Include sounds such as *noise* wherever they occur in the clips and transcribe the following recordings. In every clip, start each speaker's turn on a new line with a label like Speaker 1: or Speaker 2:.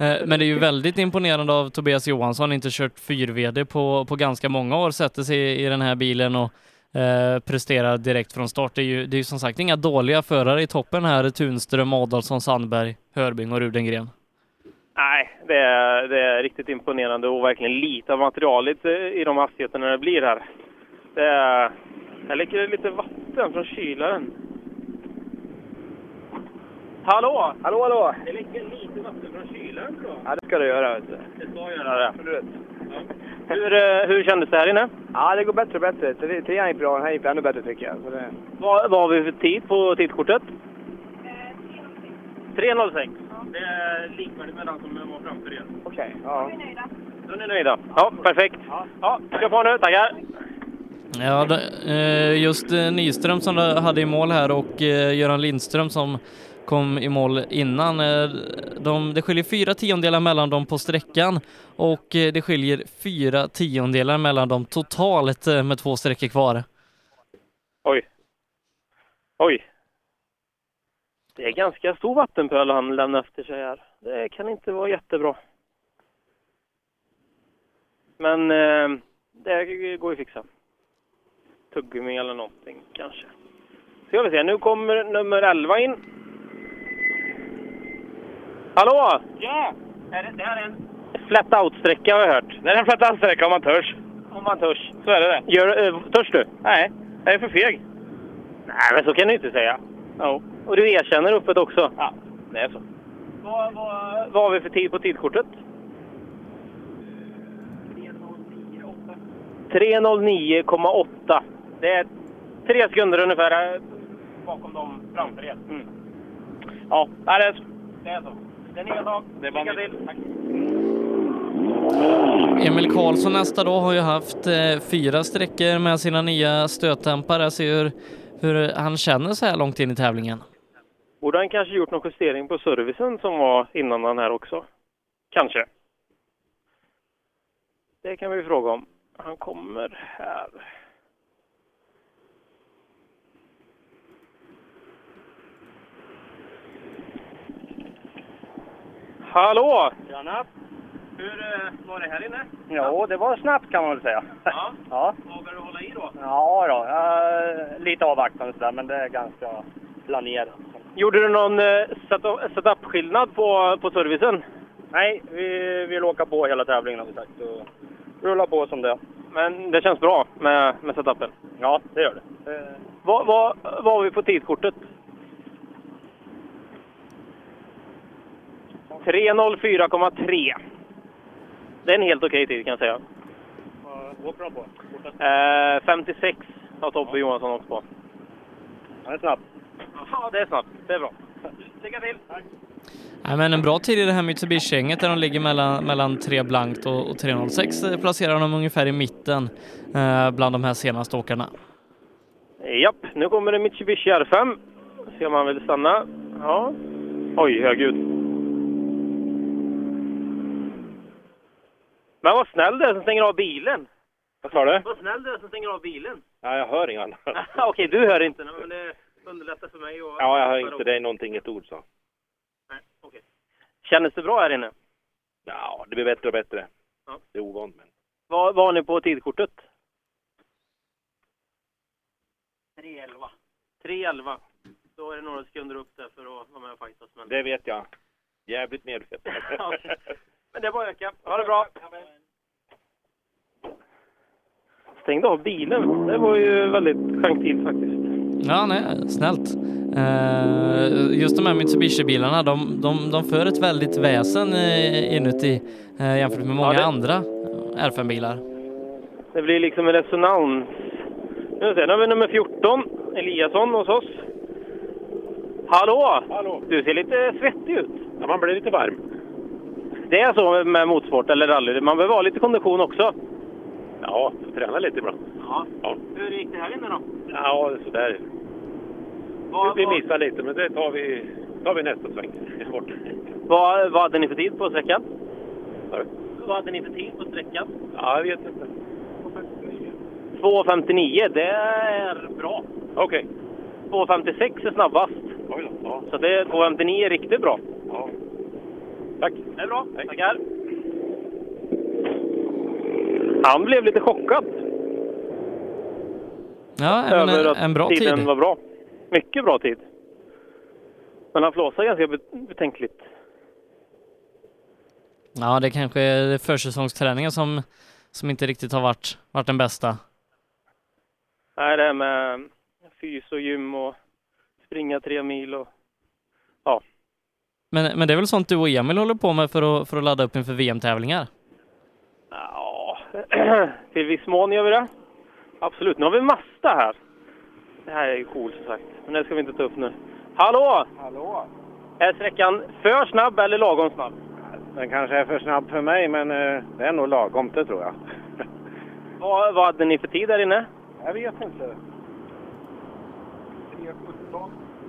Speaker 1: Eh, Men det är ju väldigt imponerande av Tobias Johansson, inte kört 4VD på, på ganska många år, sätter sig i, i den här bilen och eh, presterar direkt från start. Det är, ju, det är ju som sagt inga dåliga förare i toppen här, Tunström, Adolfsson, Sandberg, Hörbing och Rudengren.
Speaker 2: Nej, det är, det är riktigt imponerande och verkligen lite av materialet eh, i de hastigheterna det blir här. Det är, här läcker det lite vatten från kylaren. Hallå!
Speaker 3: Hallå, hallå!
Speaker 2: Det läcker lite vatten från kylaren tror jag.
Speaker 3: Ja, det ska du göra, vet du.
Speaker 2: Det ska göra det.
Speaker 3: Absolut.
Speaker 2: Hur, eh, hur kändes det här inne?
Speaker 3: Ja, det går bättre och bättre. Tre- Trean gick bra, den här gick ännu bättre tycker jag. Så det...
Speaker 2: Vad, vad har vi för tid på tidskortet? 3.06. Det är likvärdigt med den som var framför er.
Speaker 3: Okej, ja.
Speaker 2: Då är ni nöjda? Ja, perfekt. Ja, kör på nu. Tackar!
Speaker 1: Ja, da- eh, just eh, Nyström som hade i mål här och eh, Göran Lindström som kom i mål innan. eh, De, det skiljer fyra tiondelar mellan dem på sträckan och eh, det skiljer fyra tiondelar mellan dem totalt eh, med två sträckor kvar.
Speaker 2: Oj. Oj. Det är ganska stor vattenpöl han lämnar efter sig här. Det kan inte vara jättebra. Men eh, det går ju att fixa. Tuggummi eller någonting kanske. Ska vi se, nu kommer nummer 11 in. Hallå! Ja! Är det, det här är en flat out-sträcka har jag hört. Det är en flat out-sträcka om man törs. Om man törs. Så är det det. Gör, eh, törs du? Nej, jag är för feg. Nej, men så kan du inte säga. Jo. Och du erkänner öppet också? Ja, det är så. Vad, vad, vad har vi för tid på tidkortet? 3.09,8. Det är tre sekunder ungefär eh, bakom dem framför er. Mm. Ja, det är så. Det är så. Det är en egen sak. Lycka till. Tack.
Speaker 1: Emil Karlsson nästa då har ju haft eh, fyra sträckor med sina nya stötdämpare. Jag ser hur, hur han känner så här långt in i tävlingen.
Speaker 2: Borde han kanske gjort någon justering på servicen som var innan den här också? Kanske. Det kan vi fråga om. Han kommer här. Hallå! Tjena! Hur var det här inne?
Speaker 3: Jo, det var snabbt kan man väl säga.
Speaker 2: Ja.
Speaker 3: *laughs* Ja,
Speaker 2: Vågar du hålla i då?
Speaker 3: ja då. Eh, lite avvaktande sådär, men det är ganska planerat.
Speaker 2: Gjorde du någon eh, setup- setup-skillnad på, på servicen?
Speaker 3: Nej, vi vill åka på hela tävlingen har vi sagt och rulla på som det.
Speaker 2: Men det känns bra med, med setupen.
Speaker 3: Ja, det gör det. Eh,
Speaker 2: Vad, vad, vad har vi på tidkortet? 3.04,3. Det är en helt okej tid kan jag säga.
Speaker 3: Vad åker de på? Fortast?
Speaker 2: Eh, 56 har Tobbe Johansson åkt på.
Speaker 3: Han är snabb.
Speaker 2: Ja, det är snabbt. Det är bra. Lycka till!
Speaker 1: Nej, men en bra tid i det här Mitsubishi-gänget där de ligger mellan, mellan 3 blankt och, och 306 eh, placerar de ungefär i mitten eh, bland de här senaste åkarna.
Speaker 2: Japp, nu kommer det Mitsubishi R5. Se om han vill stanna. Ja. Oj, herregud. Men vad snäll du är som stänger av bilen!
Speaker 3: Vad sa du?
Speaker 2: Vad snäll du är som stänger av bilen!
Speaker 3: Ja,
Speaker 2: *laughs*
Speaker 3: jag hör inget annat.
Speaker 2: Okej, du hör inte, men det underlättar för mig. Och...
Speaker 3: Ja, jag hör inte dig någonting, ett ord så.
Speaker 2: Nej, okej. Kändes det bra här inne?
Speaker 3: Ja, det blir bättre och bättre.
Speaker 2: Ja.
Speaker 3: Det är ovant men.
Speaker 2: Vad vad har ni på tidkortet? 3.11. 3.11. Då är det några sekunder upp där för att vara med och fightas. Men...
Speaker 3: Det vet jag. Jävligt
Speaker 4: *laughs*
Speaker 3: medveten.
Speaker 2: Ja, okej. Men det är bara att öka. Ha det bra! Stängde av bilen. Det var ju väldigt gentilt faktiskt.
Speaker 1: Ja, nej, snällt. Eh, just de här Mitsubishi-bilarna, de, de, de för ett väldigt väsen eh, inuti eh, jämfört med många
Speaker 2: det-
Speaker 1: andra R5-bilar.
Speaker 2: Det blir liksom en resonans. Nu ser, nu har vi nummer 14, Eliasson hos oss. Hallå!
Speaker 3: Hallå!
Speaker 2: Du ser lite svettig ut.
Speaker 3: Ja, man blir lite varm.
Speaker 2: Det är så med motorsport eller rally. Man behöver ha lite kondition också.
Speaker 3: Ja, får träna lite ibland.
Speaker 2: Ja.
Speaker 3: Ja.
Speaker 2: Hur gick det här inne då?
Speaker 3: Ja, sådär.
Speaker 2: Vad,
Speaker 3: Vi missar lite, men det tar vi, tar vi nästa
Speaker 4: *laughs*
Speaker 3: sväng. Bort.
Speaker 2: vad, vad hade ni för tid på sträckan?
Speaker 3: Sorry.
Speaker 2: Vad hade ni för tid på sträckan?
Speaker 3: Ja, jag vet inte.
Speaker 2: 2.59, det är bra.
Speaker 3: Okej.
Speaker 2: 2.56 är snabbast.
Speaker 3: Oj då. Ja.
Speaker 2: Så det är 2.59 är riktigt bra.
Speaker 3: ja.
Speaker 5: Tack.
Speaker 2: Det är bra. Tackar. Han blev lite chockad
Speaker 1: Ja, men
Speaker 2: över
Speaker 1: en,
Speaker 2: att
Speaker 1: en bra
Speaker 2: tiden
Speaker 1: tid.
Speaker 2: var bra. Mycket bra tid. Men han flåsade ganska bet- betänkligt.
Speaker 1: Ja, det kanske är försäsongsträningen som, som inte riktigt har varit, varit den bästa.
Speaker 2: Nej, det här med fys och gym och springa tre mil och...
Speaker 1: Men, men det är väl sånt du och Emil håller på med för att, för att ladda upp inför VM-tävlingar?
Speaker 2: Ja, *clears throat* till viss mån gör vi det. Absolut. Nu har vi Masta här. Det här är ju coolt som sagt. Men det ska vi inte ta upp nu. Hallå!
Speaker 5: Hallå!
Speaker 2: Är sträckan för snabb eller lagom snabb?
Speaker 5: Den kanske är för snabb för mig, men eh, det är nog lagom
Speaker 3: *laughs*
Speaker 5: det tror jag.
Speaker 2: Vad, vad hade ni för tid där inne?
Speaker 5: jag vet inte.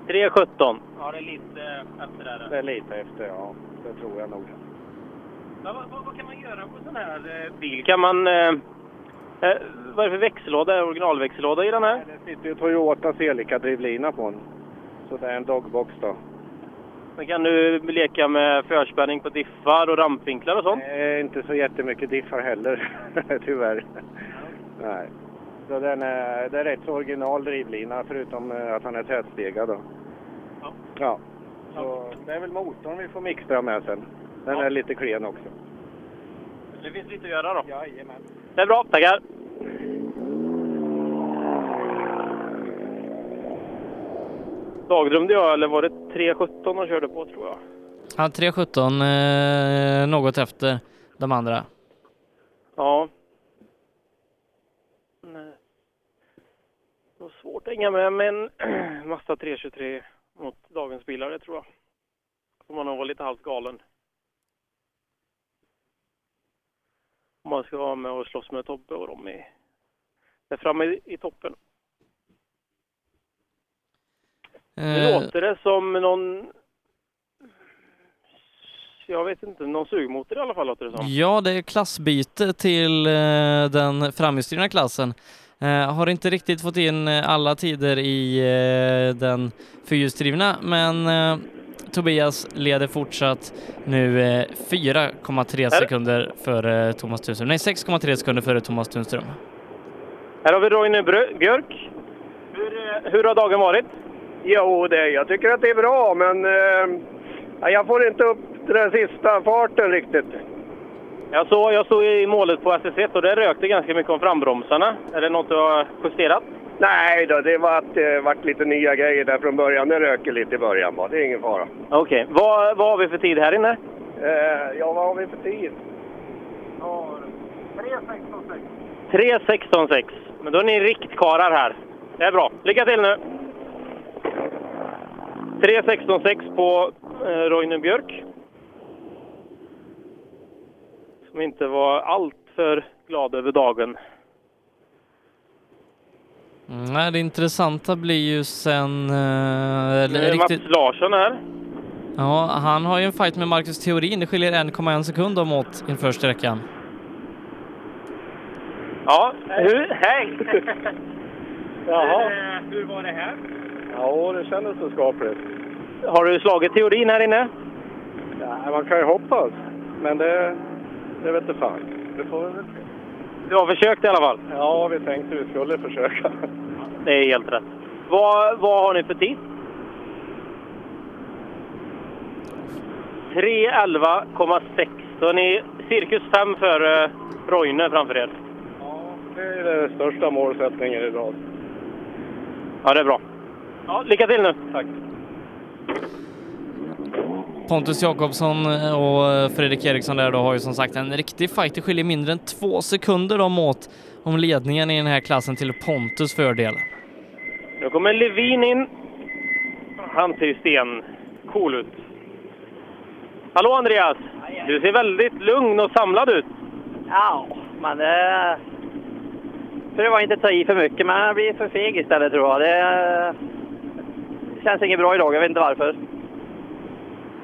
Speaker 2: 3.17. Ja, det är lite efter där.
Speaker 5: Det är lite efter, ja. Det tror jag nog.
Speaker 2: Men vad, vad, vad kan man göra på en sån här eh, bil? Kan man... Eh, eh, vad är det för växellåda? Är det Originalväxellåda i den här?
Speaker 5: Det sitter ju Toyota Celica-drivlina på den. Så det är en dogbox då.
Speaker 2: Men kan du leka med förspänning på diffar och rampvinklar och sånt?
Speaker 5: Det är Eh, inte så jättemycket diffar heller, *laughs* tyvärr. Nej. Så den är, det är rätt så original drivlina, förutom eh, att han är tätstegad då.
Speaker 2: Ja.
Speaker 5: Ja. Så det är väl motorn vi får mixtra med sen. Den
Speaker 2: Ja.
Speaker 5: är lite klen också.
Speaker 2: Det finns lite att göra då.
Speaker 5: Jajamän.
Speaker 2: Det är bra, tackar. Dagdrömde jag, eller var det 3.17 de körde på tror jag?
Speaker 1: Ja, 3.17 eh, något efter de andra.
Speaker 2: Ja. Nej. Det var svårt att hänga med med en *clears throat* Mazda 323 mot dagens bilar, det tror jag. Om man nog var lite halvt galen. Om man ska vara med och slåss med Tobbe och dem i, där framme i, i toppen. Nu
Speaker 1: Eh,
Speaker 2: låter det som någon... Jag vet inte, någon sugmotor i alla fall låter det som.
Speaker 1: ja, det är klassbyte till eh, den framhjulsdrivna klassen. Eh, har inte riktigt fått in eh, alla tider i eh, den fyrhjulsdrivna, men eh, Tobias leder fortsatt nu eh, 4,3
Speaker 2: Här.
Speaker 1: sekunder före Thomas Tunström. Nej, 6,3 sekunder före Thomas Tunström.
Speaker 2: Här har vi Roine Brö- Björk. Hur, eh, hur har dagen varit?
Speaker 5: Jo, det, jag tycker att det är bra, men eh, jag får inte upp den sista farten riktigt.
Speaker 2: Jag, såg, jag stod i målet på SS1 och det rökte ganska mycket om frambromsarna. Är det något du har justerat?
Speaker 5: Nej då, det var att det vart lite nya grejer där från början. Det röker lite i början bara, det är ingen fara.
Speaker 2: Okej. Vad, vad har vi för tid här inne?
Speaker 5: Eh, ja, vad har vi för tid?
Speaker 2: 3.16,6. Men då är ni riktkarlar här. Det är bra. Lycka till nu! 3.16,6 på eh, Roine Björk. Som inte var alltför glad över dagen.
Speaker 1: Mm, nej, det intressanta blir ju sen... Eh,
Speaker 2: Nu är
Speaker 1: eller riktigt,
Speaker 2: Mats Larsson här.
Speaker 1: ja, han har ju en fight med Marcus Theorin. Det skiljer 1,1 sekund dem åt inför sträckan.
Speaker 2: Ja, hur? Hej! *laughs*
Speaker 5: Jaha.
Speaker 2: Hur var det här?
Speaker 5: Ja, det kändes så skapligt.
Speaker 2: Har du slagit teorin här inne?
Speaker 5: Ja, man kan ju hoppas, men det, det vet inte fan. Det får vi väl se.
Speaker 2: Du har försökt i alla fall.
Speaker 5: Ja, vi tänkte vi skulle försöka.
Speaker 2: Det är helt rätt. Vad, vad har ni för tid? 3.11,6. Så ni cirkus 5 för eh, Roine framför er.
Speaker 5: Ja, det är den största målsättningen idag.
Speaker 2: Ja, det är bra. Ja, lycka till nu. Tack.
Speaker 1: Pontus Jakobsson eh, och Fredrik Eriksson där då har ju som sagt en riktig fight. Det skiljer mindre än två sekunder dem åt om ledningen i den här klassen till Pontus fördel.
Speaker 2: Nu kommer Levin in. Han ser ju sten cool ut. Hallå Andreas! Du ser väldigt lugn och samlad ut.
Speaker 6: Ja, men det... För det var inte att ta i för mycket, men jag blir för feg istället tror jag. Det eh, känns inget bra idag, jag vet inte varför.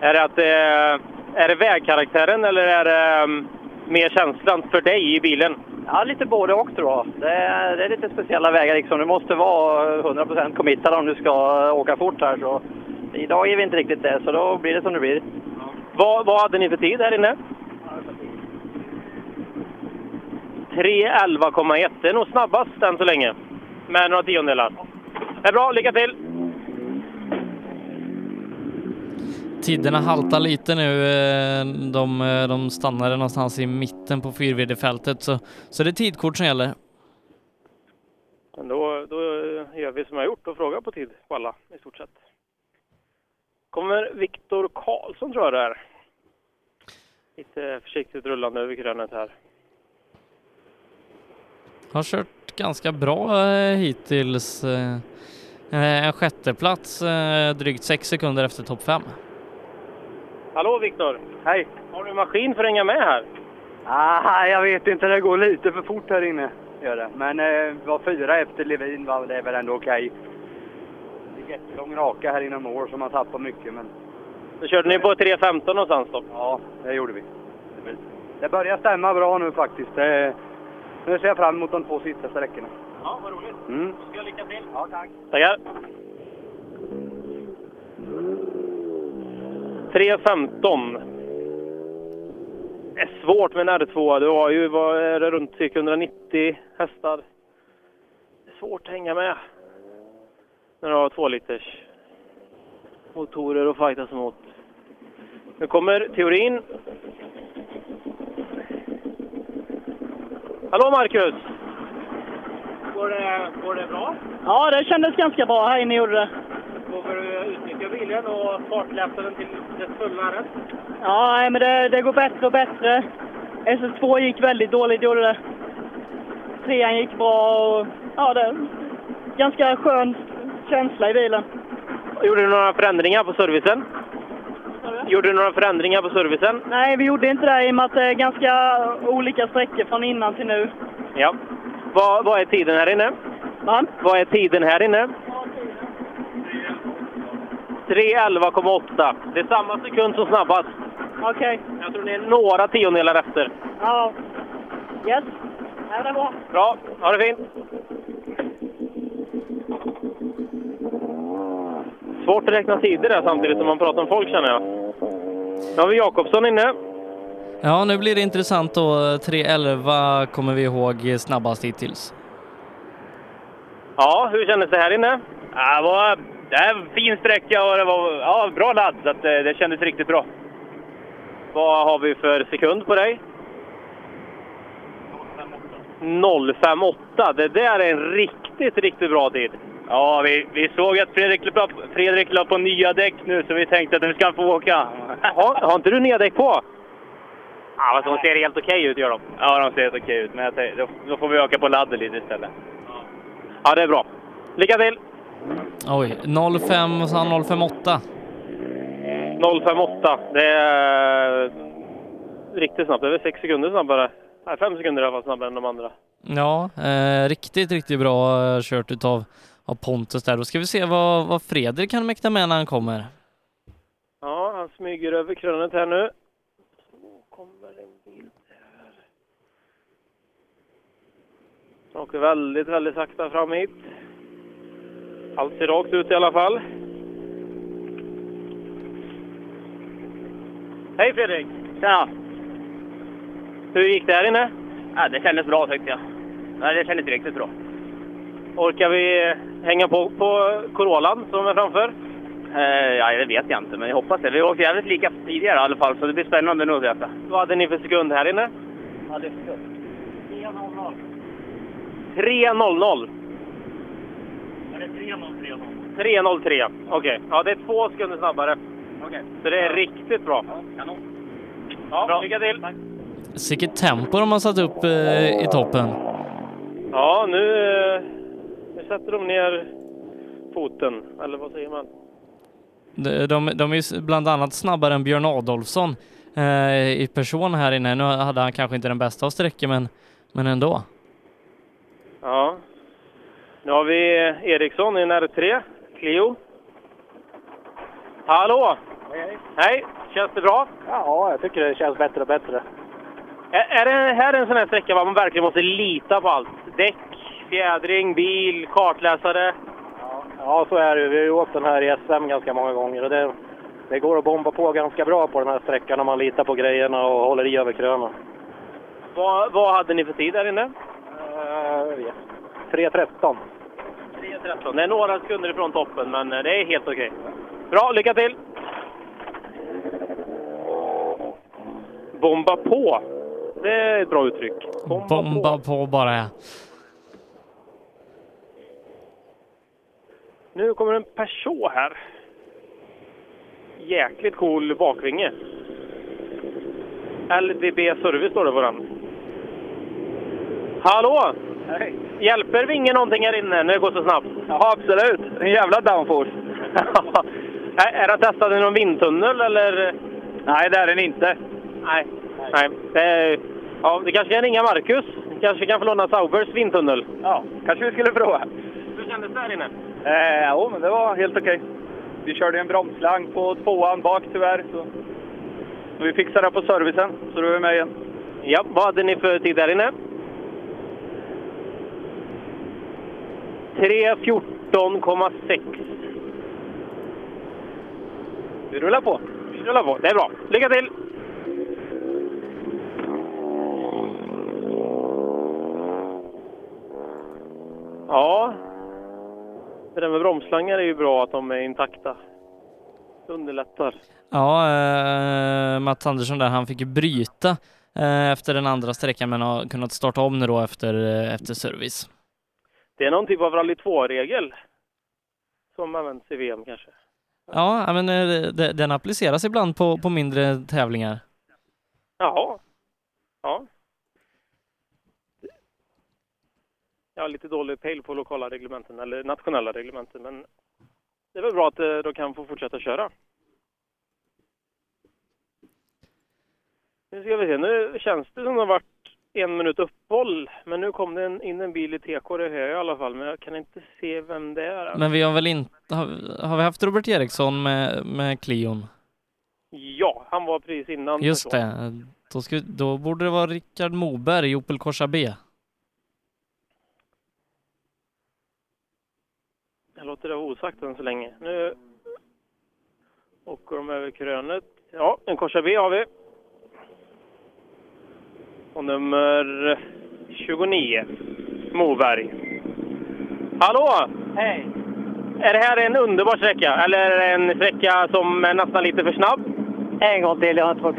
Speaker 2: Är det, att, eh, är det vägkaraktären eller är det mm, mer känslan för dig i bilen?
Speaker 6: Ja, lite både och tror jag. Det är, det är lite speciella vägar liksom. Du måste vara 100% committad om du ska åka fort här. Så idag är vi inte riktigt det, så då blir det som det blir.
Speaker 2: Vad, vad hade ni för tid här inne? 3.11,1. Det är nog snabbast än så länge. Med några tiondelar. Det är bra, lycka till!
Speaker 1: Tiderna haltar lite nu. eh, De, eh, de stannade någonstans i mitten på 4VD-fältet så, så det är tidkort som gäller.
Speaker 2: Men då, då gör vi som jag har gjort och frågar på tid på alla i stort sett. Kommer Viktor Karlsson tror jag det är. Lite försiktigt rullande över krönet här.
Speaker 1: Har kört ganska bra eh, hittills. eh. Eh, En sjätteplats eh, drygt sex sekunder efter topp fem.
Speaker 2: Hallå Viktor! Hej! Har du maskin för att hänga med här?
Speaker 5: Ah, jag vet inte, det går lite för fort här inne. Gör det. Men eh, var fyra efter Levin, va? det är väl ändå okej. Det är jättelång raka här inom år som man tappar mycket, men
Speaker 2: Då körde ni på 3.15 någonstans då?
Speaker 5: ja, det gjorde vi. Det börjar stämma bra nu faktiskt. Det, nu ser jag fram emot de två sista sträckorna.
Speaker 2: Ja, vad roligt!
Speaker 5: Mm.
Speaker 2: Då ska jag lycka till! Ja, tack! Tackar! 3.15. Det är svårt med en R2. Du har ju, vad är det, runt cirka 190 hästar. Det är svårt att hänga med. När du har två liters motorer att fightas emot. Nu kommer teorin. Hallå Marcus! Går det, går det bra?
Speaker 7: Ja, det kändes ganska bra här inne gjorde det.
Speaker 2: Vågar du utnyttja bilen och fartläsaren till dess fulla rätt?
Speaker 7: Ja, nej, men det, det går bättre och bättre. SS2 gick väldigt dåligt gjorde det. Trean gick bra och ja, det är ganska skön känsla i bilen.
Speaker 2: Gjorde du några förändringar på servicen? Gjorde du några förändringar på servicen?
Speaker 7: Nej, vi gjorde inte det i och med att det är ganska olika sträckor från innan till nu.
Speaker 2: Ja. Vad, vad är tiden här inne?
Speaker 7: Va?
Speaker 2: Vad är tiden här inne? 3.11,8. Det är samma sekund som snabbast.
Speaker 7: Okej.
Speaker 2: Jag tror ni är några tiondelar efter.
Speaker 7: Ja. Yes. Ja, det är bra.
Speaker 2: Bra, ha det fint! Svårt att räkna tider där samtidigt som man pratar om folk känner jag. Nu har vi Jakobsson inne.
Speaker 1: Ja, nu blir det intressant då. 3.11 kommer vi ihåg snabbast hittills.
Speaker 2: Ja, hur kändes det här inne? Ja, det, var, det är en fin sträcka och det var ja, bra ladd, så att, eh, det kändes riktigt bra. Vad har vi för sekund på dig? 058. Det där är en riktigt, riktigt bra tid. Ja, vi, vi såg att Fredrik la, Fredrik la på nya däck nu, så vi tänkte att nu ska han få *laughs* åka. Har, har inte du nya däck på? Ja, fast de ser helt okej ut, gör de. Ja, de ser helt okej ut, men jag tänkte, då, då får vi öka på ladden lite istället. Ja, det är bra. Lycka till!
Speaker 1: Oj, 05 och sen 058.
Speaker 2: 058. Det är riktigt snabbt. Det är väl sex sekunder snabbare. Nej, fem sekunder i alla fall snabbare än de andra.
Speaker 1: Ja, eh, riktigt, riktigt bra eh, kört utav av Pontus där. Då ska vi se vad, vad Fredrik kan mäkta med när han kommer.
Speaker 2: Ja, han smyger över krönet här nu. Så kommer en bild här. Han åker väldigt, väldigt sakta fram hit. Allt ser rakt ut i alla fall. Hej Fredrik!
Speaker 8: Tjena!
Speaker 2: Hur gick det här inne?
Speaker 8: Ja, det kändes bra tyckte jag. Ja, det kändes riktigt bra.
Speaker 2: Orkar vi hänga på på Corollan som är framför?
Speaker 8: Eh, ja, det vet jag inte, men jag hoppas det. Vi åkte jävligt lika tidigare i alla fall, så det blir spännande nu att veta.
Speaker 2: Vad hade ni för sekund här inne?
Speaker 8: Ja, det är skönt.
Speaker 2: 3.00. Är det 3.03? 3.03, okej. Ja, det är två sekunder snabbare. Okej. Så det är riktigt bra.
Speaker 8: Kanon.
Speaker 2: Ja, lycka till!
Speaker 1: Sicket tempo de har satt upp eh, i toppen.
Speaker 2: Ja, nu, eh, nu sätter de ner foten, eller vad säger man?
Speaker 1: De, de, de är ju s- bland annat snabbare än Björn Adolfsson eh, i person här inne. Nu hade han kanske inte den bästa av sträckor, men, men ändå.
Speaker 2: Ja. Nu har vi eh, Eriksson i en R3, Clio. Hallå!
Speaker 9: Hej,
Speaker 2: Hej, känns det bra?
Speaker 9: Ja, jag tycker det känns bättre och bättre.
Speaker 2: Är, är det här en sån här sträcka var man verkligen måste lita på allt? Däck, fjädring, bil, kartläsare?
Speaker 9: Ja, så är det ju. Vi har ju åkt den här i SM ganska många gånger och det,
Speaker 2: Det går att bomba på ganska bra på den här sträckan om man litar på grejerna och håller i över kröna. Vad, vad hade ni för tid där inne? 3.13. 3.13. Det är några sekunder ifrån toppen, men eh, det är helt okej. Bra, lycka till! Bomba på! Det är ett bra uttryck. Bomba,
Speaker 1: Bomba på bara.
Speaker 2: Nu kommer en Peugeot här. Jäkligt cool bakvinge. LDB Service står det på den. Hallå! Hjälper vinge någonting här inne när det går så snabbt? Ja, absolut. En jävla downforce. *laughs* är den testad i någon vindtunnel eller? Nej, det är den inte. Nej. Nej. Det, är- ja, det kanske kan ringa Marcus. Kanske kan få låna Saubers vindtunnel. Ja, kanske vi skulle prova. Hur kändes det här inne?
Speaker 10: Eh, jo, men det var helt okej. Vi körde en bromsslang på tvåan bak tyvärr. Så. Vi fixade det på servicen, så då är vi med igen.
Speaker 2: Ja, vad hade ni för tid där inne? 3.14,6. Vi rullar på. Vi rullar på. Det är bra. Lycka till! Ja, det där med bromsslangar är ju bra att de är intakta. Det underlättar.
Speaker 1: Ja, eh, Mats Andersson där, han fick ju bryta eh, efter den andra sträckan men har kunnat starta om nu då efter, eh, efter service.
Speaker 2: Det är någon typ av rally 2-regel som används i VM kanske.
Speaker 1: Ja, ja, men eh, de- den appliceras ibland på, på mindre tävlingar.
Speaker 2: Jaha. Ja. Jag har lite dålig pejl på lokala reglementen, eller nationella reglementen, men det är väl bra att eh, de kan få fortsätta köra. Nu ska vi se, nu känns det som det har varit en minut uppehåll, men nu kom det en, in en bil i TK, det hör jag i alla fall, men jag kan inte se vem det är. än.
Speaker 1: Men vi har väl inte, har, har vi haft Robert Eriksson med, med Clion?
Speaker 2: Ja, han var precis innan.
Speaker 1: Just det, då, ska, då borde det vara Rickard Moberg i Opel Corsa B.
Speaker 2: Jag låter det vara osagt än så länge. Nu åker de över krönet. Ja, en Corsa B har vi. Och nummer 29, Moberg. Hallå! Hej! Är det här en underbar sträcka? Eller är det en sträcka som är nästan lite för snabb?
Speaker 11: En gång till, jag tror.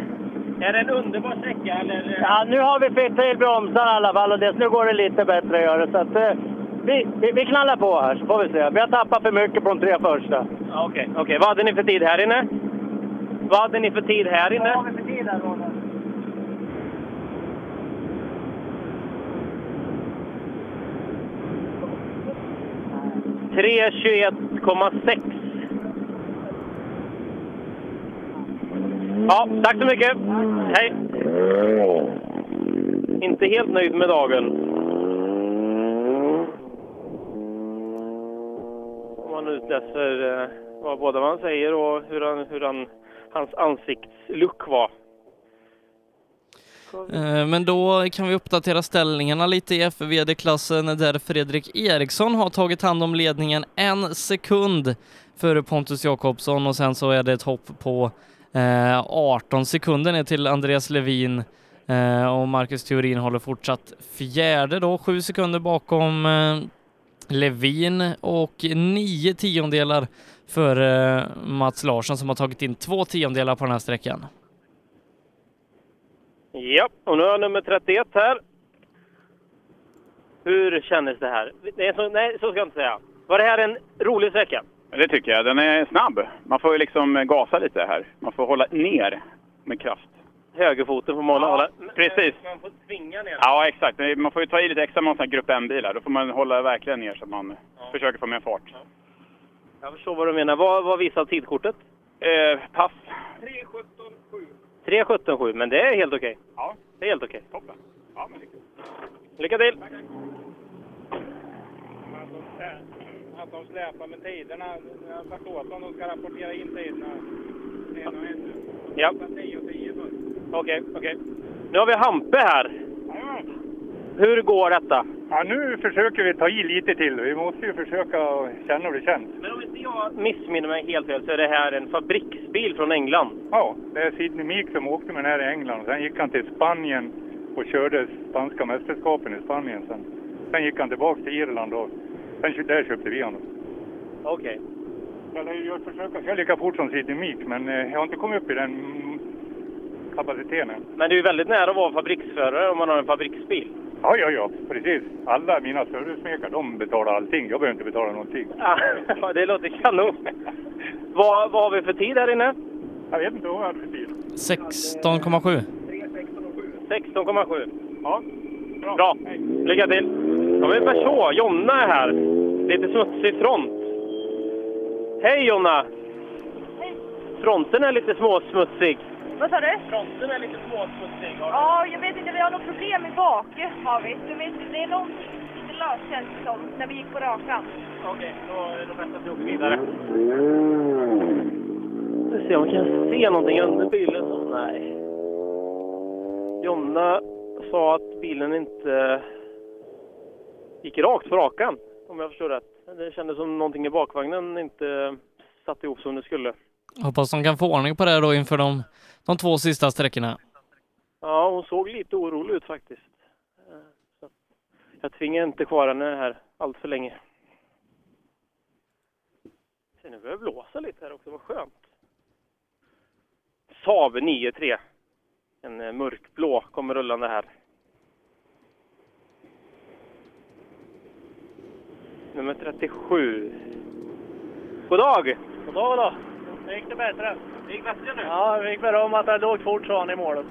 Speaker 2: Är det en underbar sträcka eller?
Speaker 11: Ja, nu har vi fått till bromsarna i alla fall och det, nu går det lite bättre gör det. Så att, eh, vi, vi, vi knallar på här så får vi se. Vi har tappat för mycket på de tre första.
Speaker 2: Ja, Okej, okej. Vad hade ni för tid här inne? Vad hade ni för tid här inne?
Speaker 11: vi för tid här Roland?
Speaker 2: Tre 21,6. Ja, tack så mycket. Hej. Inte helt nöjd med dagen. Om man utläser eh, vad både vad han säger och hur, han, hur han, hans ansiktsluck var.
Speaker 1: Eh, Men då kan vi uppdatera ställningarna lite i FVD-klassen där Fredrik Eriksson har tagit hand om ledningen en sekund före Pontus Jakobsson och sen så är det ett hopp på eh, 18 sekunder ner till Andreas Levin eh, och Marcus Theorin håller fortsatt fjärde då, sju sekunder bakom eh, Levin och nio tiondelar för eh, Mats Larsson som har tagit in två tiondelar på den här sträckan.
Speaker 2: Ja, och nu har jag nummer 31 här. Hur kändes det här? Det är så, nej, så ska jag inte säga. Var det här en rolig sträcka?
Speaker 12: Det tycker jag. Den är snabb. Man får ju liksom gasa lite här. Man får hålla ner med kraft.
Speaker 2: Högerfoten får man hålla.
Speaker 12: precis.
Speaker 2: Man får tvinga ner
Speaker 12: Ja, exakt. Man får ju ta i lite extra med en sån här grupp M-bilar. Då får man hålla verkligen ner så att man försöker få mer fart.
Speaker 2: Jag förstår vad du menar. Vad, vad visar tidkortet?
Speaker 12: Eh, pass.
Speaker 2: 3.17,7, men det är helt okej.
Speaker 12: Ja.
Speaker 2: Det är helt okej.
Speaker 12: Toppen. Ja, men det är kul.
Speaker 2: Lycka till!
Speaker 3: Eh, Att de släpar med tiderna. Jag har sagt åt dem att de ska rapportera in tiderna. En och en.
Speaker 2: Ja,
Speaker 3: Tio och tio först.
Speaker 2: okej, okej. Nu har vi Hampe här. Hur går detta?
Speaker 3: Ja, nu försöker vi ta i lite till. Vi måste ju försöka känna hur det känns.
Speaker 2: Men om inte jag missminner mig helt fel så är det här en fabriksbil från England.
Speaker 13: Ja, det är Sidney Meek som åkte med den här i England. Sen gick han till Spanien och körde spanska mästerskapen i Spanien. Sen, sen gick han tillbaka till Irland och sen, kö- där köpte vi honom.
Speaker 2: Okej.
Speaker 13: Jag försöker köra lika fort som Sidney Meek, men eh, jag har inte kommit upp i den mm, kapaciteten än.
Speaker 2: Men det är ju väldigt nära att vara fabriksförare om man har en fabriksbil.
Speaker 13: Ja, ja, ja, precis. Alla mina servicemekar, de betalar allting. Jag behöver inte betala någonting.
Speaker 2: *laughs* Ja, det låter kanon. Vad, vad har vi för tid här inne?
Speaker 13: Jag vet inte vad jag hade för tid.
Speaker 1: 16,7.
Speaker 2: 16,7. Ja. Bra. Lycka till. Ja, vi är Peugeot. Jonna är här. Lite smutsig front. Hej Jonna! Fronten är lite småsmutsig.
Speaker 14: Vad sa du?
Speaker 2: Fronten är lite småsmutsig.
Speaker 14: Ja, jag vet inte. Vi har något problem i bak, har vi. Du vet, det är någonting som inte löst känns det som, när vi gick på rakan.
Speaker 2: Okej, då är det bäst att vi åker vidare. Vi ska se om vi kan se någonting under bilen. Nej. Jonna sa att bilen inte gick rakt på rakan, om jag förstår rätt. Det kändes som någonting i bakvagnen inte satt ihop som det skulle.
Speaker 1: Hoppas de kan få ordning på det här då inför de, de två sista sträckorna.
Speaker 2: Ja, hon såg lite orolig ut faktiskt. Eh, Så att jag tvingar inte kvar henne här allt för länge. Se, nu börjar det blåsa lite här också. Vad skönt. Saab 9-3. En eh, mörkblå kommer rullande här. Nummer 37. God dag!
Speaker 15: God dag, god dag. Nu gick det bättre. Det gick bättre nu? Ja, det gick beröm att det låg fort sa han i målet.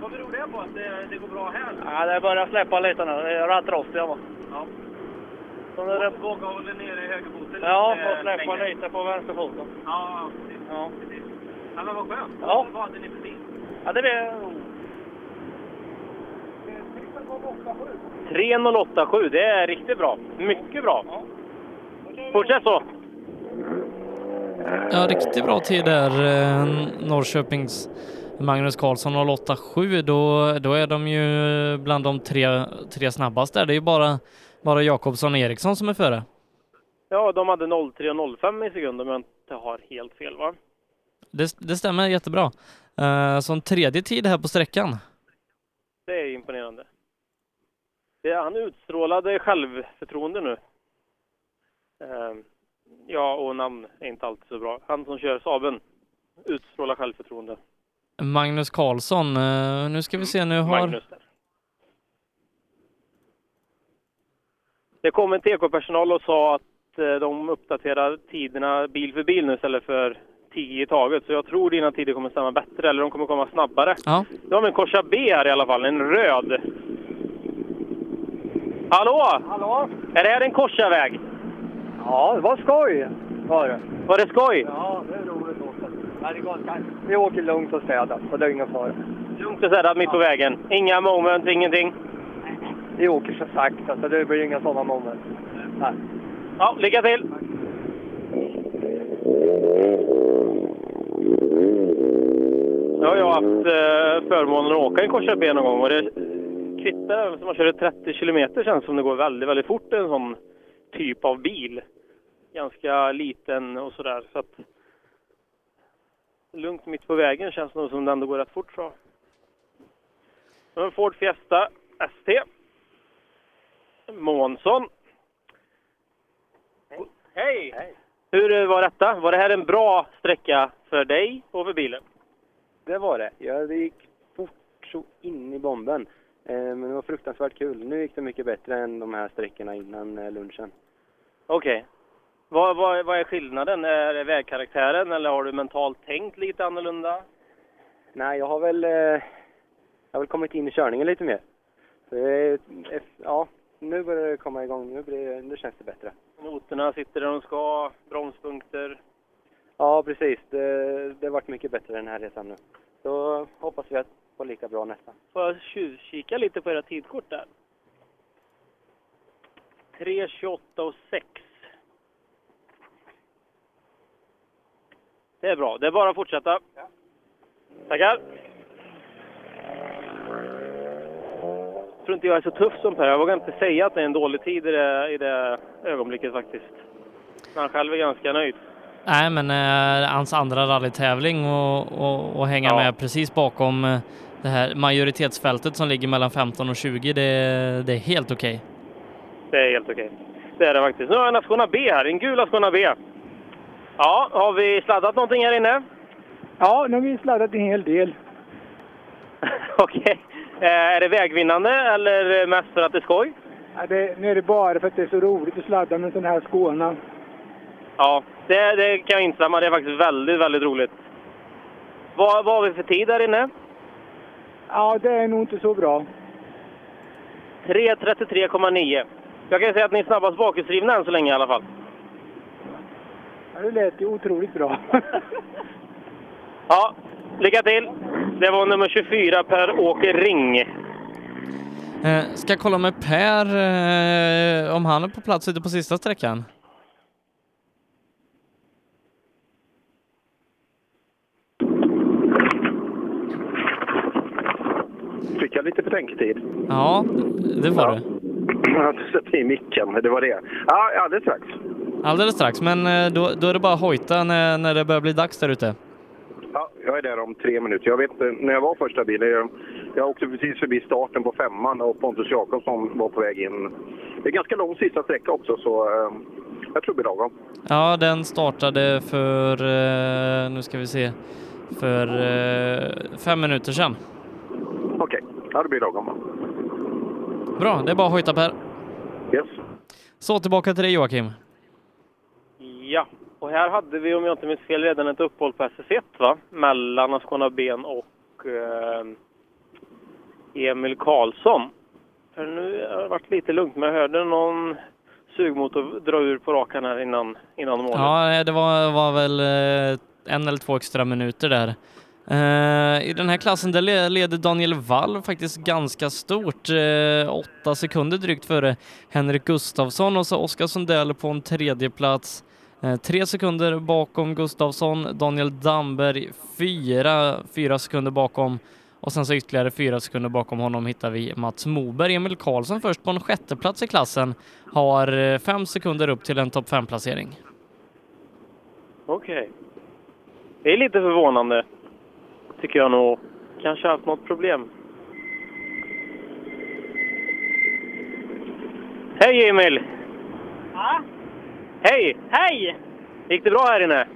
Speaker 2: Vad beror det på att det, går bra här?
Speaker 15: Ja, det börjar släppa lite nu. Det är rätt rostiga va.
Speaker 2: Ja.
Speaker 15: Så nu är det...
Speaker 2: Våga hålla nere högerfoten
Speaker 15: Ja, får släppa lite på vänsterfoten.
Speaker 2: Ja, precis.
Speaker 15: Ja.
Speaker 2: Ja, men vad skönt.
Speaker 15: Ja.
Speaker 2: Vad hade ni för tid?
Speaker 15: Ja, det blir...
Speaker 2: 3087, det är riktigt bra. Mycket bra. Fortsätt så.
Speaker 1: Ja, riktigt bra tid där. eh, Norrköpings Magnus Karlsson 087. Då, då är de ju bland de tre, tre snabbaste. Det är ju bara, bara Jakobsson och Eriksson som är före.
Speaker 2: Ja, de hade 03.05 i sekund om jag inte har helt fel va?
Speaker 1: Det, det stämmer jättebra. Eh, Som tredje tid här på sträckan.
Speaker 2: Det är imponerande. Det, han utstrålade självförtroende nu. Ehm, ja, och namn är inte alltid så bra. Han som kör Saaben utstrålar självförtroende.
Speaker 1: Magnus Karlsson. eh, Nu ska vi se, nu har...
Speaker 2: Magnus där. Det kom en TK-personal och sa att eh, de uppdaterar tiderna bil för bil nu istället för 10 i taget. Så jag tror dina tider kommer stämma bättre, eller de kommer komma snabbare.
Speaker 1: Ja.
Speaker 2: Nu har vi en Corsa B här i alla fall, en röd. Hallå!
Speaker 15: Hallå?
Speaker 2: Är det här en Corsa-väg?
Speaker 15: Ja, det var skoj. Var det?
Speaker 2: Var det skoj?
Speaker 15: Ja, det är roligt också. Ja, det går Vi åker lugnt och städat, så det är ingen fara.
Speaker 2: Lugnt och städat mitt på vägen. Inga moment, ingenting.
Speaker 15: Vi åker så sakta, så det blir inga sådana moment. Nej.
Speaker 2: Ja, lycka till! Nu har jag haft eh, förmånen att åka en Corsa B någon gång och det kvittar vem som man körde 30 kilometer känns som det går väldigt, väldigt fort i en sån typ av bil. Ganska liten och sådär så att lugnt mitt på vägen känns nog som det ändå går rätt fort så. Nu har vi en Ford Fiesta ST. Månsson. Hej! Hur eh, var detta? Var det här en bra sträcka för dig och för bilen?
Speaker 10: Det var det. Ja, det gick fort så in i bomben. Eh, Men det var fruktansvärt kul. Nu gick det mycket bättre än de här sträckorna innan eh, lunchen.
Speaker 2: Okej. Vad, vad, vad är skillnaden? Är det vägkaraktären eller har du mentalt tänkt lite annorlunda?
Speaker 10: Nej, jag har väl, eh, jag har väl kommit in i körningen lite mer. Så, eh, eff- ja, nu börjar det komma igång. Nu, blir, det- nu känns det bättre.
Speaker 2: Noterna sitter där de ska, bromspunkter.
Speaker 10: Ja, precis. Det, det har varit mycket bättre den här resan nu. Så hoppas vi att få lika bra nästa.
Speaker 2: Får jag tjuvkika lite på era tidkort där? 3.28 och 6. Det är bra. Det är bara att fortsätta. Tackar! Jag tror inte jag är så tuff som Per. Jag vågar inte säga att det är en dålig tid i det, i det ögonblicket faktiskt. när han själv är ganska nöjd.
Speaker 1: Nej, men eh, hans andra rallytävling och, och, och hänga med precis bakom eh, det här majoritetsfältet som ligger mellan 15 och 20, det, det är helt okej.
Speaker 2: Det är helt okej. Det är det faktiskt. Nu har jag en Ascona B här, en gul Ascona B. Ja, har vi sladdat någonting här inne?
Speaker 16: Ja, nu har vi sladdat en hel del.
Speaker 2: *laughs* Okej. Eh, är det vägvinnande eller mest för att det är skoj?
Speaker 16: Ja, det, nu är det bara för att det är så roligt att sladda med en sån här skåna.
Speaker 2: Ja, det, det kan jag instämma. Det är faktiskt väldigt, väldigt roligt. Vad, vad har vi för tid där inne?
Speaker 16: Ja, det är nog inte så bra.
Speaker 2: 3.33,9. Jag kan ju säga att ni är snabbast bakhjulsdrivna än så länge i alla fall.
Speaker 16: Ja, det lät ju otroligt bra. *laughs*
Speaker 2: Ja, lycka till! Det var nummer 24, Per-Åke Ring.
Speaker 1: Eh, ska kolla med Per eh, om han är på plats ute på sista sträckan.
Speaker 5: Fick jag lite betänketid? *laughs*
Speaker 1: Ja, det får du.
Speaker 5: Jag hade satt i micken, det var det. Ja, alldeles strax.
Speaker 1: Alldeles strax, men eh, då, då är det bara att hojta när, när det börjar bli dags där ute.
Speaker 5: Ja, jag är där om tre minuter. Jag vet inte, när jag var första bilen, jag, jag åkte precis förbi starten på femman och Pontus Jakobsson var på väg in. Det är ganska lång sista sträcka också, så eh, jag tror det blir lagom.
Speaker 1: Ja, den startade för, eh, nu ska vi se, för eh, fem minuter sedan.
Speaker 5: Okej, ja, det blir lagom.
Speaker 1: Bra, det är bara att hojta Per.
Speaker 5: Yes.
Speaker 1: Så tillbaka till dig Joakim.
Speaker 2: Ja, och här hade vi om jag inte minns fel redan ett uppehåll på SS1 va? Mellan Ascona Ben och eh, Emil Karlsson. För nu har det varit lite lugnt, men jag hörde någon sugmotor dra ur på rakan här innan, innan målet.
Speaker 1: Ja, eh, det var, var väl eh, en eller två extra minuter där. Eh, I den här klassen där le- leder Daniel Wall faktiskt ganska stort. eh, Åtta sekunder drygt före Henrik Gustafsson och så Oskar Sundell på en tredje plats. Eh, Tre sekunder bakom Gustafsson, Daniel Damberg fyra, fyra sekunder bakom och sen så ytterligare fyra sekunder bakom honom hittar vi Mats Moberg. Emil Karlsson först på en sjätteplats i klassen har eh, fem sekunder upp till en topp fem-placering.
Speaker 2: Okej. Det är lite förvånande, tycker jag nog. Kanske haft något problem. Hej Emil!
Speaker 7: Ja,
Speaker 2: Hej!
Speaker 7: hej!
Speaker 2: Gick det bra här inne?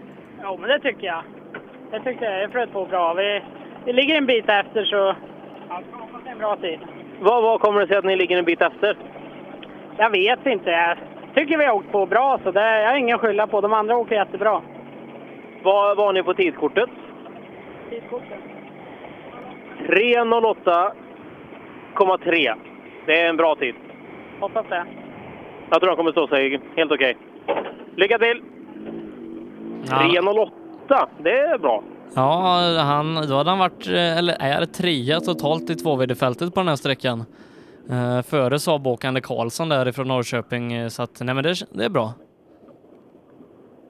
Speaker 7: Jo, men det tycker jag. Det tycker jag. Det flöt på bra. Vi, vi ligger en bit efter så ja, vi hoppas det är en bra tid.
Speaker 2: Vad, vad kommer det sig att ni ligger en bit efter?
Speaker 7: Jag vet inte. Jag tycker vi har åkt på bra så det, jag har ingen att skylla på. De andra åker jättebra.
Speaker 2: Vad var ni på tidkortet? 3.08,3. Det är en bra tid.
Speaker 7: Hoppas det.
Speaker 2: Jag tror han kommer stå sig helt okej. Lycka till! 3.08, det är bra.
Speaker 1: Ja, han, då hade han varit, eh, eller är trea totalt i tvåvd-fältet på den här sträckan. Eh, före Saab-åkande Karlsson därifrån Norrköping, eh, så att nej men det, det är bra.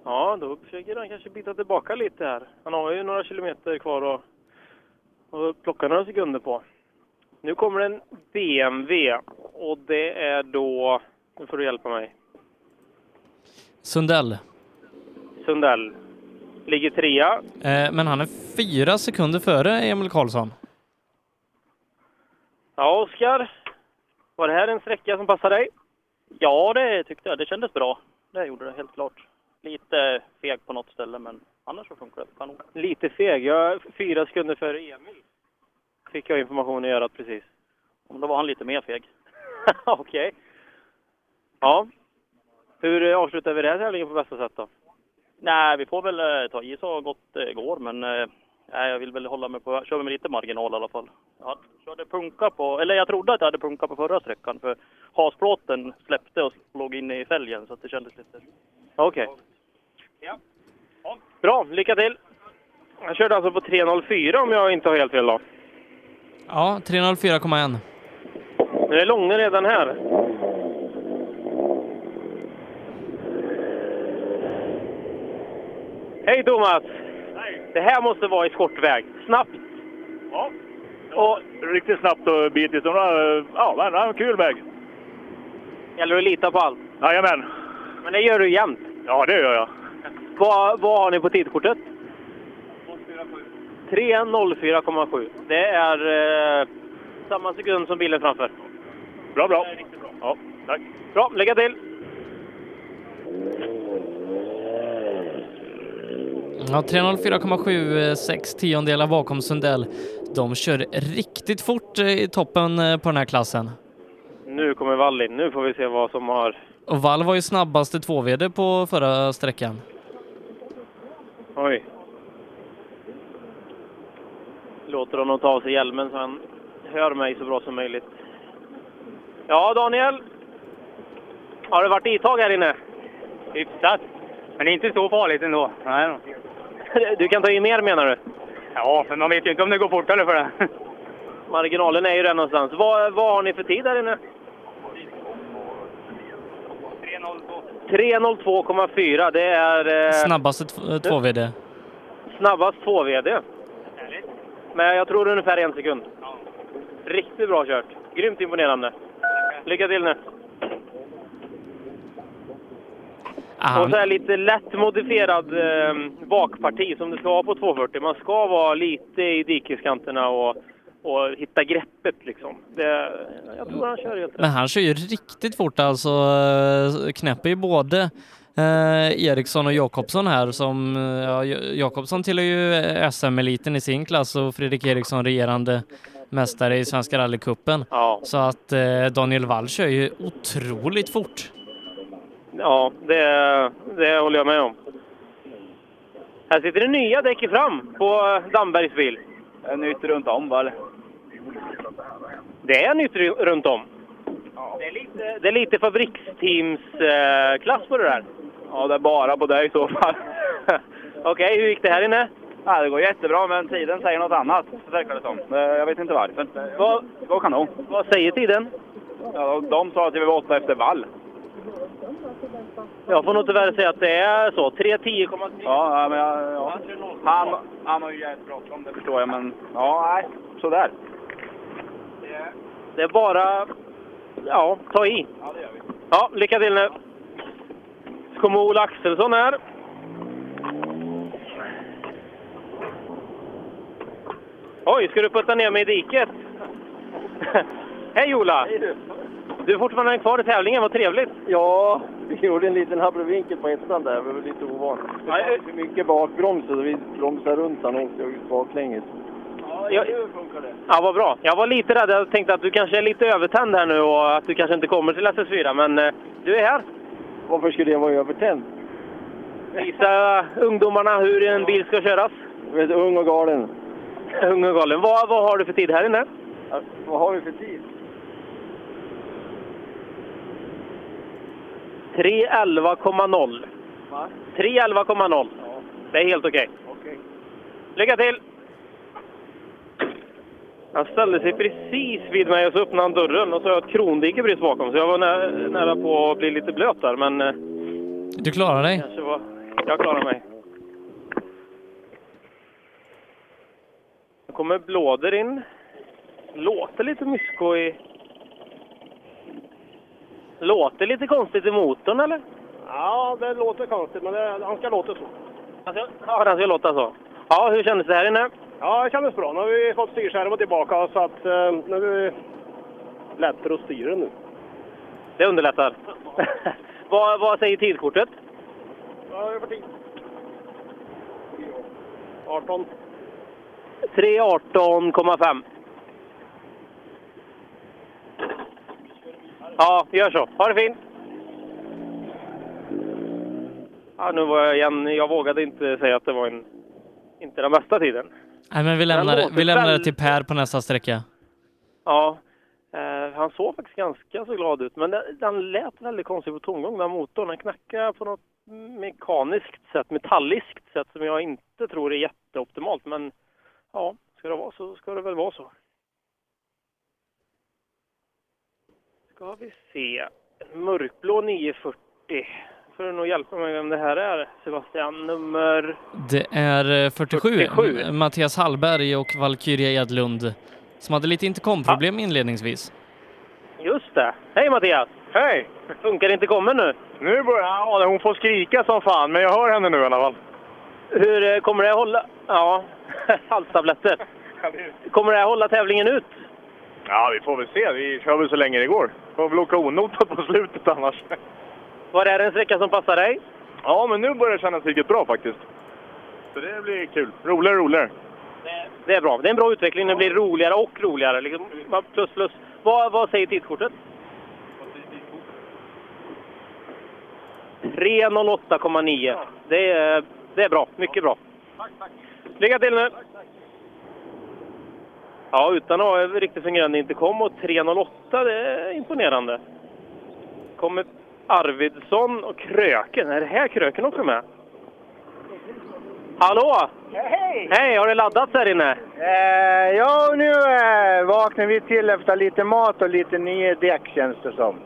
Speaker 2: Ja, då försöker han kanske bita tillbaka lite här. Han har ju några kilometer kvar att och plocka några sekunder på. Nu kommer en BMW och det är då... Nu får du hjälpa mig.
Speaker 1: Sundell,
Speaker 2: Sundell ligger trea.
Speaker 1: eh, men han är fyra sekunder före Emil Karlsson.
Speaker 2: Ja, Oskar. Var det här en sträcka som passade dig?
Speaker 17: Ja, det tyckte jag. Det kändes bra. Det gjorde det helt klart. Lite feg på något ställe, men annars så funkar det kanon.
Speaker 2: Lite feg. Jag är fyra sekunder före Emil. Fick jag information i örat precis.
Speaker 17: Men då var han lite mer feg.
Speaker 2: *laughs* Okej. Ja. Hur eh, avslutar vi den här tävlingen på bästa sätt då?
Speaker 17: Nej, vi får väl eh, ta i så gott det går, men eh, nej, jag vill väl hålla mig på... Kör med lite marginal i alla fall. Jag körde punka på... Eller jag trodde att jag hade punka på förra sträckan, för hasplåten släppte och låg inne i fälgen, så att det kändes lite...
Speaker 2: Okej.
Speaker 17: Ja.
Speaker 2: Bra, lycka till! Jag körde alltså på 3.04 om jag inte har helt fel då.
Speaker 1: Ja, 304,1.
Speaker 2: Nu är Långe redan här. Hej Thomas!
Speaker 18: Hej.
Speaker 2: Det här måste vara i skottväg. Snabbt!
Speaker 18: Ja. Och riktigt snabbt och bitigt. Och, eh, Ja, men det är en kul väg.
Speaker 2: Gäller att lita på allt.
Speaker 18: Jajamän.
Speaker 2: Men det gör du jämt.
Speaker 18: Ja, det gör jag.
Speaker 2: Vad, vad har ni på tidkortet? 3.04,7. Det är eh, samma sekund som bilen framför.
Speaker 18: Bra, bra.
Speaker 2: Ja, tack. Bra, lycka till!
Speaker 1: Ja, 304,7, 6 tiondelar bakom Sundell. De kör riktigt fort eh, i toppen eh, på den här klassen.
Speaker 2: Nu kommer Valli. Nu får vi se vad som har...
Speaker 1: Och Wall var ju snabbaste 2VD på förra sträckan.
Speaker 2: Oj. Låter honom ta av sig hjälmen så han hör mig så bra som möjligt. Ja, Daniel. Har det varit ittag här inne? Hyfsat. Men det är inte så farligt ändå. Nej *laughs* Du kan ta i mer menar du? Ja, för man vet ju inte om det går fortare för det. Marginalen är ju där någonstans. Vad, vad har ni för tid här inne? 3.02,4. Det är... Eh...
Speaker 1: Snabbaste t- eh, 2VD.
Speaker 2: Snabbast 2 VD. Men jag tror ungefär en sekund. Riktigt bra kört. Grymt imponerande. Lycka till nu.
Speaker 1: Ah,
Speaker 2: Och så här lite lätt modifierad eh, bakparti som det ska vara på 240. Man ska vara lite i dikeskanterna och, och hitta greppet liksom. Det, jag tror han kör helt rätt.
Speaker 1: Men han kör ju riktigt fort alltså. eh, Knäpper ju både eh, Eriksson och Jakobsson här som, eh, ja, Ja- Jakobsson tillhör ju SM-eliten i sin klass och Fredrik Eriksson regerande mästare i Svenska rallycupen. Så att eh, Daniel Wall kör ju otroligt fort.
Speaker 2: Ja, det, det håller jag med om. Här sitter det nya däck i fram på Dambergs bil. Nytt runt om, va? Det är nytt ru- runt om. Det är lite, det är lite fabriksteamsklass eh, klass på det där. Ja, det är bara på dig i så fall. *laughs* Okej, hur gick det här inne?
Speaker 19: Ja, det går jättebra, men tiden säger något annat, verkar det som. Eh, Jag vet inte varför. Vad, det går kanon.
Speaker 2: Vad säger tiden?
Speaker 19: Ja, de- de sa att vi var åtta efter vall.
Speaker 2: Jag får nog tyvärr säga att det är så. 3.10,3.
Speaker 19: Ja, ja, men jag, ja. Han, han har ju jävligt bråttom, det förstår jag, men ja, nej, sådär.
Speaker 2: Det är bara... Ja, ta i.
Speaker 19: Ja, det gör vi.
Speaker 2: Ja, lycka till nu. Så kommer Ola Axelsson här. Oj, ska du putta ner mig i diket? *laughs* Hej Ola! Du är fortfarande kvar i tävlingen, vad trevligt!
Speaker 20: Ja, vi gjorde en liten abrovinkel på ettan där, vi var lite ovana. Det var för mycket bakbroms så vi bromsade runt han åkte ut baklänges.
Speaker 2: Jag, ja, vad bra. Jag var lite rädd, jag tänkte att du kanske är lite övertänd här nu och att du kanske inte kommer till SS4, men eh, du är här.
Speaker 20: Varför skulle jag vara övertänd?
Speaker 2: Visa ungdomarna hur en bil ska köras.
Speaker 20: Jag vet, ung och galen.
Speaker 2: Ung och galen. Vad, vad har du för tid här inne?
Speaker 20: Ja,
Speaker 21: Alltså,
Speaker 20: Vad har vi för tid?
Speaker 2: 311,0.
Speaker 20: Va?
Speaker 2: 311,0. Det är helt okej. Lycka till! Han ställde sig precis vid mig och så öppnade han dörren och så har jag ett krondike precis bakom så jag var nä- nära på att bli lite blöt där men eh,
Speaker 1: Du klarar dig.
Speaker 2: kanske var... Jag klarar mig. Nu kommer Blåder in. Låter lite mysko i... Låter lite konstigt i motorn eller?
Speaker 22: Ja, det låter konstigt, men det, han ska låta så.
Speaker 2: Ja, den ska låta så. Ja, hur kändes det här inne?
Speaker 22: Ja, det kändes bra. Nu har vi fått styrskärmen tillbaka så att eh, nu är det lättare att styra nu.
Speaker 2: Det underlättar. *laughs* vad, vad säger tidkortet?
Speaker 22: Vad har vi för tid? 18.
Speaker 2: 3.18,5. Ja, gör så. Ha det fint! Ja, nu var jag igen. Jag vågade inte säga att det var en, inte den bästa tiden.
Speaker 1: Nej, men vi lämnar, det,
Speaker 2: låter
Speaker 1: vi lämnar det
Speaker 2: väldigt-
Speaker 1: till Per på nästa sträcka.
Speaker 2: Ja, eh, han såg faktiskt ganska så glad ut. Men den, den lät väldigt konstig på tomgång, den motorn. Den knackade på något mekaniskt sätt, metalliskt sätt som jag inte tror är jätteoptimalt. Men ja, ska det vara så ska det väl vara så. Ska vi se. Mörkblå 940. Får du nog hjälpa mig vem det här är, Sebastian. Nummer...
Speaker 1: Det är eh, 47,
Speaker 2: 47.
Speaker 1: Mattias Hallberg och Valkyria Edlund som hade lite intercomproblem inledningsvis.
Speaker 2: Just det. Hej Mattias! Hej! Funkar inte kommen nu?
Speaker 23: Nu börjar ja, hon får skrika som fan, men jag hör henne nu i alla fall.
Speaker 2: Hur eh, kommer det att hålla? Ja, *laughs* halstabletter. Kommer det att hålla tävlingen ut?
Speaker 23: Ja, vi får väl se. Vi kör väl så länge det går. Får väl åka onotat på slutet annars.
Speaker 2: Var är det en sträcka som passar dig?
Speaker 23: Ja, men nu börjar det kännas riktigt bra faktiskt. Så det blir kul. Roligare och roligare.
Speaker 2: Det är bra. Det är en bra utveckling. Det blir roligare och roligare. Liksom, man- plus, plus. Vad, vad säger tidskortet? 3.08,9. Det är, det är bra. Mycket bra. Lycka till nu! Ja, utan att ha en riktigt fungerande intercom och 3.08, det är imponerande. Kommer Arvidsson och Kröken. Är det här Kröken också med? Hallå!
Speaker 24: Hej!
Speaker 2: Hej, har det laddats här inne?
Speaker 24: Eh, ja, nu eh, vaknar vi till efter lite mat och lite nya däck känns det som.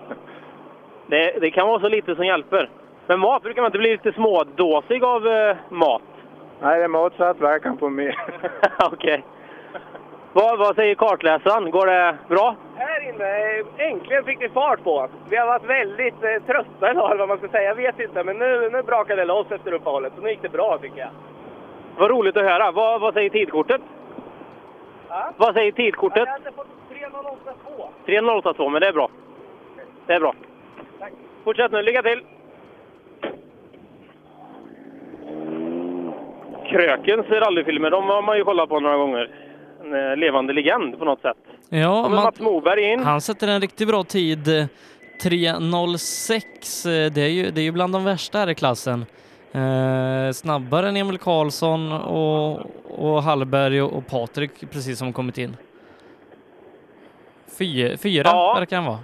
Speaker 2: Det, det kan vara så lite som hjälper. Men mat, brukar man inte bli lite smådåsig av eh, mat?
Speaker 24: Nej, det är motsatt verkan på mig.
Speaker 2: *laughs* Okej. Vad, vad säger kartläsaren? Går det bra?
Speaker 4: Här inne, eh, äntligen fick vi fart på. Vi har varit väldigt eh, trötta idag, eller vad man ska säga. Jag vet inte, men nu, nu brakade det loss efter uppehållet. Så nu gick det bra, tycker jag.
Speaker 2: Vad roligt att höra. Vad, vad säger tidkortet? Vad säger tidkortet?
Speaker 4: Jag hade fått 3.082.
Speaker 2: 3.082, men det är bra. Det är bra.
Speaker 4: Tack.
Speaker 2: Fortsätt nu, lycka till! Krökens rallyfilmer, de har man ju kollat på några gånger. En eh, levande legend på något sätt.
Speaker 1: Ja,
Speaker 2: Kommer
Speaker 1: man,
Speaker 2: Mats Moberg in.
Speaker 1: han sätter en riktigt bra tid. eh, 3.06, eh, det är ju, det är ju bland de värsta här i klassen. Eh, snabbare än Emil Karlsson och, och Hallberg och, och Patrik precis som kommit in. Fy, fyra
Speaker 2: Ja.
Speaker 1: verkar han vara.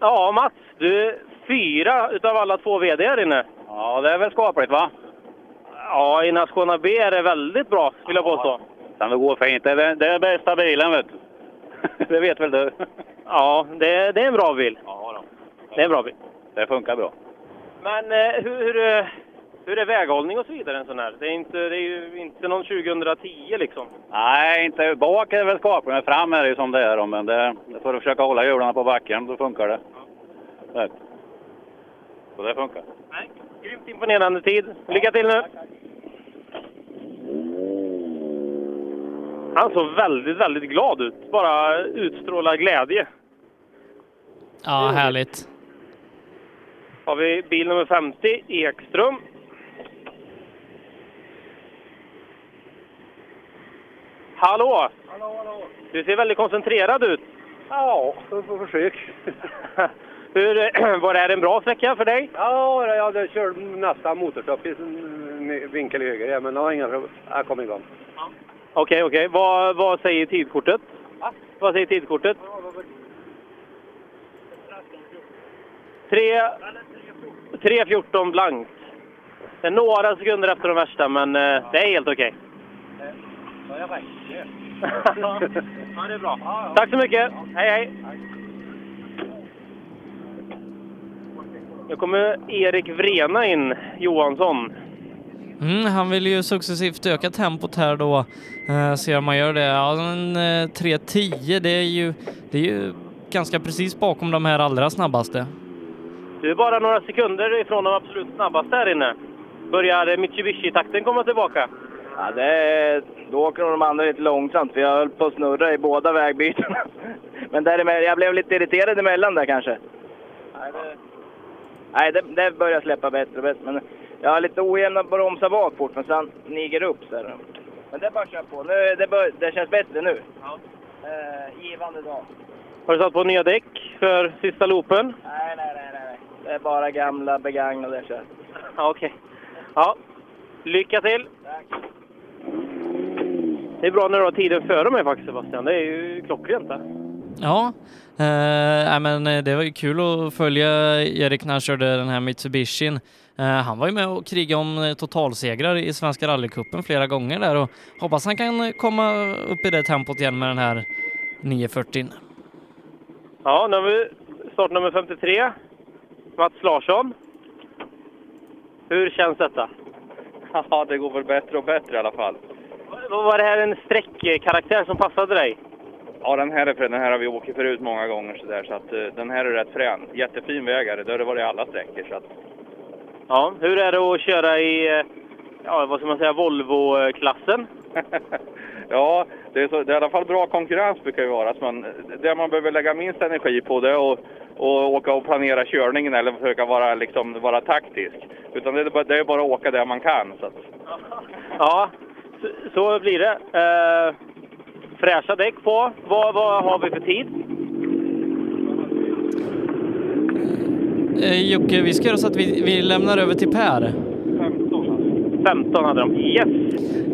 Speaker 2: Ja, Mats, du är fyra utav alla två VD här inne. Ja, det är väl skapligt va? Ja, i Nascona B är det väldigt bra, vill jag påstå.
Speaker 25: Kan det gå fint. Det är, det är bästa bilen, vet du. *laughs* det vet väl du?
Speaker 2: Ja, det, det är en bra bil.
Speaker 25: Ja, då.
Speaker 2: Det är en bra bil.
Speaker 25: det funkar bra.
Speaker 2: Men eh, hur, hur, eh, hur är väghållning och så vidare en sån här? Det är, inte, det är ju inte någon 2010 liksom.
Speaker 25: Nej, inte bak är det väl skapligt, men fram är det ju som det är. då, Men det, det får du försöka hålla hjularna på backen, då funkar det. Vet. Så det funkar.
Speaker 2: Grymt imponerande tid. Lycka till nu! Han såg väldigt, väldigt glad ut. Bara utstrålar glädje.
Speaker 1: Ja, härligt.
Speaker 2: har vi bil nummer 50, Ekström. Hallå!
Speaker 4: Hallå, hallå.
Speaker 2: Du ser väldigt koncentrerad ut. *laughs*
Speaker 4: Ja, så får försök.
Speaker 2: Hur, *clears throat* eh, var det här en bra sträcka för dig?
Speaker 4: Ja, jag hade kört nästan motorstopp i en vinkel höger, ja, men det var inga problem. Jag kom igång.
Speaker 2: Okej, okej. Vad, vad säger tidkortet? Vad säger tidkortet? 3... 3.14 blankt. Det är några sekunder efter de värsta, men eh, det är helt okej. Eh,
Speaker 4: Ja, jag räcker.
Speaker 2: *laughs* ja, det är bra. Tack så mycket! Hej, hej! Nu kommer Erik Vrena in, Johansson.
Speaker 1: Mm, han vill ju successivt öka tempot här då. Eh, ser om man gör det. Ja, en, eh, 3.10, det är, ju, det är ju ganska precis bakom de här allra snabbaste.
Speaker 2: Du är bara några sekunder ifrån de absolut snabbaste här inne. Börjar Mitsubishi-takten komma tillbaka?
Speaker 20: Ja, det är, då åker nog de andra lite långsamt, för jag höll på att snurra i båda vägbytena. *laughs* Men däremellan, jag blev lite irriterad emellan där kanske.
Speaker 4: Nej, det...
Speaker 20: Nej, det, det börjar släppa bättre och bättre. Men jag har lite ojämna bromsar bak fort, men sen niger upp. Så här. Men det är bara att köra på. Nu, det, bör, det känns bättre nu.
Speaker 4: Ja.
Speaker 20: Eh, givande dag.
Speaker 2: Har du satt på nya däck för sista loopen?
Speaker 20: Nej, nej, nej, nej. nej. Det är bara gamla begagnade jag kör.
Speaker 2: Ja, okej. Ja, lycka till! Det är bra när du har tiden före mig faktiskt Sebastian. Det är ju klockrent där.
Speaker 1: Ja, eh, nej, men eh, det var ju kul att följa Erik när han körde den här Mitsubishin. Eh, han var ju med och krigade om eh, totalsegrar i Svenska rallycupen flera gånger där och hoppas han kan eh, komma upp i det tempot igen med den här 940.
Speaker 2: Ja, nu har vi startnummer 53. Mats Larsson. Hur känns detta?
Speaker 21: Ja, det går väl bättre och bättre i alla fall.
Speaker 2: Var det här en sträckkaraktär som passade dig?
Speaker 11: Ja, den här, är för- den här har vi åkt förut många gånger så, där, så att, eh, den här är rätt frän. Jättefin väg är det. Då har det varit alla sträckor. Så att,
Speaker 26: Ja, hur är det att köra i, eh, ja vad ska man säga, Volvo-klassen?
Speaker 11: *laughs* ja, det är, så, det är i alla fall bra konkurrens brukar ju vara. Så man, det man behöver lägga minst energi på det är att och åka och planera körningen eller försöka vara, liksom, vara taktisk. Utan det är, bara, det är bara att åka där man kan. Så att,
Speaker 26: *laughs* Ja, så, så blir det. Eh, fräscha däck på. Vad, vad har vi för tid?
Speaker 1: Eh, Jocke, vi ska göra så att vi, vi lämnar över till Per.
Speaker 26: 15 hade de. Yes!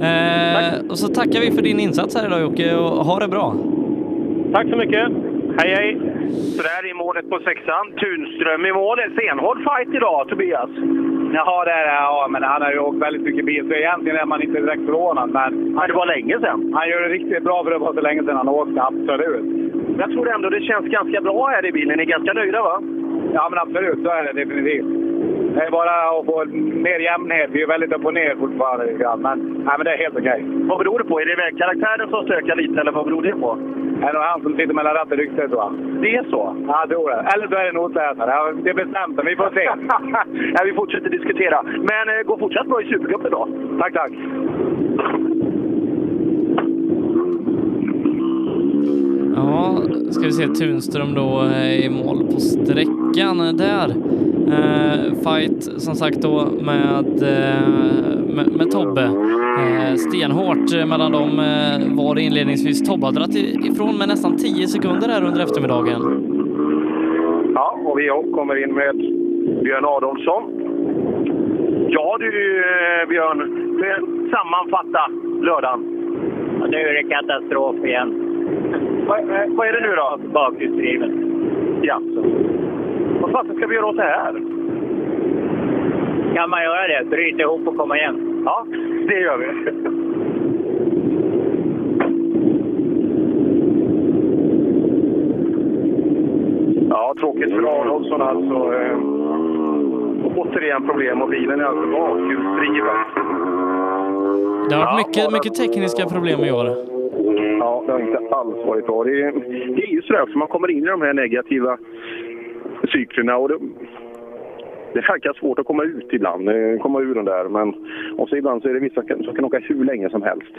Speaker 1: Eh, och så tackar vi för din insats här idag Jocke och ha det bra.
Speaker 26: Tack så mycket.
Speaker 1: Hej hej.
Speaker 21: Sådär i målet på sexan. Tunström i målet. Stenhård fight idag, Tobias.
Speaker 19: Jaha, det är det. Ja, men han har ju åkt väldigt mycket bil, så egentligen är man inte direkt förvånad. Men
Speaker 21: Ja, det var länge sedan.
Speaker 19: han gör det riktigt bra för det var så länge sedan han åkte, absolut.
Speaker 21: Men Jag tror ändå det känns ganska bra här i bilen. Ni är ganska nöjda, va?
Speaker 19: Ja, men absolut, så är det definitivt. Det är bara att få mer jämnhet. Vi är väldigt upp och ner fortfarande. lite grann, Men, nej, men det är helt okej.
Speaker 21: Vad beror det på? Är det vägkaraktären som stökar lite, eller vad beror det på?
Speaker 19: Det är nog han som sitter mellan ratt och rykte, tror jag.
Speaker 21: Det är så?
Speaker 19: Ja, jag tror det. Eller så är det en otläsare. Ja, Det är bestämt, men vi får se.
Speaker 12: *laughs*
Speaker 21: ja, vi fortsätter diskutera. Men eh, gå fortsatt bra i Supercupen då. Tack, tack.
Speaker 1: Ja, ska vi se Tunström då eh, i mål på sträckan där. Eh, fight som sagt då med, eh, med, med Tobbe. Eh, stenhårt eh, mellan dem eh, var det inledningsvis. Tobbe har dragit i- ifrån med nästan 10 sekunder här under eftermiddagen.
Speaker 5: Ja, och vi kommer in med Björn Adolfsson.
Speaker 21: Ja du, eh, Björn. Men Sammanfatta lördagen.
Speaker 4: Och nu är det katastrof igen.
Speaker 21: Vad, eh, vad är det nu då?
Speaker 4: Bakhjulsdriven.
Speaker 21: Jaså. Vad fasen ska vi göra åt det här?
Speaker 4: Kan man göra det? Bryt ihop och komma igen.
Speaker 21: Ja, det gör vi.
Speaker 5: Ja, tråkigt för Aronsson alltså. Eh, återigen problem och bilen är alltså bakhjulsdriven.
Speaker 1: Det har varit mycket, mycket tekniska problem i år.
Speaker 5: Ja, det har inte alls varit bra. Det är, det är ju sådär också, man kommer in i de här negativa cyklerna och det, det verkar svårt att komma ut ibland, eh, komma ur den där. Men och så ibland så är det vissa kan- som kan åka hur länge som helst.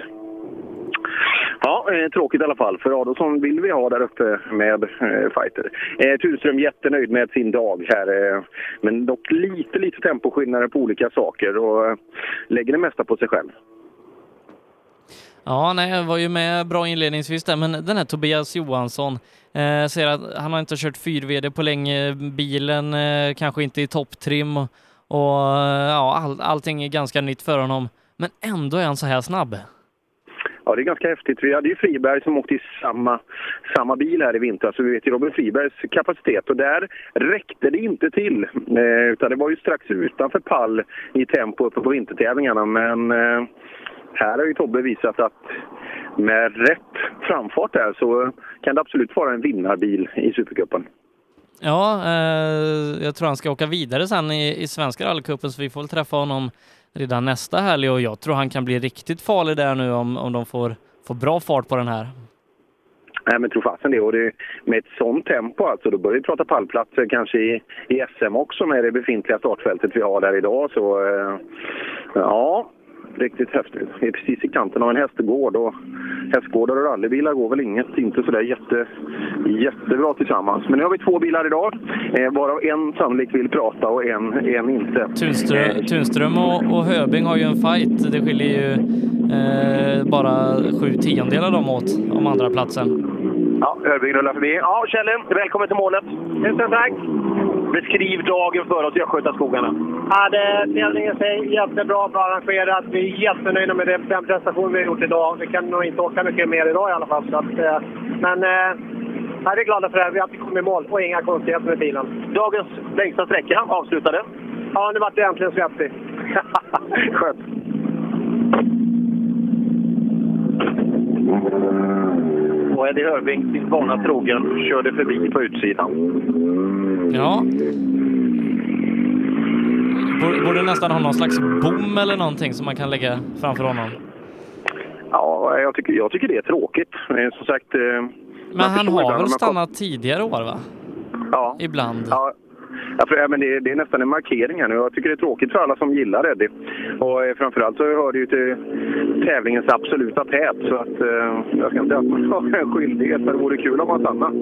Speaker 5: Ja, eh, tråkigt i alla fall, för Adolfsson vill vi ha där uppe med eh, fighter. Eh, Tunström jättenöjd med sin dag här, eh, men dock lite, lite temposkillnader på olika saker och eh, lägger det mesta på sig själv.
Speaker 1: Ja, nej, jag var ju med bra inledningsvis där, men den här Tobias Johansson eh, säger att han har inte kört 4VD på länge, bilen eh, kanske inte i topptrim och, och eh, ja, all, allting är ganska nytt för honom. Men ändå är han så här snabb.
Speaker 5: Ja, det är ganska häftigt. Vi hade ju Friberg som åkte i samma, samma bil här i vintras, så vi vet ju Robin Fribergs kapacitet. Och där räckte det inte till, eh, utan det var ju strax utanför pall i tempo uppe på vintertävlingarna. Men eh, här har ju Tobbe visat att med rätt framfart där så kan det absolut vara en vinnarbil i Supercupen.
Speaker 1: Ja, eh, jag tror han ska åka vidare sen i, i svenska rallycupen, så vi får väl träffa honom redan nästa helg och jag tror han kan bli riktigt farlig där nu om, om de får, får bra fart på den här.
Speaker 5: Nej, men tro fasen det. Och det, med ett sånt tempo alltså, då börjar vi prata pallplatser kanske i, i SM också med det befintliga startfältet vi har där idag. Så eh, ja, riktigt häftigt. Vi är precis i kanten av en hästgård och hästgårdar och rallybilar går väl inget, inte sådär jätte, jättebra tillsammans. Men nu har vi två bilar idag, eh, varav en sannolikt vill prata och en, en inte. Eh,
Speaker 1: Tunström, Tunström och, och Höbing har ju en fight. Det skiljer ju eh, bara sju tiondelar dem åt om andra platsen.
Speaker 21: Ja, Örbygd rullar förbi. Ja, Kjelle, välkommen till målet. Tusen tack. Beskriv dagen för oss i Östgötaskogarna.
Speaker 4: Ja, det, tävlingen i sig jättebra, bra arrangerat. Vi är jättenöjda med det, den prestation vi har gjort idag. Vi kan nog inte åka mycket mer idag i alla fall. Så att, eh, men eh, här är vi glada för det här. Vi har kommit i mål och inga konstigheter med bilen. Dagens längsta sträcka avslutade. Ja, nu vart det äntligen svettig.
Speaker 21: *laughs*
Speaker 5: Skönt.
Speaker 21: Och Eddie Hörbing, sin vana trogen, körde förbi på utsidan.
Speaker 1: Ja. Borde- Borde nästan ha någon slags bom eller någonting som man kan lägga framför honom.
Speaker 5: Ja, jag tycker, jag tycker det är tråkigt. Eh, Som sagt, eh,
Speaker 1: Men han
Speaker 5: förstår
Speaker 1: har
Speaker 5: ibland
Speaker 1: väl
Speaker 5: när man
Speaker 1: stannat tidigare år va?
Speaker 5: Ja.
Speaker 1: Ibland.
Speaker 5: Ja. Ja, för, ja, men det, det är nästan en markering här nu. Jag tycker det är tråkigt för alla som gillar Eddie. Och eh, framförallt så hör det ju till tävlingens absoluta tät. Så att, eh, jag ska inte säga att man har en skyldighet, men det vore kul om man stannade.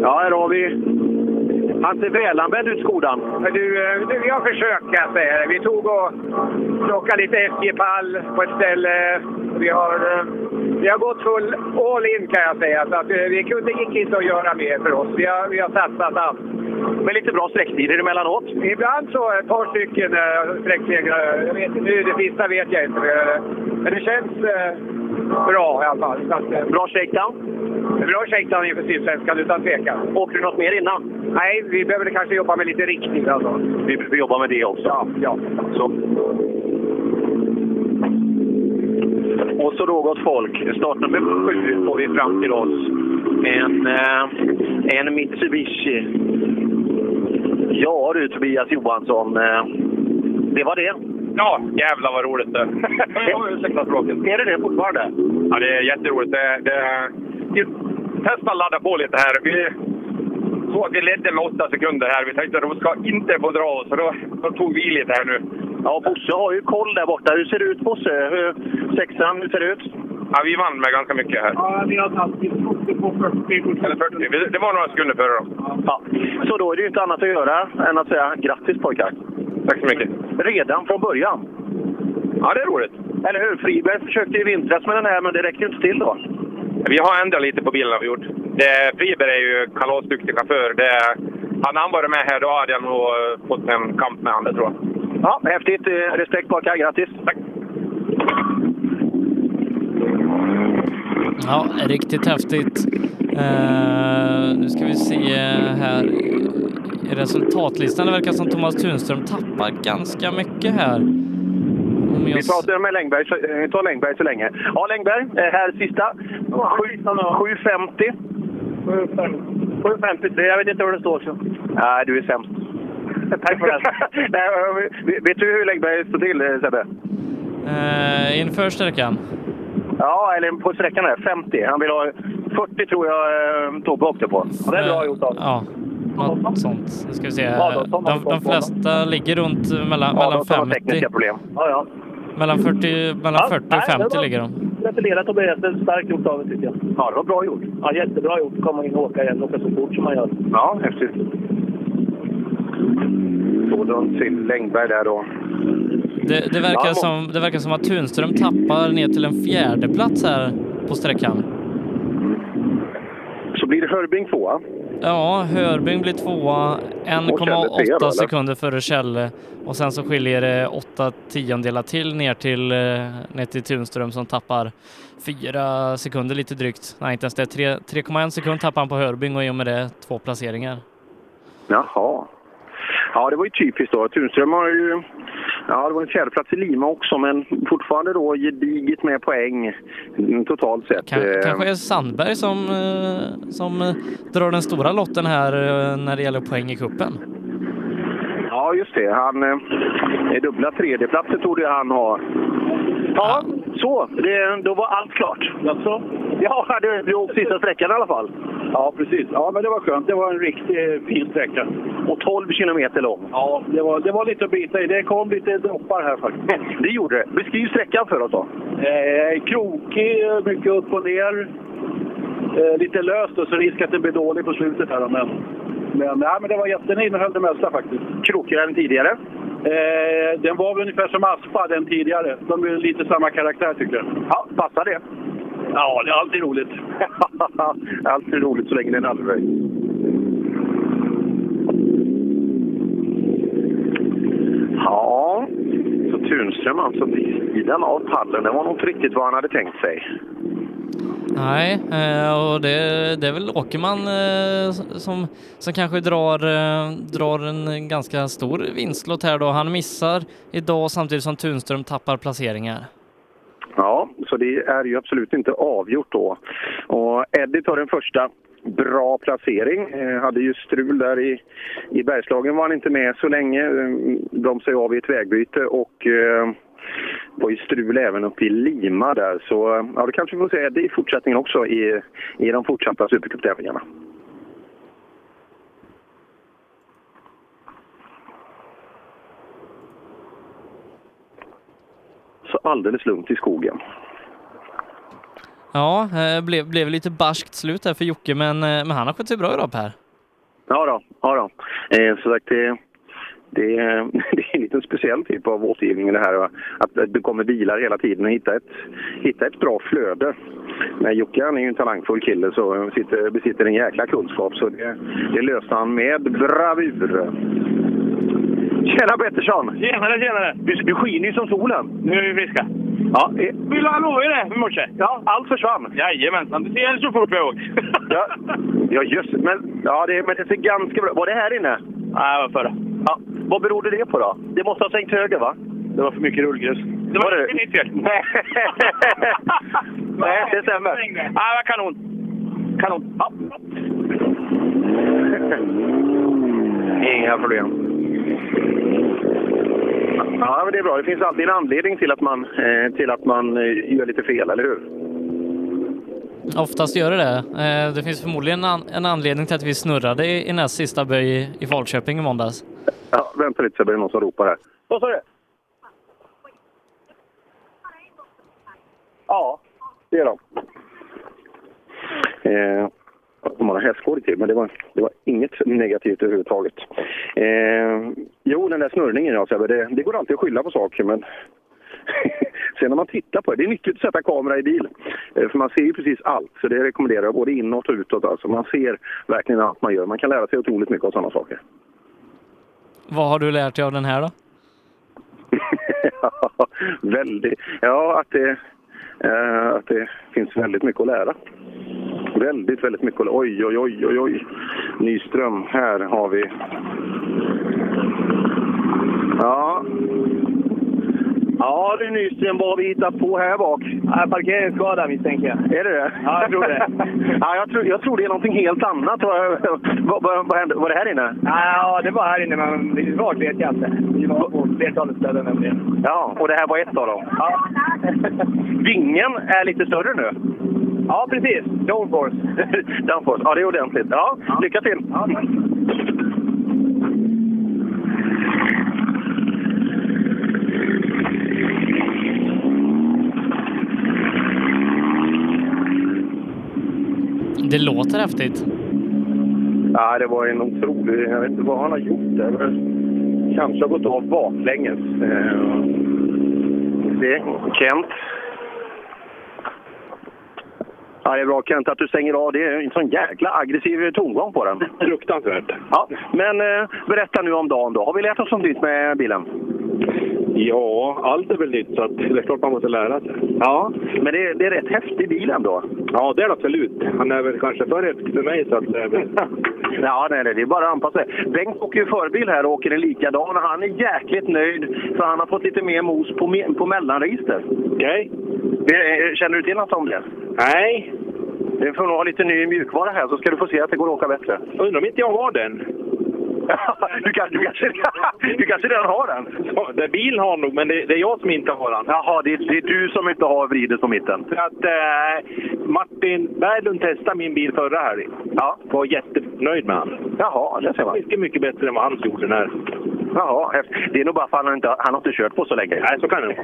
Speaker 5: Ja, här har vi... Han ser välanvänd ut, Skodan.
Speaker 4: Du, eh, du, jag försöker kan jag säga det. Vi tog och plockade lite SJ-pall på ett ställe. Vi har, eh, vi har gått full all in kan jag säga. Så att, eh, vi kunde, gick inte att göra mer för oss. Vi har, vi har satsat allt.
Speaker 21: Med lite bra sträcktider emellanåt.
Speaker 4: Ibland så ett par stycken eh, sträcksegrar. Jag vet inte Nu det sista vet jag inte. eh, Men det känns eh, bra i alla fall. Så att, eh,
Speaker 21: Bra shakedown?
Speaker 4: Bra shakedown inför Sydsvenskan utan tvekan. Åkte du något mer innan? Nej, vi behöver kanske jobba med lite riktning alltså.
Speaker 21: Vi, vi jobbar med det också. Ja,
Speaker 4: ja.
Speaker 21: Så. Och så då gott folk, startnummer sju får vi fram till oss. En, eh, en Mitsubishi. Ja du Tobias Johansson, eh, det var det.
Speaker 11: Ja, jävlar vad
Speaker 4: *laughs*
Speaker 11: roligt det Ursäkta språket.
Speaker 21: Är det det fortfarande?
Speaker 11: Ja, det är jätteroligt. Det, det, testa att ladda på lite här. Vi såg att vi ledde med åtta sekunder här. Vi tänkte att de ska inte få dra oss, så då, då tog vi i lite här nu.
Speaker 21: Ja, Bosse har ju koll där borta. Hur ser det ut Bosse? Hur, sexan, hur ser det ut?
Speaker 11: Ja, vi vann med ganska mycket här.
Speaker 4: Ja, vi har tagit 40 på 40.
Speaker 11: Eller 40. Vi- Det var några sekunder före dem.
Speaker 21: Ja. Så då är det ju inte annat att göra än att säga grattis pojkar.
Speaker 11: Tack så mycket.
Speaker 21: Redan från början.
Speaker 11: Ja, det är roligt.
Speaker 21: Eller hur? Friberg försökte i vintras med den här, men det räckte ju inte till då.
Speaker 11: Vi har ändrat lite på bilen har vi gjort. Det, Friberg är ju kalasduktig chaufför. Det, hade han varit med här då hade jag nog eh, fått en kamp med honom, tror jag.
Speaker 21: Ja, häftigt. Eh, Respekt pojkar, grattis! Tack!
Speaker 1: Ja, riktigt häftigt. Eh, nu ska vi se här i resultatlistan. Det verkar som Thomas Tunström tappar ganska mycket här. Om jag...
Speaker 21: Vi pratar med Längberg, så- eh, vi tar Längberg så länge. Ja, Längberg, eh, här sista. Sju- 7.50. 7.53, jag vet inte hur det står. Så. Nej, du är sämst. Tack för det. *laughs* Nej, eh, vet- vet du hur Längberg står till, eh, Sebbe?
Speaker 1: Eh, inför sträckan.
Speaker 21: Ja, eller på sträckan där, 50. Han vill ha 40 tror jag eh, Tobbe åkte på. Ja, det är bra gjort av
Speaker 1: Eh, Ja, något sånt. Nu ska vi se.
Speaker 21: Ja, då
Speaker 1: här.
Speaker 21: tar man
Speaker 1: De,
Speaker 21: på
Speaker 1: de
Speaker 21: honom.
Speaker 1: flesta ligger runt mellan,
Speaker 21: Ja,
Speaker 1: mellan
Speaker 21: de har
Speaker 1: 50.
Speaker 21: tekniska problem. Ja, ja.
Speaker 1: Mellan 40, mellan
Speaker 21: Ja,
Speaker 1: 40
Speaker 21: nej,
Speaker 1: och
Speaker 21: det
Speaker 1: 50
Speaker 21: var-
Speaker 1: ligger de.
Speaker 21: Gratulerar Tobias, det är starkt gjort av dig tycker jag. Ja, det var bra gjort. Ja, jättebra gjort. Komma in och åka igen, åka så fort som man gör. Ja, häftigt. Sådant till Längberg där då.
Speaker 1: Det, det, verkar som, det verkar som att Tunström tappar ner till en fjärde plats här på sträckan.
Speaker 21: Så blir det Hörbing tvåa.
Speaker 1: Ja, Hörbing blir tvåa,
Speaker 21: Kjelle trea då,
Speaker 1: 1,8
Speaker 21: eller?
Speaker 1: sekunder före Kjelle. Och sen så skiljer det åtta tiondelar till ner till, eh, ner till Tunström som tappar fyra sekunder lite drygt. Nej, inte ens det. Tre- 3,1 sekund tappar han på Hörbing och i och med det två placeringar.
Speaker 21: Jaha. Ja, det var ju typiskt då. Tunström har ju... Ja, det var en fjärdeplats i Lima också, men fortfarande då gediget med poäng mm, totalt sett.
Speaker 1: Kan,
Speaker 21: Eh,
Speaker 1: Kanske är Sandberg som, eh, som eh, drar den stora lotten här eh, när det gäller poäng i kuppen.
Speaker 21: Ja, just det. Han eh, är dubbla tredjeplatser tog det han ha. Ja, så. Det, då var allt klart. Jaså? Ja, du, du åkte sista sträckan i alla fall. Ja, precis. Ja, men det var skönt. Det var en riktigt fin sträcka. Och 12 kilometer lång. Ja, det var, det var lite att bita i. Det kom lite droppar här faktiskt. Det gjorde det. Beskriv sträckan för oss då.
Speaker 22: Eh, krokig, mycket upp och ner. Eh, lite löst då, så risk att det blir dålig på slutet här. då, Men, men, nej, men det var jätten innehöll det mesta faktiskt.
Speaker 21: Krokigare än tidigare?
Speaker 22: Eh, den var väl ungefär som Aspa, den tidigare. De är lite samma karaktär tycker jag.
Speaker 21: Ja, passar det?
Speaker 22: Ja, det är alltid
Speaker 21: *laughs*
Speaker 22: roligt.
Speaker 21: Allt är roligt så länge det är en allväg. Ja, så Tunström alltså vid sidan av pallen. Det var nog inte riktigt vad han hade tänkt sig.
Speaker 1: Nej, eh, och det, det är väl Åkerman eh, som, som kanske drar, eh, drar en ganska stor vinstlott här då. Han missar idag samtidigt som Tunström tappar placeringar.
Speaker 21: Ja, så det är ju absolut inte avgjort då. Och Eddie tar den första bra placering. Eh, hade ju strul där i, i Bergslagen var han inte med så länge. Eh, De sig av i ett vägbyte och eh,
Speaker 5: var ju strul även uppe i Lima där. Så eh, ja, det kanske vi får se det i fortsättningen också i, i de fortsatta Supercuptävlingarna. Så alldeles lugnt i skogen.
Speaker 1: Ja, eh, blev, blev lite barskt slut här för Jocke, men, eh, men han har skött sig bra idag Per.
Speaker 5: Ja då, ja då. Eh, som sagt, det, *laughs* det, det är en liten speciell typ av återgivning det här. va? Att att det kommer bilar hela tiden och hitta ett, hitta ett bra flöde. Men Jocke han är ju en talangfull kille så sitter, besitter en jäkla kunskap så det, det löste han med bravur. Tjena Pettersson!
Speaker 2: Tjenare, tjenare!
Speaker 5: Du, du skiner ju som solen.
Speaker 2: Nu är vi friska.
Speaker 5: Ja,
Speaker 2: Vill du ha lovat ju det i morse?
Speaker 5: Ja, allt försvann.
Speaker 2: Jajamensan, du ser så fort vi åker.
Speaker 5: ja, ja just men, ja, det. Men det ser ganska bra Var det här inne?
Speaker 2: *laughs* Nej, det var förra.
Speaker 5: Ja, vad berodde det på då? Det måste ha sänkt höger va?
Speaker 2: Det var för mycket rullgrus. Det var, inte mitt fel. Nej,
Speaker 5: Nej, det stämmer.
Speaker 2: det var kanon. Kanon. Ja.
Speaker 5: Inga problem. Ja, men det är bra. Det finns alltid en anledning till att man, eh, till att man eh, gör lite fel, eller hur?
Speaker 1: Oftast gör det det. Eh, Det finns förmodligen an- en anledning till att vi snurrade i i näst sista böj i Falköping i måndags.
Speaker 5: Ja, vänta lite så blir det någon som ropar här.
Speaker 27: Vad sa du?
Speaker 5: Ja, det är de. Eh, de har hästskådor till, typ, men det var, det var inget negativt överhuvudtaget. Eh, jo, den där snurrningen, ja, Sebbe, det, det går alltid att skylla på saker, men *laughs* sen när man tittar på det, det är nyttigt att sätta kamera i bil. Eh, för man ser ju precis allt, så det rekommenderar jag både inåt och utåt. Alltså, man ser verkligen allt man gör. Man kan lära sig otroligt mycket av sådana saker.
Speaker 1: Vad har du lärt dig av den här då?
Speaker 5: *laughs* Ja, väldigt. Ja, att det, eh, att det finns väldigt mycket att lära. Väldigt, väldigt mycket att lära. Oj, oj, oj, oj, oj. Nyström, här har vi... Ja. Ja du Nyström, vad har vi hittat på här bak?
Speaker 27: Parkeringsskada misstänker jag.
Speaker 5: Är det det?
Speaker 27: Ja, jag tror det.
Speaker 5: *laughs* ja, jag, tror, jag tror det är någonting helt annat. Vad, vad, vad, vad hände? Var det här inne?
Speaker 27: Ja, det var här inne, men vart vet jag inte. Vi var på flertalet ställen nämligen.
Speaker 5: Ja, och det här var ett av dem. Ja. *laughs* Vingen är lite större nu. Ja, precis. Downforce. *laughs* Downforce. Ja, det är ordentligt. Ja, lycka till!
Speaker 1: Det låter häftigt.
Speaker 5: Ja, det var en otrolig... Jag vet inte vad han har gjort där. men Kanske har gått av baklänges. Eh, Det är Kent. Ja, det är bra Kent att du stänger av. Det är en sån jäkla aggressiv tongång på den. *laughs* Fruktansvärt. Ja, men eh, berätta nu om dagen då. Har vi lärt oss något nytt med bilen?
Speaker 21: Ja, allt är väl nytt så att det är klart man måste lära sig.
Speaker 5: Ja, men det, det är rätt häftig bil ändå.
Speaker 21: Ja, det är det absolut. Han är väl kanske för häftig för mig så att... eh, men-
Speaker 5: *laughs* Ja, nej, nej, det är bara att anpassa sig. Bengt åker ju förbil här och åker en likadan och han är jäkligt nöjd för han har fått lite mer mos på, me- på mellanregister. Okej. eh, Känner du till något om det? Nej. Du får nog ha lite ny mjukvara här så ska du få se att det går att åka bättre. Undrar om inte jag har den? du, kan, du, kanske, du kanske redan har den?
Speaker 21: Det bilen har nog, men det, det är jag som inte har den.
Speaker 5: Jaha, det, det är du som inte har vridet på mitten.
Speaker 21: För att eh, Martin Berglund testade min bil förra helgen.
Speaker 5: Ja.
Speaker 21: Var jättenöjd med han.
Speaker 5: Jaha, det ser man.
Speaker 21: Mycket, mycket bättre än vad han gjorde den här.
Speaker 5: Jaha, häftigt. det är nog bara för att han inte, han har inte kört på så länge. Nej, så kan det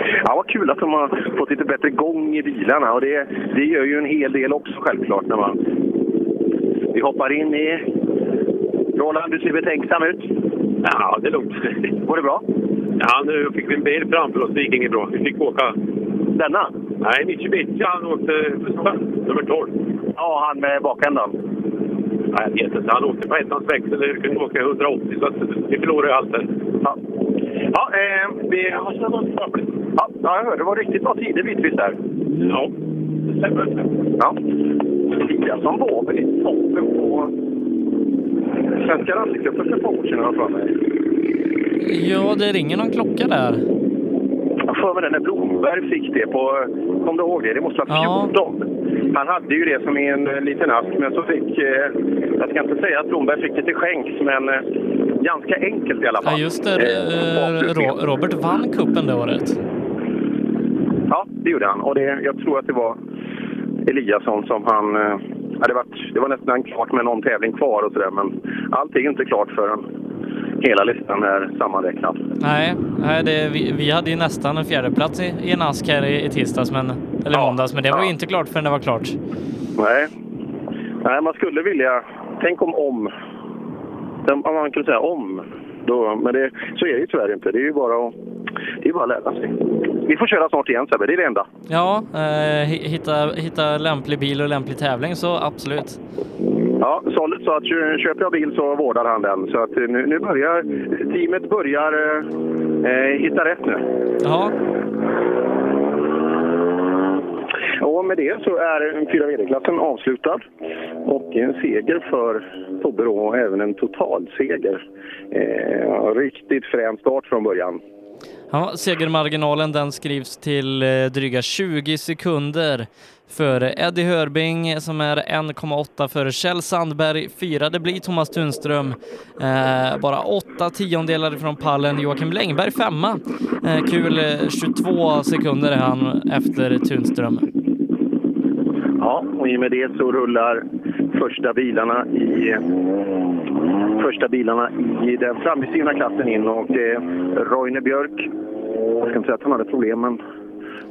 Speaker 5: *laughs* Ja, vad kul att de har fått lite bättre gång i bilarna. Och det, det gör ju en hel del också självklart. När man... Vi hoppar in i... Roland, du ser betänksam ut.
Speaker 21: Ja, det är lugnt.
Speaker 5: Var det bra?
Speaker 21: Ja, nu fick vi en bil framför oss. Det gick inget bra. Vi fick åka...
Speaker 5: Denna?
Speaker 21: Nej, Mitsubishi. Han åkte nummer 12.
Speaker 5: Ja, han med bakändan.
Speaker 21: Nej, jag vet inte. Han åkte på ettans växel. Vi kunde åka 180, så att vi förlorade ju allt där.
Speaker 5: Ja. Ja, eh, vi har Ja, ja, jag hörde. Det var riktigt bra tider bitvis där.
Speaker 21: Ja, det stämmer.
Speaker 5: Ja. Lia som var väl i toppen på Svenska rallycupen för ett par år sedan, har jag för mig.
Speaker 1: Ja, det ringer någon klocka där.
Speaker 5: Jag för mig det när Blomberg fick det på, kom du ihåg det? Det måste vara 14. Han hade ju det som i en eh, liten ask, men så fick, eh, jag ska inte säga att Blomberg fick det till skänks, men eh,
Speaker 21: Ganska enkelt i alla fall.
Speaker 1: Ja, just det. Eh, Ro- Robert vann kuppen det året.
Speaker 21: Ja, det gjorde han. Och det, jag tror att det var Eliasson som han... eh, Ja, det, var, det var nästan klart med någon tävling kvar och sådär, men allt är inte klart förrän hela listan är sammanräknad.
Speaker 1: Nej, nej det, vi, vi hade ju nästan en fjärdeplats i, i en ask här i, i tisdags, men, eller måndags, men det var ju inte klart förrän det var klart.
Speaker 21: Nej. Nej, man skulle vilja... Tänk om om. Om man kunde säga om. Då, men det, så är det ju tyvärr inte. Det är ju bara att, det är bara att lära sig. Vi får köra snart igen Sebbe, det är det enda.
Speaker 1: Ja, eh, hi- hitta, hitta lämplig bil och lämplig tävling, så absolut.
Speaker 21: Ja, så, så att kö- köper jag bil så vårdar han den. Så att eh, nu, nu börjar... Teamet börjar eh, eh, hitta rätt nu.
Speaker 1: Ja,
Speaker 21: Och med det så är 4 VD-klassen avslutad. Och en seger för Tobbe då, och även en totalseger. Eh, riktigt frän start från början.
Speaker 1: ja segermarginalen den skrivs till eh, dryga 20 sekunder före Eddie Hörbing som är 1,8 före Kjell Sandberg. Fyra, det blir Thomas Tunström. Eh, bara åtta tiondelar ifrån pallen. Joakim Längberg femma. Eh, kul, eh, 22 sekunder är han efter Tunström.
Speaker 21: Ja, och i och med det så rullar första bilarna i, första bilarna i den framhjulsdrivna klassen in. Och det är Roine Björk. Jag ska inte säga att han hade problem, men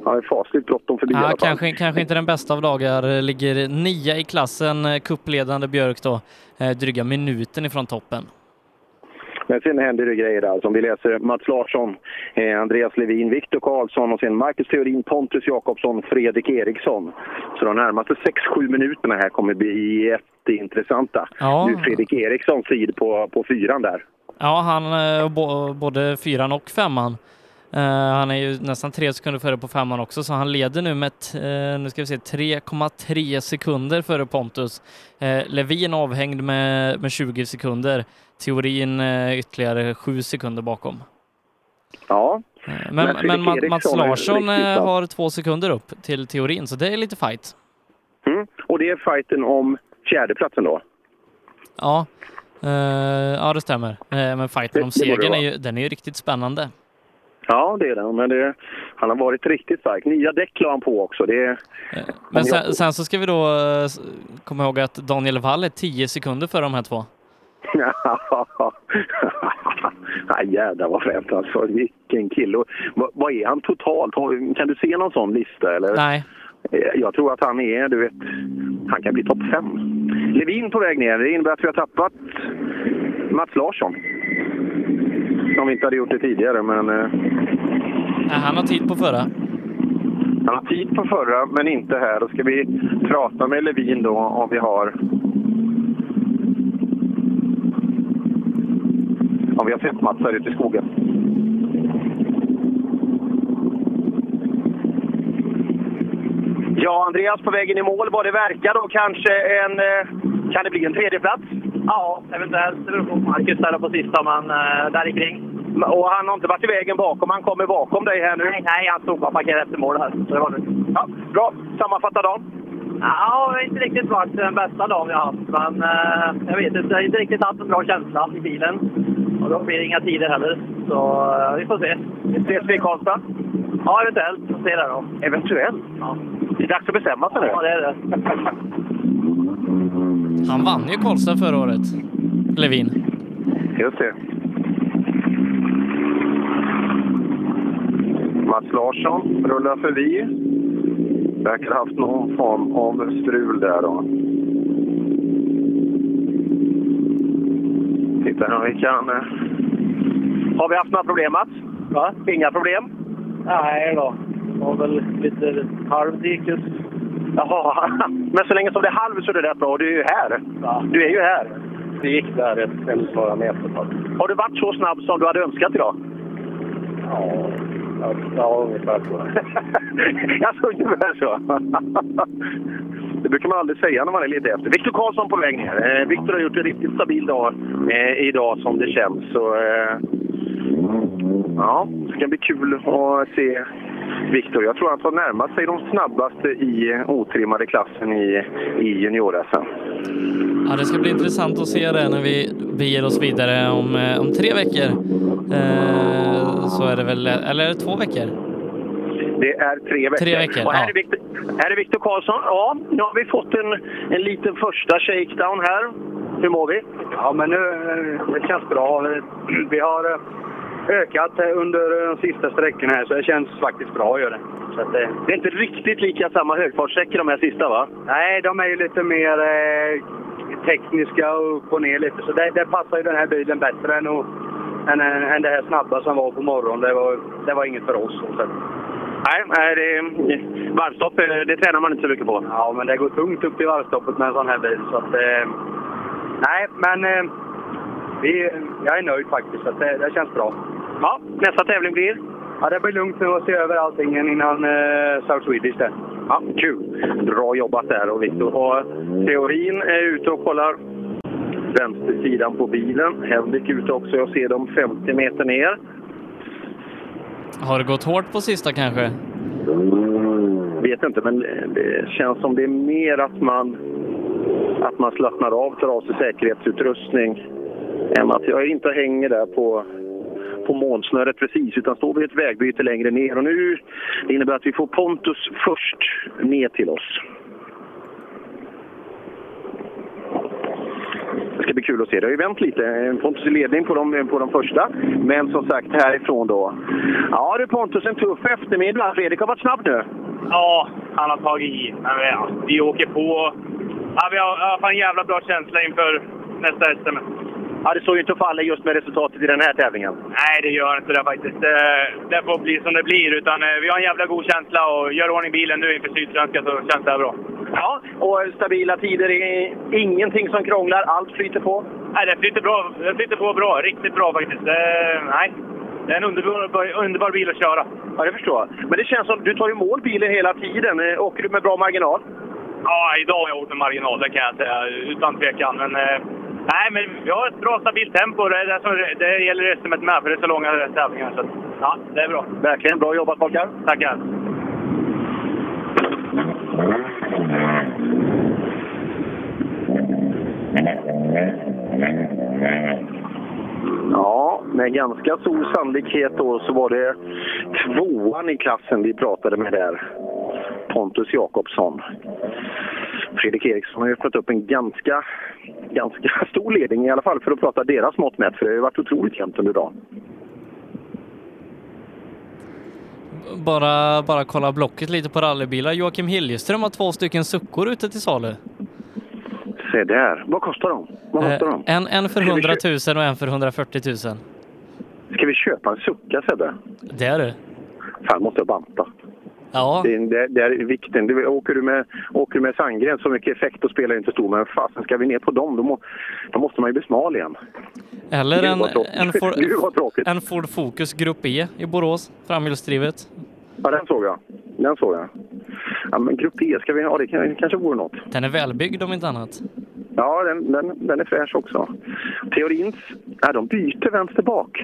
Speaker 21: han är fasligt bråttom förbi i
Speaker 1: Ja,
Speaker 21: alla fall.
Speaker 1: kanske, kanske inte den bästa av dagar. Ligger nia i klassen, eh, kuppledande Björk då, eh, dryga minuten ifrån toppen.
Speaker 21: Men sen händer det grejer där. Som vi läser Mats Larsson, eh, Andreas Levin, Viktor Karlsson och sen Marcus Theorin, Pontus Jakobsson, Fredrik Eriksson. Så de närmaste 6-7 minuterna här kommer bli jätteintressanta.
Speaker 1: Ja.
Speaker 21: Nu Fredrik Erikssons tid på, på fyran där.
Speaker 1: Ja, han, eh, bo- både fyran och femman. Eh, han är ju nästan tre sekunder före på femman också, så han leder nu med t- eh, nu ska vi se, 3,3 sekunder före Pontus. Eh, Levin avhängd med, med 20 sekunder. Teorin eh, ytterligare 7 sekunder bakom. Eh,
Speaker 21: Ja.
Speaker 1: Men, men,
Speaker 21: Fredrik
Speaker 1: Ma- Mats
Speaker 21: Eriksson är
Speaker 1: Larsson
Speaker 21: riktigt
Speaker 1: eh,
Speaker 21: snabb.
Speaker 1: har två sekunder upp till teorin, så det är lite fight.
Speaker 21: Mm. Och det är fighten om fjärdeplatsen då.
Speaker 1: Ja, eh, ja det stämmer. Eh, men fighten om
Speaker 21: det borde det
Speaker 1: segern är
Speaker 21: vara.
Speaker 1: ju, den är ju riktigt spännande.
Speaker 21: Ja, det är den. Men det, han har varit riktigt stark. Nya däck la han på också. Det, är- *laughs*
Speaker 1: Men
Speaker 21: om jag-
Speaker 1: sen, sen så ska vi då eh, s- komma ihåg att Daniel Wall är 10 sekunder före de här två.
Speaker 21: Nej, jävlar vad fränt alltså. Vilken kille. Och Vad, vad är han totalt? Har- Kan du se någon sån lista? Eller?
Speaker 1: Nej.
Speaker 21: Eh, Jag tror att han är, du vet, han kan bli topp fem. Levin på väg ner. Det innebär att vi har tappat Mats Larsson. Som vi inte hade gjort det tidigare, men eh,
Speaker 1: Nej, han har tid på förra.
Speaker 21: han har tid på förra, men inte här. Då ska vi prata med Levin då om vi har om vi har sett Mats här ute i skogen. Ja, Andreas på vägen i mål. Vad det verkar då kanske en... eh, Kan det bli en tredjeplats?
Speaker 4: Ja, eventuellt. Det beror på Marcus där på sista, men eh, där ikring.
Speaker 21: Och han har inte varit i vägen bakom. Han kommer bakom dig här nu.
Speaker 4: Nej, nej, han stod bara parkerad efter mål här. Så det var det.
Speaker 21: Ja, bra. Sammanfatta dagen.
Speaker 4: Ja, det har inte riktigt varit den bästa dagen vi har haft, men eh, jag vet inte. Jag har inte riktigt haft en bra känsla i bilen. Och då blir det inga tider heller. Så eh, vi får se. Vi ses vi i Karlstad? Ja, eventuellt. Vi får se där då.
Speaker 21: Eventuellt?
Speaker 4: Ja.
Speaker 21: Det är dags att bestämma sig nu.
Speaker 4: Ja, det är det.
Speaker 1: Han vann ju Karlstad förra året, Levin.
Speaker 21: Just det. Mats Larsson rullar förbi. Verkar ha haft någon form av strul där då. Tittar om vi kan... eh. Har vi haft några problem Mats? Va? Inga problem?
Speaker 4: Nej då. Det var väl lite halvdikes.
Speaker 21: Jaha, men så länge som det är halv så är det rätt bra. Och du är ju här. Du är ju här. Det gick där ett eller några meter. Har du varit så snabb som du hade önskat idag? Ja, ja ungefär *laughs* så. alltså ungefär så. *laughs* Det brukar man aldrig säga när man är lite efter. Viktor Karlsson på väg ner. Eh, Viktor har gjort en riktigt stabil dag eh, idag som det känns. Så, eh, ja, det ska bli kul att se Viktor. Jag tror att han närmat sig de snabbaste i eh, otrimmade klassen i, i junior-SM.
Speaker 1: Ja, det ska bli intressant att se det när vi beger oss vidare om, eh, om tre veckor. Eh, så är det väl, eller är det två veckor?
Speaker 21: Det är tre veckor.
Speaker 1: Tre veckor,
Speaker 21: och här
Speaker 1: ja.
Speaker 21: är Viktor, här är Viktor Karlsson. Ja, nu har vi fått en, en liten första shakedown här. Hur mår vi?
Speaker 28: Ja, men nu eh, det känns bra. *clears throat* Vi- Vi har eh, ökat eh, under eh, de sista sträckorna här, så det känns faktiskt bra. Gör det. Så att, eh,
Speaker 21: Det är inte riktigt lika samma högfartssträckor de här sista, va?
Speaker 28: nej, de är ju lite mer eh, tekniska och upp och ner lite, så det, det passar ju den här bilen bättre än, att- än, än, än det här snabba som var på morgonen. Det var, det var inget för oss. Så att,
Speaker 21: Nej, nej det, varvstopp eh, det tränar man inte så mycket på.
Speaker 28: Ja, men det går tungt upp i varvstoppet med en sån här bil. Så att, eh, nej, men eh, vi, jag är nöjd faktiskt. Så att det, det känns bra.
Speaker 21: Ja, nästa tävling blir?
Speaker 28: Ja, det blir lugnt nu att se över allting innan eh, South Swedish. Där.
Speaker 21: Ja, kul. Bra jobbat där och Viktor. Och Teorin är ute och kollar vänstersidan på bilen. Henrik är ute också. Jag ser dem 50 meter ner.
Speaker 1: Har det gått hårt på sista kanske?
Speaker 21: Vet inte, men det känns som det är mer att man, att man slappnar av, tar av sig säkerhetsutrustning än att jag inte hänger där på på månsnöret precis, utan står vid ett vägbyte längre ner. Och nu det innebär att vi får Pontus först ner till oss. Det ska bli kul att se. Det har ju vänt lite. Pontus i ledning på de, på de första, men som sagt härifrån då. Ja du Pontus, en tuff eftermiddag. Fredrik har varit snabb nu.
Speaker 5: Ja, han har tagit i. Men vi, ja, vi åker på. Ja, vi har, jag har en jävla bra känsla inför nästa SM.
Speaker 21: Ja, det står ju inte och faller just med resultatet i den här tävlingen.
Speaker 5: Nej, det gör inte det faktiskt. Det, det får bli som det blir. Utan, eh, vi har en jävla god känsla och gör i ordning bilen nu inför Sydsvenska så känns det här bra.
Speaker 21: Ja, och stabila tider är ingenting som krånglar. Allt flyter på.
Speaker 5: Nej, det flyter, bra. det flyter på bra. Riktigt bra faktiskt. Det, nej, det är en underbar, underbar bil att köra.
Speaker 21: Ja, det förstår jag. Men det känns som du tar ju mål bilen hela tiden. Eh, Åker du med bra marginal?
Speaker 5: Ja, idag har jag gjort en marginal, det kan jag säga. Utan tvekan. Men, eh, nej, men vi har ett bra stabilt tempo. Det, är det, som, det gäller SM med, för det är så långa tävlingar. Så, att, ja, det är bra.
Speaker 21: Verkligen. Bra jobbat pojkar.
Speaker 5: Tackar.
Speaker 21: Ja, med ganska stor sannolikhet då så var det tvåan i klassen vi pratade med där. Pontus Jakobsson. Fredrik Eriksson har ju öppnat upp en ganska, ganska *laughs* stor ledning i alla fall för att prata deras mått mätt. För det har ju varit otroligt jämnt under dagen.
Speaker 1: Bara, bara kolla blocket lite på rallybilar. Joakim Hiljeström har två stycken suckor ute till salu.
Speaker 21: Se där. Eh, Vad kostar de? Vad kostar de?
Speaker 1: Eh, En, en för
Speaker 21: Ska vi
Speaker 1: 100 000 och en för 140 000.
Speaker 21: Ska vi köpa en sucka Sebbe?
Speaker 1: Det är du.
Speaker 21: Fan, måste jag banta.
Speaker 1: Ja.
Speaker 21: Det, är- det, det är vikten. Du, åker, du med, åker du med Sandgren så mycket effekt och spelar inte stor, men fasen ska vi ner på dem då, må, då måste man ju bli smal igen.
Speaker 1: Eller
Speaker 21: Gud,
Speaker 1: en,
Speaker 21: vad tråkigt.
Speaker 1: en,
Speaker 21: *laughs*
Speaker 1: Ford,
Speaker 21: Gud, vad tråkigt.
Speaker 1: en Ford Focus Grupp E i Borås, framhjulsdrivet.
Speaker 21: Ja, den såg jag. Den såg jag. Ja, men grupp E ska vi ha, det kan- kanske vore något.
Speaker 1: Den är välbyggd om inte annat.
Speaker 21: Ja, den, den, den är fräsch också. Theorins, ja, de byter vänster bak.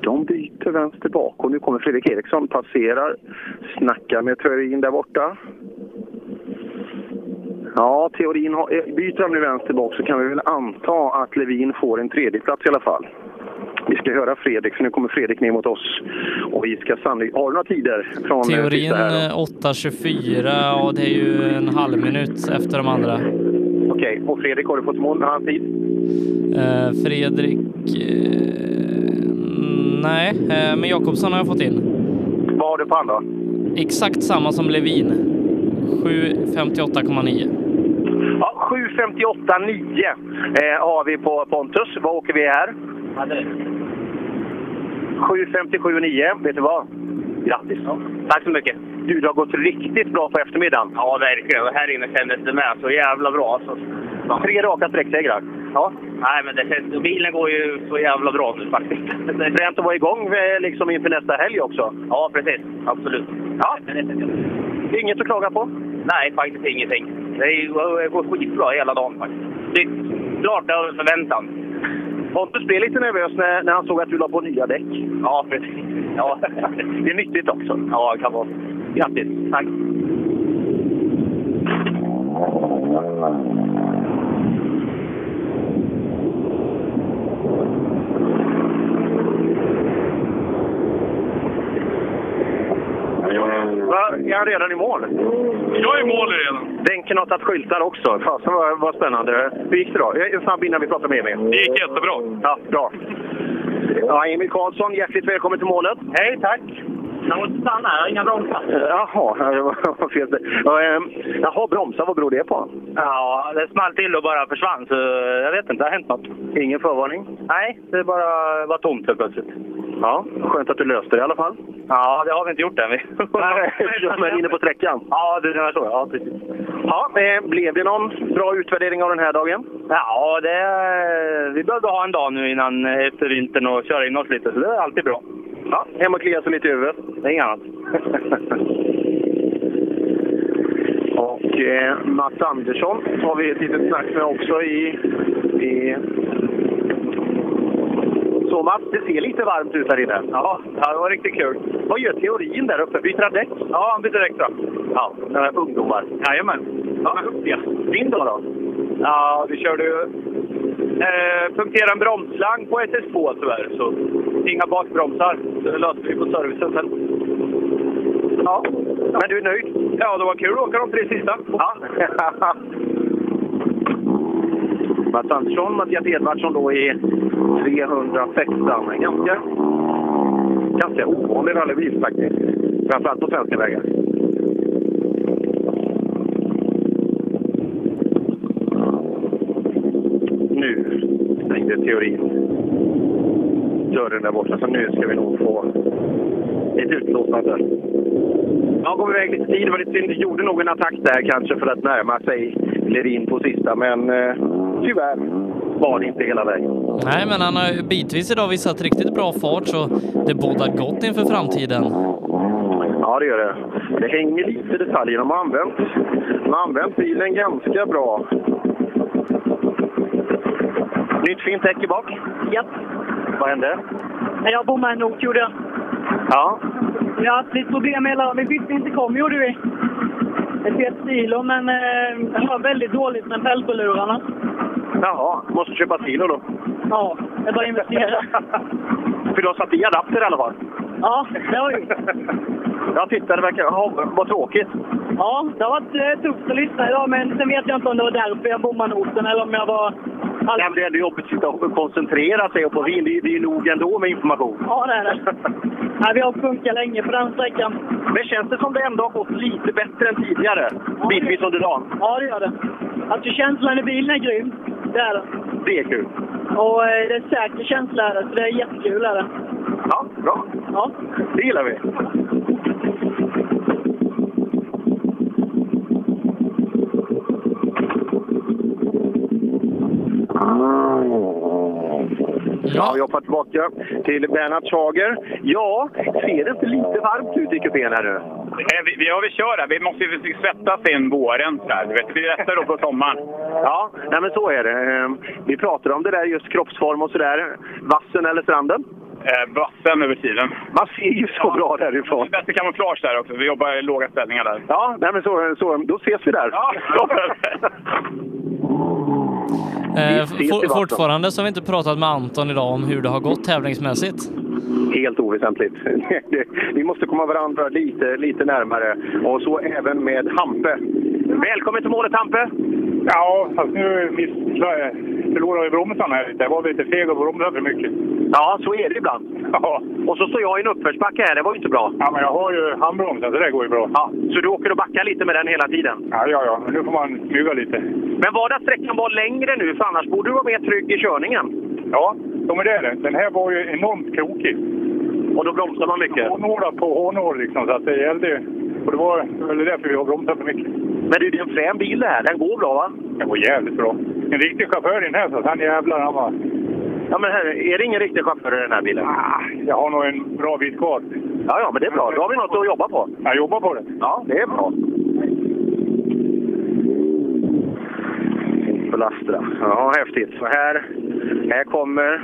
Speaker 21: De byter vänster bak och nu kommer Fredrik Eriksson, passerar, snackar med Theorin där borta. Ja, Theorin har, eh, byter han nu vänster bak så kan vi väl anta att Levin får en tredjeplats i alla fall. Vi ska höra Fredrik, för nu kommer Fredrik ner mot oss. Och vi ska sannolikt... Har du några tider? Från eh,
Speaker 1: Teorin
Speaker 21: sista här då?
Speaker 1: eh, 8.24 och det är ju en halv minut efter de andra.
Speaker 21: Okej, och Fredrik har du fått mål? Har han tid?
Speaker 1: Eh, Fredrik... eh, nej, eh, men Jakobsson har jag fått in.
Speaker 21: Vad har du på han då?
Speaker 1: Exakt samma som Levin. 7.58,9.
Speaker 21: Ja, 7.58,9 eh, har vi på Pontus. Vad åker vi här? 7.57,9. Vet du vad? Grattis! Tack så mycket! Du, det har gått riktigt bra på eftermiddagen.
Speaker 5: Ja, verkligen. Och här inne kändes det med så jävla bra. Alltså.
Speaker 21: Tre raka sträcksegrar. Ja.
Speaker 5: Nej, men det känns, bilen går ju så jävla bra nu faktiskt.
Speaker 21: Det är Fränt att vara igång eh, liksom inför nästa helg också.
Speaker 5: Ja, precis. Absolut.
Speaker 21: Ja. Inget att klaga på?
Speaker 5: Nej, faktiskt ingenting. Det är- det går skitbra hela dagen faktiskt. Det är klart över förväntan.
Speaker 21: Pontus blev lite nervös när, när han såg att du la på nya däck. Ja, precis. Ja. Det är nyttigt också. Ja, det kan vara. Grattis. Tack. Va? Är han redan i mål? Jag är i mål redan. Denken har tagit skyltar också. Fasen vad, vad spännande. Hur gick det då? Jag är snabb innan vi pratar med Emil.
Speaker 3: Det gick jättebra.
Speaker 21: Ja, bra. Ja, Emil Karlsson, hjärtligt välkommen till målet. Hej, tack. Jag måste stanna här, inga bromsar. Jaha, *laughs* det var var fel. Ja, ehm, Jaha, bromsar, vad beror det på?
Speaker 2: Ja, det small till och bara försvann, så jag vet inte, det har hänt något.
Speaker 21: Ingen förvarning?
Speaker 2: Nej, det bara var tomt helt plötsligt.
Speaker 21: Ja, skönt att du löste det i alla fall.
Speaker 2: Ja, det har vi inte gjort än. Vi... *laughs*
Speaker 21: Men inne på sträckan? Ja, det är så. Ja, precis. Ja, eh, blev det någon bra utvärdering av den här dagen?
Speaker 2: Ja, det, vi behövde ha en dag nu innan efter vintern och köra in oss lite, så det är alltid bra.
Speaker 21: Ja, hem och klia sig lite i huvudet.
Speaker 2: Det är inget annat.
Speaker 21: *laughs* Och eh, Mats Andersson har vi ett litet snack med också i... i... Så Mats, det ser lite varmt ut här inne. Ja, det var riktigt kul. Vad gör teorin där uppe? Byter han däck? Ja, han byter däck. Ja, några ungdomar. Jajamän. Ja, ja. Din dag då?
Speaker 2: Ja, vi körde ju... Eh, punktera en bromsslang på SS2 tyvärr, så inga bakbromsar. Det löste vi på servicen sen.
Speaker 21: Ja, men du är nöjd?
Speaker 2: Ja, det var kul att åka de tre sista.
Speaker 21: Ja. Mats Andersson, Mattias Edvardsson då i 316. En ganska, ganska ovanlig rallybil faktiskt. Framförallt på svenska vägar. Nu stängde teorin dörren där borta, så nu ska vi nog få ett utlåtande. Ja, kom iväg lite tid. Det var lite synd. Gjorde nog en attack där kanske för att närma sig Lerin på sista, men eh, tyvärr var det inte hela vägen.
Speaker 1: Nej, men han har ju bitvis idag visat riktigt bra fart så det bådar gott inför framtiden.
Speaker 21: Ja, det gör det. Det hänger lite i detaljer. De har använt, de har använt bilen ganska bra. Nytt fint däck i bak.
Speaker 7: Japp.
Speaker 21: Vad hände?
Speaker 7: Jag bommade en not gjorde jag.
Speaker 21: Ja,
Speaker 7: Vi har haft lite problem hela dagen. Vi bytte inte kom gjorde vi. Ett helt kilo, men eh, det var väldigt dåligt med fältbolurarna.
Speaker 21: jaha. Måste köpa Tilo då.
Speaker 7: Ja, jag bara investera.
Speaker 21: För du har satt i adapter i alla fall.
Speaker 7: Ja, det har jag gjort.
Speaker 21: Jag tittade, det verkar... Jaha, vad tråkigt.
Speaker 7: Ja, det har varit eh, tufft att lyssna idag, men sen vet jag inte om det var därför jag bommade noten eller om jag var...
Speaker 21: Nej, men det är ändå jobbigt att sitta och koncentrera sig och på vin. Det är- Det är nog ändå med information.
Speaker 7: Ja, det är det. Nej, vi har funkat länge på den sträckan.
Speaker 21: Men känns det som det ändå har gått lite bättre än tidigare? Bitvis under dagen.
Speaker 7: Ja, det gör det. Alltså känslan i bilen är grym. Det är det.
Speaker 21: Det är kul.
Speaker 7: Och eh, det är en säker känsla är det, så det är jättekul är det.
Speaker 21: Ja, bra.
Speaker 7: Ja.
Speaker 21: Det gillar vi. Ja, vi hoppar tillbaka till Bernhard Schager. Ja, ser det inte lite varmt ut i kupén här nu?
Speaker 12: Eh, Vi, vi, ja, vi kör det. Vi måste ju svettas in våren. Så här. Du vet, det blir lättare då på
Speaker 21: *laughs*
Speaker 12: sommaren.
Speaker 21: Ja, nej men så är det. Ehm, Vi pratade om det där just kroppsform och sådär. Vassen eller stranden?
Speaker 12: Eh, vassen över tiden.
Speaker 21: Man ser ju så bra därifrån.
Speaker 12: Det är bättre kamouflage där också. Vi jobbar i låga ställningar där.
Speaker 21: Ja, nej men så, så, då ses vi där.
Speaker 12: *laughs* Ja,
Speaker 1: Eh,
Speaker 21: ses i
Speaker 1: for,
Speaker 21: vatten.
Speaker 1: fortfarande så har vi inte pratat med Anton idag om hur det har gått tävlingsmässigt.
Speaker 21: Helt oväsentligt. *laughs* Vi måste komma varandra lite, lite närmare. Och så även med Hampe. Välkommen till målet Hampe!
Speaker 13: Ja, fast nu miss- förlorade vi bromsarna här lite. Jag var lite feg och bromsade för mycket.
Speaker 21: Ja, så är det ibland.
Speaker 13: Ja.
Speaker 21: Och så står jag i en uppförsbacke här. Det var ju inte bra.
Speaker 13: Ja, men jag har ju handbromsen så det går ju bra.
Speaker 21: Ja, så du åker och backar lite med den hela tiden?
Speaker 13: Ja, ja, ja. Men nu får man smyga lite.
Speaker 21: Men var det att sträckan var längre nu? För annars borde du vara mer trygg i körningen.
Speaker 13: Ja, ja, men det är det. Den här var ju enormt krokig.
Speaker 21: Och då bromsade man mycket?
Speaker 13: Hårnålar på hårnål liksom, så att det gällde ju. Och det var väl därför vi har bromsat för mycket.
Speaker 21: Men det är ju en frän bil det här. Den går bra va?
Speaker 13: Den går jävligt bra. En riktig chaufför i den här, så att han jävlar han var...
Speaker 21: Ja, men här, är det ingen riktig chaufför i den här bilen?
Speaker 13: Ah, jag har nog en bra bit kvar.
Speaker 21: Ja, ja, men det är bra. Då har vi något att jobba på.
Speaker 13: Jag jobbar på det.
Speaker 21: Ja, det är bra. Alastra. Ja, häftigt. Så här, här kommer,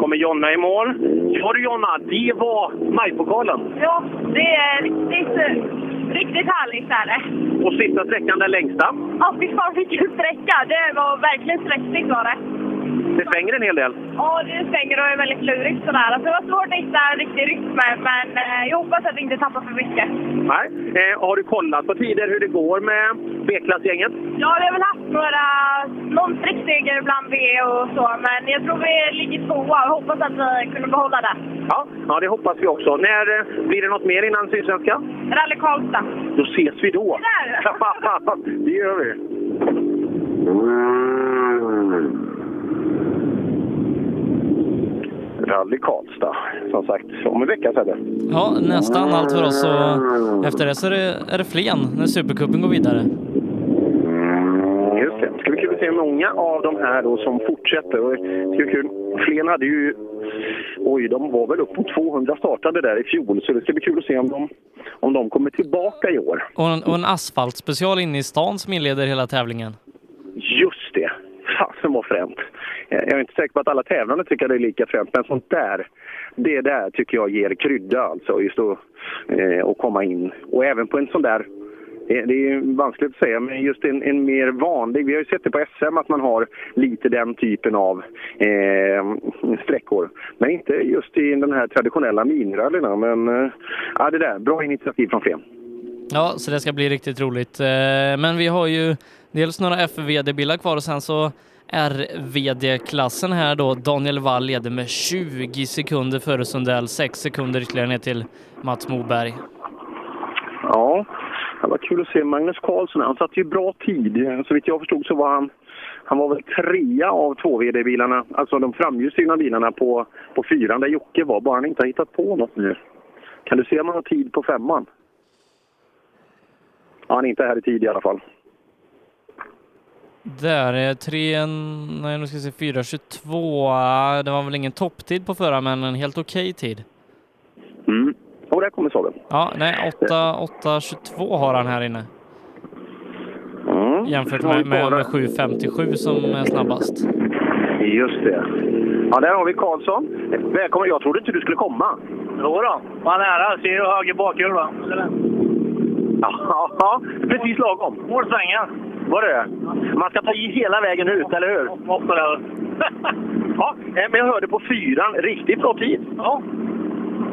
Speaker 21: kommer Jonna i mål. Ja du Jonna, det var majpokalen.
Speaker 14: Ja, det är riktigt, riktigt härligt är det.
Speaker 21: Och sista sträckan den längsta.
Speaker 14: Ja, fy fan vilken sträcka! Det var verkligen sträckigt var det.
Speaker 21: Det svänger en hel del.
Speaker 14: Ja, det svänger och är väldigt lurigt sådär. Alltså, det var svårt att hitta en riktig rytm men eh, jag hoppas att vi inte tappar för mycket.
Speaker 21: Nej. Eh, har du kollat på tider hur det går med B-klassgänget?
Speaker 14: Ja, vi har väl haft några, någon sträckseger bland V och så men jag tror vi ligger tvåa och hoppas att vi kunde behålla det.
Speaker 21: Ja, ja det hoppas vi också. När eh, blir det något mer innan Sydsvenska?
Speaker 14: Rally Karlstad.
Speaker 21: Då ses vi då! *laughs*
Speaker 14: Där!
Speaker 21: det gör vi. Rally Karlstad, som sagt. Om en vecka sen. det.
Speaker 1: Ja, nästan allt för oss och efter det så är det, är det Flen när Supercupen går vidare.
Speaker 21: Just det. Det ska bli kul att se hur många av de här då som fortsätter. Och det ska bli kul. Flen hade ju... Oj, de var väl upp på 200 startade där i fjol, så det ska bli kul att se om de, om de kommer tillbaka i år.
Speaker 1: Och en, och en asfaltspecial inne i stan som inleder hela tävlingen.
Speaker 21: Just det! Fasen vad fränt! Eh, Jag är inte säker på att alla tävlande tycker det är lika fränt, men sånt där, det där tycker jag ger krydda alltså, just att, eh, att komma in. Och även på en sån där, eh, det är ju vanskligt att säga, men just en, en mer vanlig, vi har ju sett det på SM att man har lite den typen av eh, sträckor. Men inte just i den här traditionella minirallyna, men eh, ja, det där, bra initiativ från Flen.
Speaker 1: Ja, så det ska bli riktigt roligt. Eh, Men vi har ju dels några FVD-bilar kvar och sen så RVD-klassen här då. Daniel Wall leder med 20 sekunder före Sundell, 6 sekunder ytterligare ner till Mats Moberg.
Speaker 21: Ja, det var kul att se Magnus Karlsson. Han satte ju bra tid. Så vitt jag förstod så var han, han var väl trea av 2VD-bilarna, alltså de framhjulsdrivna bilarna på, på fyran där Jocke var, bara han inte har hittat på något nu. Kan du se om han har tid på femman? Ja, han är inte här i tid i alla fall.
Speaker 1: Där är 3, nej nu ska vi se, 4.22. Det var väl ingen topptid på förra men en helt okej tid.
Speaker 21: Mm. Och där kommer Saben.
Speaker 1: Ja, nej 8, 8.22 har han här inne. Jämfört med, med, med 7.57 som är snabbast.
Speaker 21: Just det. Ja, där har vi Karlsson. Välkommen. Jag trodde inte du skulle komma.
Speaker 15: Jodå, var nära. Ser du höger bakhjul
Speaker 21: Ja, precis lagom.
Speaker 15: Målsvängen.
Speaker 21: Var det Man ska ta i hela vägen ut, eller hur? *laughs* ja, eh, men jag hörde på fyran. Riktigt bra tid.
Speaker 15: Ja.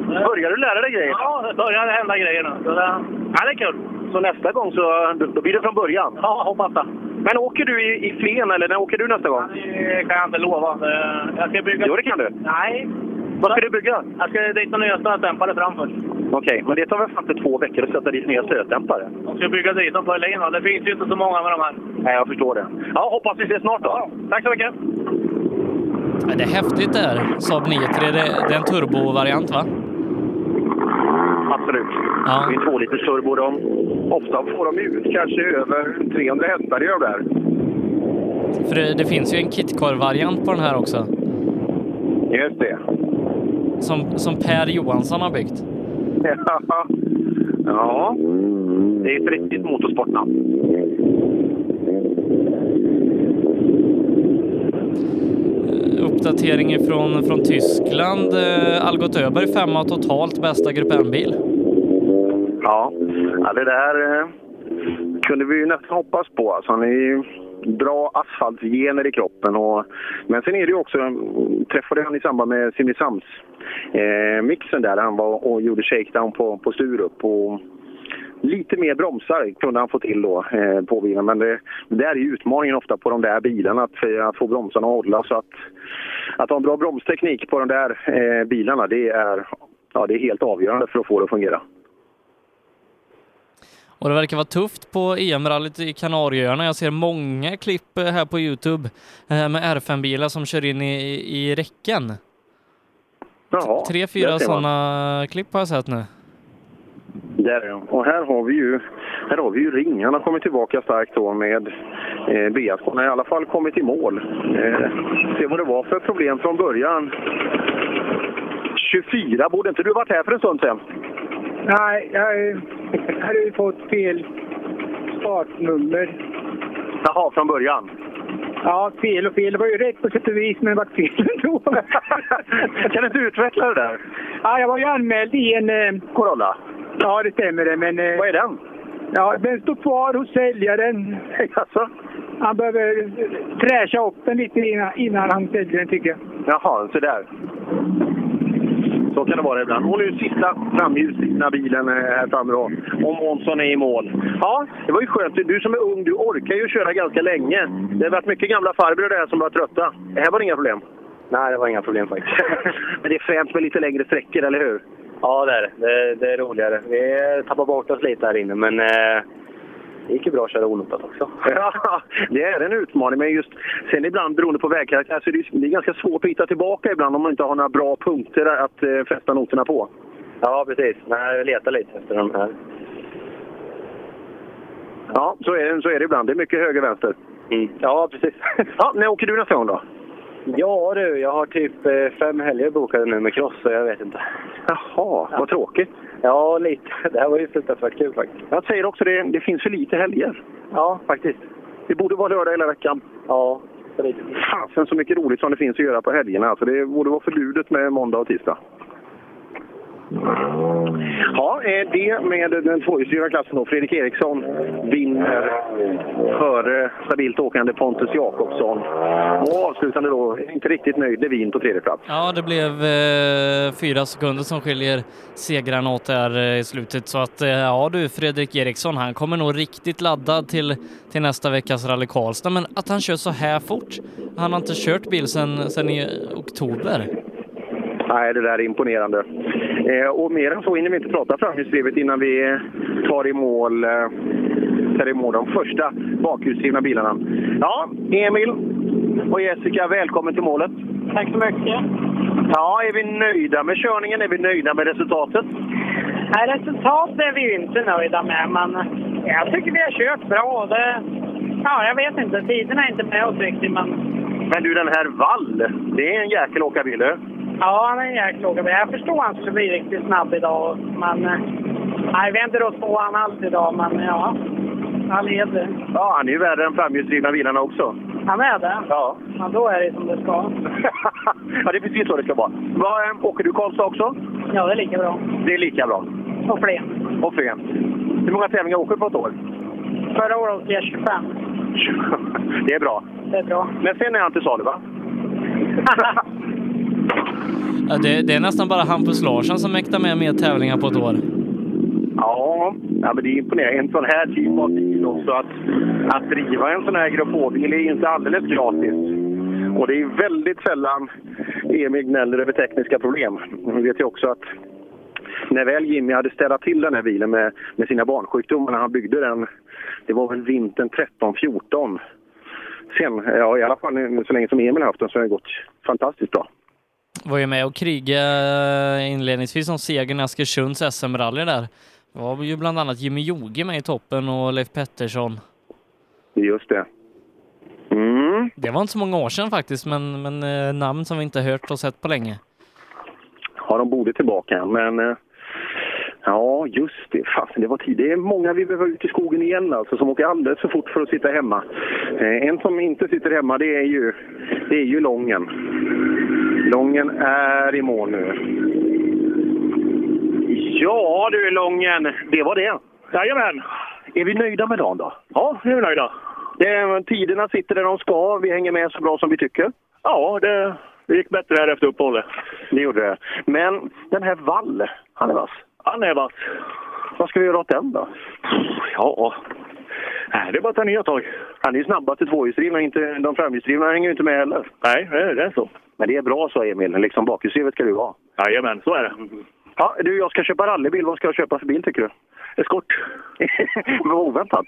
Speaker 21: Börjar du lära dig grejer?
Speaker 15: Ja, det börjar hända grejer nu. Så det, ja, det är kul.
Speaker 21: Så nästa gång så då då blir det från början?
Speaker 15: Ja, hoppas det.
Speaker 21: Men åker du i, i Flen, eller när åker du nästa gång?
Speaker 15: Det kan jag inte lova. Det- Jag ska bygga...
Speaker 21: Jo, det kan du.
Speaker 15: Nej.
Speaker 21: Vad ska du bygga?
Speaker 15: Jag ska dit med nya stötdämpare fram först.
Speaker 21: Okej, men det tar väl fan inte två veckor att sätta dit nya stötdämpare?
Speaker 15: Jag ska bygga dit dem på Öhlin. och Det finns ju inte så många med de här.
Speaker 21: Nej, jag förstår det. Ja, hoppas vi ses snart då. Tack så mycket!
Speaker 1: Ja, det är häftigt det här. Saab 9.3, det, det är en turbovariant va?
Speaker 21: Absolut.
Speaker 1: Ja.
Speaker 21: Det är två liter turbo. De, ofta får de ut kanske över 300 hästar i de där.
Speaker 1: För det, det finns ju en kitcar-variant på den här också.
Speaker 21: Just det. *laughs*
Speaker 1: Som, som Per Johansson har byggt.
Speaker 21: ja, det är ett riktigt motorsportnamn.
Speaker 1: Uppdatering ifrån, från Tyskland. Eh, Algot Öberg femma totalt, bästa Grupp N-bil.
Speaker 21: Ja, ja det där eh, kunde vi ju nästan hoppas på. Alltså, han är ju bra asfaltgener i kroppen. Och, men sen är det ju också, träffade han i samband med Simrishamns eh, mixen där han var och gjorde shakedown på, på Sturup. Och, Lite mer bromsar kunde han få till då eh, på bilen. Men det, det där är ju utmaningen ofta på de där bilarna, att, eh, att få bromsarna att hålla. Så att, att ha en bra bromsteknik på de där eh, bilarna, det är, ja, det är helt avgörande för att få det att fungera.
Speaker 1: Och det verkar vara tufft på EM-rallyt i Kanarieöarna. Jag ser många klipp eh, här på Youtube eh, med R5-bilar som kör in i, i i räcken.
Speaker 21: Jaha,
Speaker 1: Tre,
Speaker 21: där
Speaker 1: fyra
Speaker 21: ser man.
Speaker 1: sådana klipp har jag sett nu.
Speaker 21: Där är de. Och här har vi ju, här har vi ju Ring. Han har kommit tillbaka starkt då med eh, BSK. Han har i alla fall kommit i mål. Eh, se vad det var för problem från början. 24, borde inte du varit här för en stund sedan?
Speaker 16: Nej, jag hade ju fått fel startnummer. *laughs*
Speaker 21: Jaha, från början.
Speaker 16: Ja, fel och fel. Det var ju rätt på sätt och vis, men det vart fel ändå. *laughs*
Speaker 21: Kan du inte utveckla det där?
Speaker 16: Ja, jag var ju anmäld i en... eh,
Speaker 21: Corolla?
Speaker 16: Ja, det stämmer det, men... eh, Vad
Speaker 21: är den?
Speaker 16: Ja, den står kvar hos säljaren.
Speaker 21: Alltså?
Speaker 16: Han behöver träscha upp den lite innan, innan han säljer den, tycker jag.
Speaker 21: Jaha, så där. Så kan det vara ibland. Och nu sista framhjulsdrivna bilen eh, här framme då. Om Månsson är i mål. Ja, det var ju skönt. Du som är ung, du orkar ju köra ganska länge. Det har varit mycket gamla farbröder där som var trötta. Det här var inga problem. Nej, det var inga problem faktiskt. Men det är fränt med lite längre sträckor, eller hur?
Speaker 2: Ja, det är det. det. Det är roligare. Vi tappar bort oss lite här inne, men eh, det gick ju bra att köra onotat också.
Speaker 21: *laughs* Ja, det är en utmaning. Men just sen ibland beroende på vägkaraktär så är det, ju- det är ganska svårt att hitta tillbaka ibland om man inte har några bra punkter att eh, fästa noterna på.
Speaker 2: Ja, precis. Nej, jag letar lite efter de här.
Speaker 21: Ja, så är det, så är det ibland. Det är mycket höger-vänster.
Speaker 2: Mm. Ja, precis. *laughs*
Speaker 21: ja, när åker du nästa gång då?
Speaker 2: Ja du, jag har typ eh, fem helger bokade nu med cross, så jag vet inte.
Speaker 21: Jaha, vad tråkigt.
Speaker 2: Ja,
Speaker 21: *laughs*
Speaker 2: lite. Det här var ju fruktansvärt kul faktiskt.
Speaker 21: Jag säger också det, det finns för lite helger.
Speaker 2: Ja, faktiskt.
Speaker 21: Det borde vara lördag hela veckan.
Speaker 2: Ja, för lite.
Speaker 21: Fasen så mycket roligt som det finns att göra på helgerna. Alltså, det borde vara förbjudet med måndag och tisdag.
Speaker 2: Mm.
Speaker 21: Ja, eh, det med den tvåhjulsdrivna klassen då. Fredrik Eriksson vinner före stabilt åkande Pontus Jakobsson. Och avslutande då, inte riktigt nöjd, Levin på tredje plats.
Speaker 1: Ja, det blev eh, fyra sekunder som skiljer segrarna åt där eh, i slutet. Så att eh, ja du, Fredrik Eriksson, han kommer nog riktigt laddad till, till nästa veckas Rally Karlstad. Men att han kör så här fort, han har inte kört bil sedan sedan i oktober.
Speaker 21: Nej, det där är imponerande. Eh, och mer än så hinner vi inte prata framhjulsdrivet innan vi tar i mål, eh, tar i mål de första bakhjulsdrivna bilarna. Ja, Emil och Jessica, välkommen till målet.
Speaker 4: Tack så mycket.
Speaker 21: Ja, är vi nöjda med körningen? Är vi nöjda med resultatet?
Speaker 4: Nej, resultatet är vi ju inte nöjda med, men jag tycker vi har kört bra. Det, ja, jag vet inte, tiderna är inte med oss riktigt, men
Speaker 21: Men du, den här Wall, det är en jäkel att åka bil, du.
Speaker 4: ja, han är en jäkla åkare. Jag förstår att han skulle bli riktigt snabb idag, men eh, nej, vi har inte rått på han alls idag, men ja, han leder.
Speaker 21: Ja, han är ju värre än framhjulsdrivna bilarna också.
Speaker 4: Han är det?
Speaker 21: Ja.
Speaker 4: ja då är det som det ska.
Speaker 21: ja, det är precis så det ska vara. Vad, eh, åker du Karlstad också?
Speaker 4: Ja, det är lika bra.
Speaker 21: Det är lika bra.
Speaker 4: Och fler.
Speaker 21: Och Flen. Hur många tävlingar åker du på ett år?
Speaker 4: Förra året åkte jag
Speaker 7: *laughs*
Speaker 4: 25.
Speaker 21: Det är bra.
Speaker 4: Det är bra.
Speaker 21: Men sen är han till salu, va?
Speaker 1: Ja, det, det är nästan bara Hampus Larsson som mäktar med mer tävlingar på ett år.
Speaker 21: Ja, ja men det är imponerande. En sån här typ av bil också. Att, att driva en sån här Grupp H-bil är ju inte alldeles gratis. Och det är väldigt sällan Emil gnäller över tekniska problem. Vi vet ju också att när väl Jimmy hade ställt till den här bilen med, med sina barnsjukdomar när han byggde den, det var väl vintern 13-14. Sen, ja i alla fall nu, så länge som Emil har haft den så har det gått fantastiskt bra.
Speaker 1: Var ju med och krigade eh, inledningsvis om segern i Askersunds SM-rally där. Det var ju bland annat Jimmy Joge med i toppen och Leif Pettersson.
Speaker 21: Just det. Mm.
Speaker 1: Det var inte så många år sedan faktiskt, men, men eh, namn som vi inte hört och sett på länge.
Speaker 21: Ja, de borde tillbaka, men... eh, Ja, just det. Fasen, det var tid. Det är många vi behöver ut i skogen igen alltså, som åker alldeles för fort för att sitta hemma. Eh, en som inte sitter hemma, det är ju, det är ju Lången. Lången är i mål nu. Ja du Lången, det var det. Jajamän. Är vi nöjda med dagen då? Ja, vi är nöjda. Det, tiderna sitter där de ska, vi hänger med så bra som vi tycker. Ja, det, gick bättre här efter uppehållet. Det gjorde det. Men den här Wall, han är vass. Han är vass. Vad ska vi göra åt den då? Ja, Nej, det är bara att ta nya tag. Han är ju snabbast i tvåhjulsdrivna, inte de framhjulsdrivna hänger ju inte med heller. Nej, det är så. Men det är bra så Emil, liksom bakhjulsdrivet ska du ha.
Speaker 25: Jajamän, så är det.
Speaker 21: Ja, du, jag ska köpa rallybil. Vad ska jag köpa för bil tycker du? Eskort. *laughs* Vad oväntat.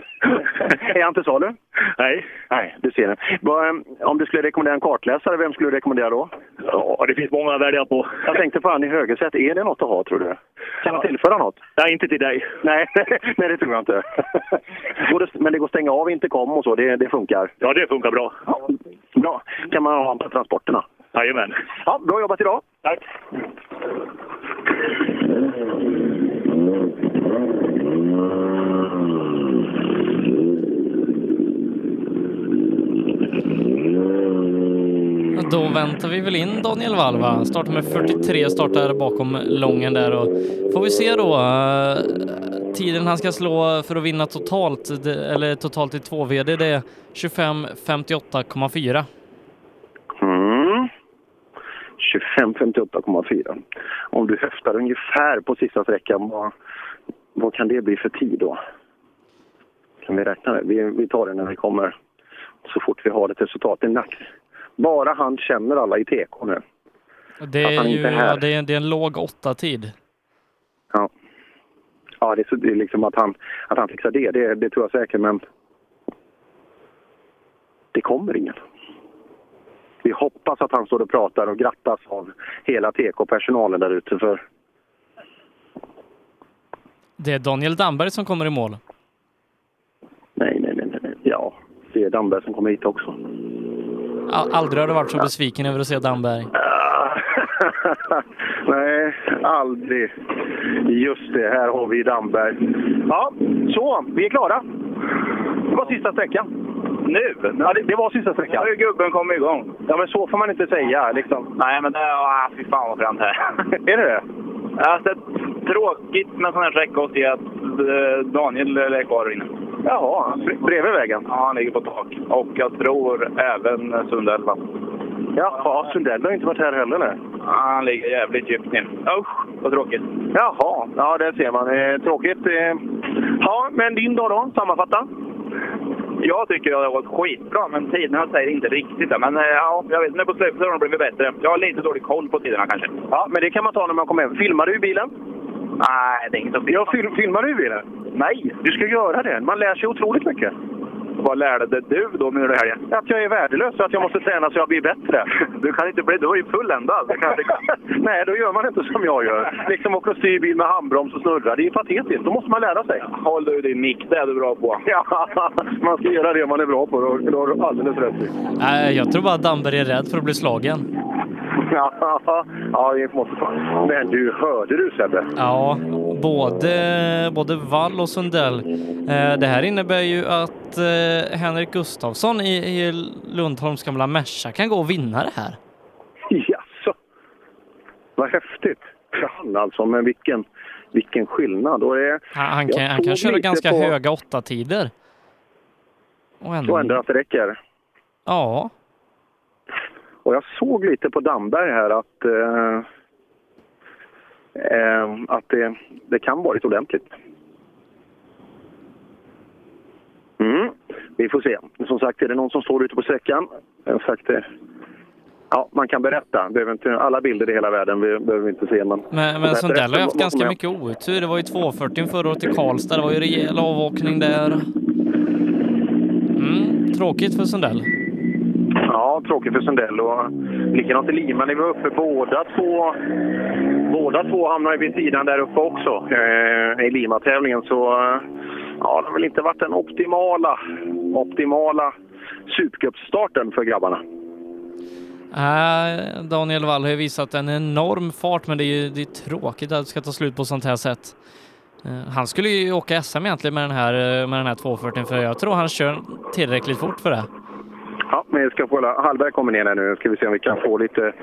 Speaker 21: är han till salu? Nej. Nej, du ser det. Vad, eh, Om du skulle rekommendera en kartläsare, vem skulle du rekommendera då? Ja, det finns många att välja på. Jag tänkte på han i högersätt. Är det något att ha tror du? Kan man tillföra något? Nej, inte till dig. Nej, *laughs* nej det tror jag inte. Går det- Men det går att stänga av intercom och så, det, det funkar?
Speaker 25: Ja, det funkar bra.
Speaker 21: Bra. Kan man ha på transporterna?
Speaker 25: Jajamän.
Speaker 21: Ja, bra jobbat idag.
Speaker 25: Tack.
Speaker 1: då väntar vi väl in Daniel Valva. Startnummer 43 startar bakom lången där och får vi se då eh, tiden han ska slå för att vinna totalt, det- eller totalt i 2VD, det är 25.58,4.
Speaker 21: Mm. 25.58,4. Om du höftar ungefär på sista sträckan, vad, vad kan det bli för tid då? Kan vi räkna det? Vi, vi tar det när vi kommer, så fort vi har ett resultat i nack. Bara han känner alla i TK nu.
Speaker 1: Det
Speaker 21: Att
Speaker 1: är
Speaker 21: han
Speaker 1: ju
Speaker 21: inte är här.
Speaker 1: ja, det är, det är en låg åtta tid.
Speaker 21: Ja. Ja, det är, så, det är liksom att han, att han fixar det, det, det tror jag säkert, men det kommer ingen. Vi hoppas att han står och pratar och grattas av hela TK-personalen där ute, för
Speaker 1: Det är Daniel Damberg som kommer i mål.
Speaker 21: nej, nej, nej, nej, nej. Ja, det är Damberg som kommer hit också.
Speaker 1: A- Aldrig har du varit så besviken över att se Damberg.
Speaker 21: *laughs* nej, aldrig. Just det, här har vi Damberg. Ja, så, vi är klara. Det var sista sträckan. Nu? Ja, det, det var sista sträckan. Nu har ju gubben kommit igång. Ja, men så får man inte säga. Liksom. Nej, men det... Ah, fy fan vad fränt här. *laughs* är det det?
Speaker 12: Alltså, tråkigt med sån här sträcka att se att eh, Daniel är kvar inne.
Speaker 21: Jaha, bredvid vägen?
Speaker 12: Ja, han ligger på tak. Och jag tror även Sundell va?
Speaker 21: Jaha, Sundell har inte varit här heller. Nej.
Speaker 12: Han ligger jävligt djupt ner. Usch, vad tråkigt.
Speaker 21: Jaha, ja det ser man. Eh, tråkigt. Eh. Ja, men din dag då? Sammanfatta.
Speaker 12: Jag tycker att det har gått skitbra, men tiderna säger inte riktigt det. Men eh, ja, jag vet, nu på slutet har de blivit bättre. Jag har lite dålig koll på tiderna kanske.
Speaker 21: Ja, men det kan man ta när man kommer hem. Filmar du i bilen?
Speaker 12: Nej, det är inget att
Speaker 21: Jag film, filmar du i bilen? Nej, du ska göra det. Man lär sig otroligt mycket.
Speaker 12: Vad lärde du då nu i helgen?
Speaker 21: Att jag är värdelös och att jag måste träna så jag blir bättre.
Speaker 12: Du kan inte bli... Du var ju fulländad. Det kan-
Speaker 21: *laughs* Nej, då gör man inte som jag gör. Liksom åker och styr bil med handbroms och snurrar. Det är ju patetiskt. Då måste man lära sig.
Speaker 12: Håll du din mick, det är du bra på.
Speaker 21: Ja, man ska göra det man är bra på. Då, då har du
Speaker 12: *laughs*
Speaker 21: alldeles rätt i.
Speaker 1: Nej, jag tror bara att Damberg är rädd för att bli slagen.
Speaker 21: Ja, ja, det måste fan. Men du, hörde du Sebbe?
Speaker 1: Ja, både, både Wall och Sundell. Eh, det här innebär ju att eh, Henrik Gustafsson i, i Lundholms gamla Merca kan gå och vinna det här.
Speaker 21: Jaså? Vad häftigt. Han alltså, men vilken, vilken skillnad. Och eh, det,
Speaker 1: Han, han kan,
Speaker 21: jag
Speaker 1: han kan
Speaker 21: såg
Speaker 1: köra
Speaker 21: lite
Speaker 1: ganska
Speaker 21: på-
Speaker 1: höga åtta tider. Och ändå.
Speaker 21: Och ändå att det räcker.
Speaker 1: Ja.
Speaker 21: Och jag såg lite på Damberg här att, eh, eh, att det, det kan varit ordentligt. Mm, vi får se. Som sagt, är det någon som står ute på sträckan? Jag har sagt det. Ja, man kan berätta. Behöver inte, alla bilder i hela världen vi- behöver vi inte se. Men,
Speaker 1: Men, men Sundell har ju haft
Speaker 21: Vad som
Speaker 1: ganska
Speaker 21: hänt.
Speaker 1: mycket otur. Det var ju 2.40 förra året i Karlstad. Det var ju rejäl avåkning där. Mm, tråkigt för Sundell.
Speaker 21: Ja, tråkigt för Sundell. Och likadant i Lima när vi var uppe. Båda två, båda två hamnade vid sidan där uppe också eh, i Lima-tävlingen. Så eh, ja, det har väl inte varit den optimala, optimala supercupstarten för grabbarna.
Speaker 1: Nej, Äh, Daniel Wall har ju visat en enorm fart, men det är ju det är tråkigt att det ska ta slut på sånt här sätt. Eh, Han skulle ju åka SM egentligen med den här, eh, med den här 240 för jag tror han kör tillräckligt fort för det.
Speaker 21: Ja, men jag ska få, Hallberg kommer ner här nu. Ska vi se om vi kan få lite,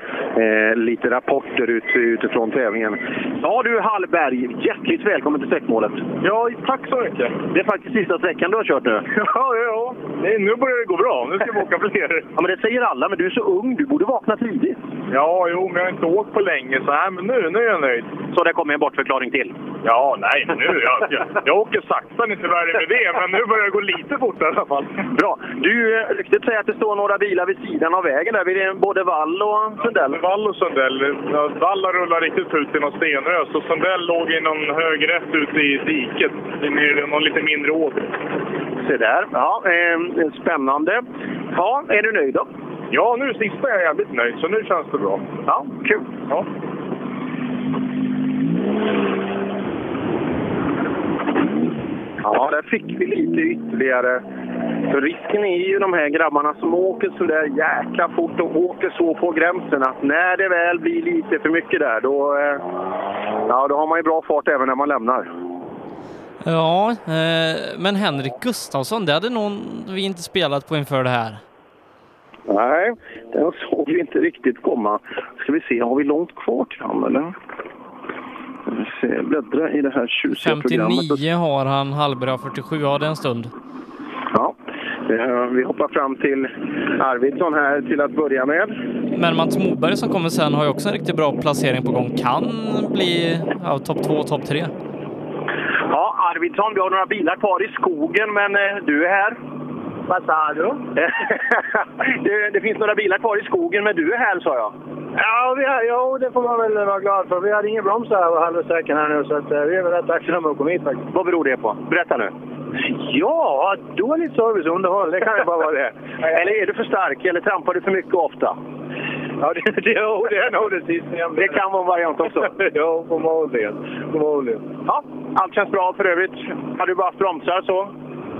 Speaker 21: eh, lite rapporter ut, utifrån tävlingen. Ja du Hallberg, hjärtligt välkommen till sträckmålet. Ja, tack så mycket. Det är faktiskt sista sträckan du har kört nu. Ja, ja. Nu börjar det gå bra. Nu ska vi åka fler. Ja, men det säger alla, men du är så ung. Du borde vakna tidigt.
Speaker 12: Ja, jo, men jag har inte åkt på länge så här, men nu, nu är jag nöjd.
Speaker 21: Så det kommer en bortförklaring till?
Speaker 12: Ja, nej, nu. Jag, jag, jag åker sakta, inte värre med det, men nu börjar det gå lite fortare i alla fall.
Speaker 21: Bra. Du, eh, ryktet säger att det står några bilar vid sidan av vägen där. Vid det både Wall och Sundell.
Speaker 12: Wall och Sundell. Ja, Valla rullade riktigt ut i någon stenrös och Sundell låg i någon högrätt ute i diket. Det är någon lite mindre åt.
Speaker 21: Se där. Ja, eh, spännande. Ja, är du nöjd då?
Speaker 12: Ja, nu sista är jag jävligt nöjd, så nu känns det bra.
Speaker 21: Ja, kul.
Speaker 12: Ja.
Speaker 21: Ja, där fick vi lite ytterligare. För risken är ju de här grabbarna som åker så där jäkla fort och åker så på gränsen att när det väl blir lite för mycket där, då, eh, ja, då har man ju bra fart även när man lämnar.
Speaker 1: Ja, eh, men Henrik Gustafsson, det hade någon vi inte spelat på inför det här.
Speaker 21: Nej, den såg vi inte riktigt komma. Ska vi se, har vi långt kvar till han eller? Ska vi se, bläddra i det här tjusiga programmet.
Speaker 1: 59 har han, Hallberg har 47. Ja, det är en stund.
Speaker 21: Ja, eh, vi hoppar fram till Arvidsson här till att börja med.
Speaker 1: Men Mats Moberg som kommer sen har ju också en riktigt bra placering på gång. Kan bli ja, topp två, topp tre.
Speaker 21: Ja, Arvidsson, vi har några bilar kvar i skogen, men eh, du är här. Vad sa du? *laughs* det, det finns några bilar kvar i skogen, men du är här, sa jag.
Speaker 13: Ja, vi har, jo, det får man väl vara glad för. Vi hade ingen broms här och halva sträckan här nu, så att, eh, vi är väl rätt tacksamma att komma hit faktiskt.
Speaker 21: Vad beror det på? Berätta nu.
Speaker 13: Ja, dåligt service och underhåll, det kan ju bara vara det.
Speaker 21: *laughs* Eller är du för stark, eller trampar du för mycket ofta?
Speaker 13: Ja, det, det, jo, det är nog det sistnämnda.
Speaker 21: Det kan vara en variant *laughs* också.
Speaker 13: jo, förmodligen. Förmodligen.
Speaker 21: Ja, allt känns bra för övrigt. Har du bara haft bromsar så?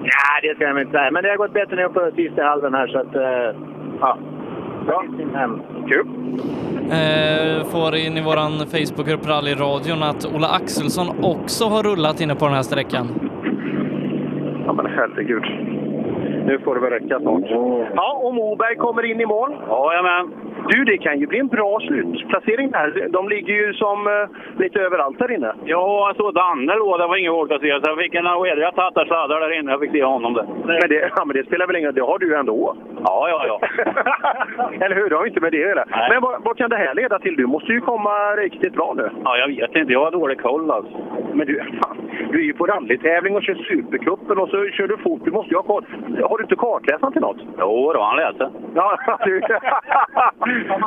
Speaker 13: Ja, det ska jag inte säga, men det har gått bättre nu på sista halvan här, så att... eh, ja. Ja.
Speaker 21: Kul.
Speaker 1: Eh, får in i våran Facebookgrupp Rallyradion att Ola Axelsson också har rullat inne på den här sträckan.
Speaker 21: Ja, men herregud. Nu får det väl räcka snart. Ja, och Moberg kommer in i mål. Jajamän. Du, det kan ju bli en bra slutplacering där. De ligger ju som eh, lite överallt där inne.
Speaker 11: Ja, jag såg Danne då. Det var ingen våg att se. Så jag fick en oerhört tatta sladdar där inne. Jag fick se honom där.
Speaker 21: Men det, *laughs* ja, men det spelar väl ingen roll, det har du ju ändå.
Speaker 11: Ja, ja, ja.
Speaker 21: Eller hur? Det har ju inte med det att göra.
Speaker 11: Nej.
Speaker 21: Men vad, vad kan det här leda till? Du måste ju komma riktigt bra nu.
Speaker 11: Ja, jag vet inte. Jag har dålig koll alltså.
Speaker 21: Men du, fan, du är ju på rallytävling och kör Supercupen och så kör du fort. Du måste ju ha koll. Har du inte kartläsaren till något?
Speaker 11: Jo då, han läser.
Speaker 21: Ja, du.
Speaker 11: Men...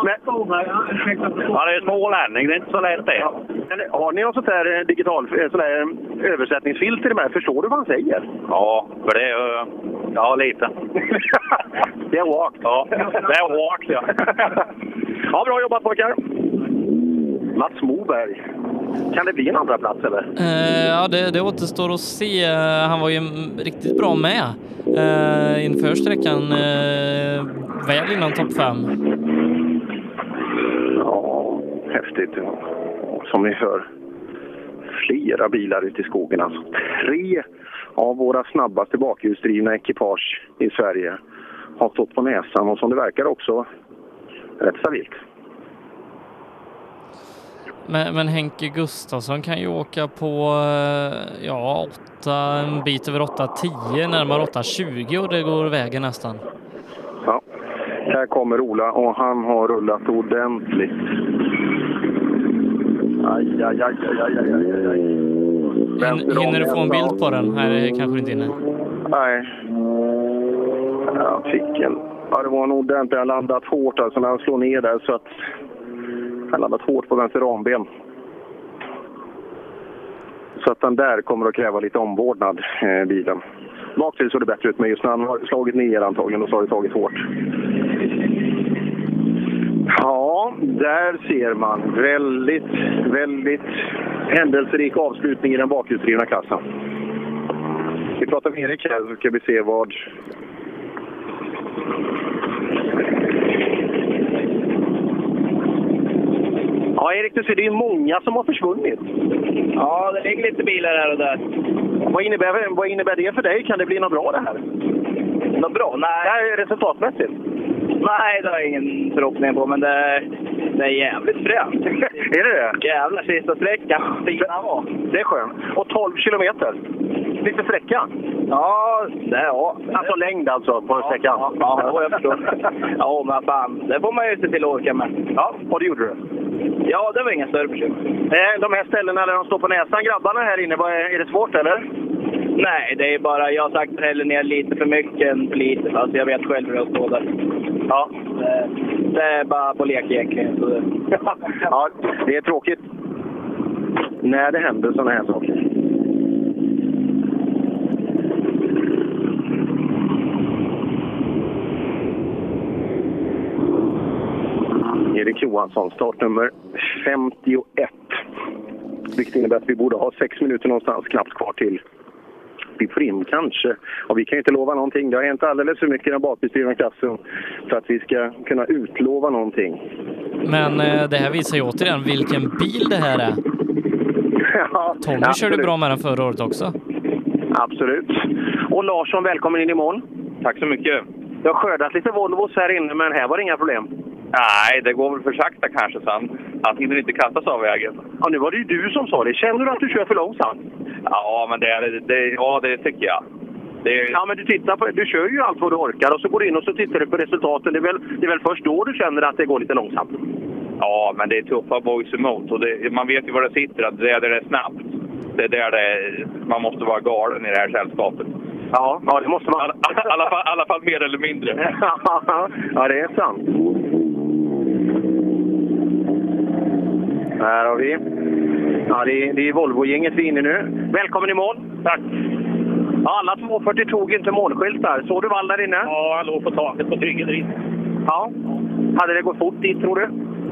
Speaker 11: Han är smålänning. Det är inte så lätt det.
Speaker 21: Men har ni något sånt där eh, digital, eh, sån där eh, översättningsfilter med? Förstår du vad han säger?
Speaker 11: Ja, för det är... eh, Ja, lite.
Speaker 21: *laughs* det är walk.
Speaker 11: Ja, det är walk, ja.
Speaker 21: *laughs* Ja, bra jobbat pojkar! Mats Moberg. Kan det bli en andra plats eller?
Speaker 1: Eh, ja, det, det återstår att se. Eh, Han var ju mm, riktigt bra med eh, inför sträckan. Eh, väl innan topp fem.
Speaker 21: Ja, häftigt. Och Som ni hör, flera bilar ute i skogen. Alltså tre av våra snabbaste bakhjulsdrivna ekipage i Sverige har stått på näsan och som det verkar också rätt stabilt.
Speaker 1: Men, men Henke Gustafsson kan ju åka på eh, ja, åtta, en bit över 8.10, närmare 8.20 och det går vägen nästan.
Speaker 21: Ja. Här kommer Ola och han har rullat ordentligt. Aj, aj, aj, aj, aj, aj, aj, aj.
Speaker 1: Hin, hinner du få en bild på den? Nej, det kanske du inte hinner.
Speaker 21: Nej. Jag fick en... Ja, det var en ordentlig... Han landat hårt alltså när han slår ner där så att... Han landat hårt på vänster ramben. Så att den där kommer att kräva lite omvårdnad, eh, bilen. Baktill såg det bättre ut, men just när han har slagit ner antagligen, då så har det tagit hårt. Ja, där ser man. Väldigt, väldigt händelserik avslutning i den bakhjulsdrivna klassen. Vi pratar med Erik här så Alltså, ska vi se vad... Ja, Erik, du ser, det är ju många som har försvunnit.
Speaker 7: Ja, det ligger lite bilar här och där.
Speaker 21: Vad innebär, vad innebär det för dig? Kan det bli något bra det här?
Speaker 7: Något bra? Nej.
Speaker 21: Nej, resultatmässigt?
Speaker 7: Nej, det har jag ingen förhoppning på, men det, det är jävligt fränt. *laughs*
Speaker 21: är det det?
Speaker 7: Jävlar, sista sträckan. Fin han var.
Speaker 21: Det är skönt. Och 12 kilometer. Lite sträcka.
Speaker 7: Ja, det ja.
Speaker 21: Alltså längd alltså på sträckan.
Speaker 7: Ja, ja, jag förstår.
Speaker 4: *laughs*
Speaker 7: Ja, men fan. Det får man ju se till att orka med.
Speaker 21: Ja, och det gjorde du?
Speaker 7: Ja, det var inga större bekymmer.
Speaker 21: Eh, De här ställena där de står på näsan, grabbarna här inne, vad är är det svårt eller?
Speaker 7: Nej, det är bara jag saktar hellre ner lite för mycket än för lite. Alltså jag vet själv hur jag står där.
Speaker 21: Ja.
Speaker 7: Det, det är bara på lek egentligen. Så det,
Speaker 21: *laughs* ja, det är tråkigt. När det händer sådana här saker. Erik Johansson, startnummer 51. Vilket innebär att vi borde ha sex minuter någonstans knappt kvar till vi får in kanske. Och vi kan ju inte lova någonting. Det har hänt alldeles för mycket i den bakbeskrivna klassen för att vi ska kunna utlova någonting. *laughs*
Speaker 1: Men eh, det här visar ju återigen vilken bil det här är. Tommy körde
Speaker 21: absolut.
Speaker 1: bra med den förra året också.
Speaker 21: Absolut. Och Larsson, välkommen in i mål.
Speaker 29: Tack så mycket.
Speaker 21: Jag har skördat lite Volvos här inne, men här var det inga problem.
Speaker 11: Nej, det går väl för sakta kanske, så han, han hinner inte kastas av vägen.
Speaker 21: Ja, nu var det ju du som sa det. Känner du att du kör för långsamt?
Speaker 11: Ja, men det, är- det, ja, det tycker jag. Det,
Speaker 21: Ja, men du, tittar på, du kör ju allt vad du orkar och så går du in och så tittar du på resultaten. Det är väl, det är väl först då du känner att det går lite långsamt?
Speaker 11: ja, men det är tuffa boys emot och det, man vet ju var det sitter, att det är där det är snabbt. Det är där det, man måste vara galen i det här sällskapet.
Speaker 21: Ja, ja det måste man.
Speaker 11: I alla, alla, fall- alla fall mer eller mindre.
Speaker 21: ja, det är sant. Här har vi. Ja, det, är- det är Volvo-gänget vi är inne i nu. Välkommen i mål. Tack. Ja, alla 240 tog inte målskyltar. Såg du Wall där inne?
Speaker 30: Ja, han låg på taket på Tryggedrit.
Speaker 21: Ja. Hade det gått fort dit, tror du?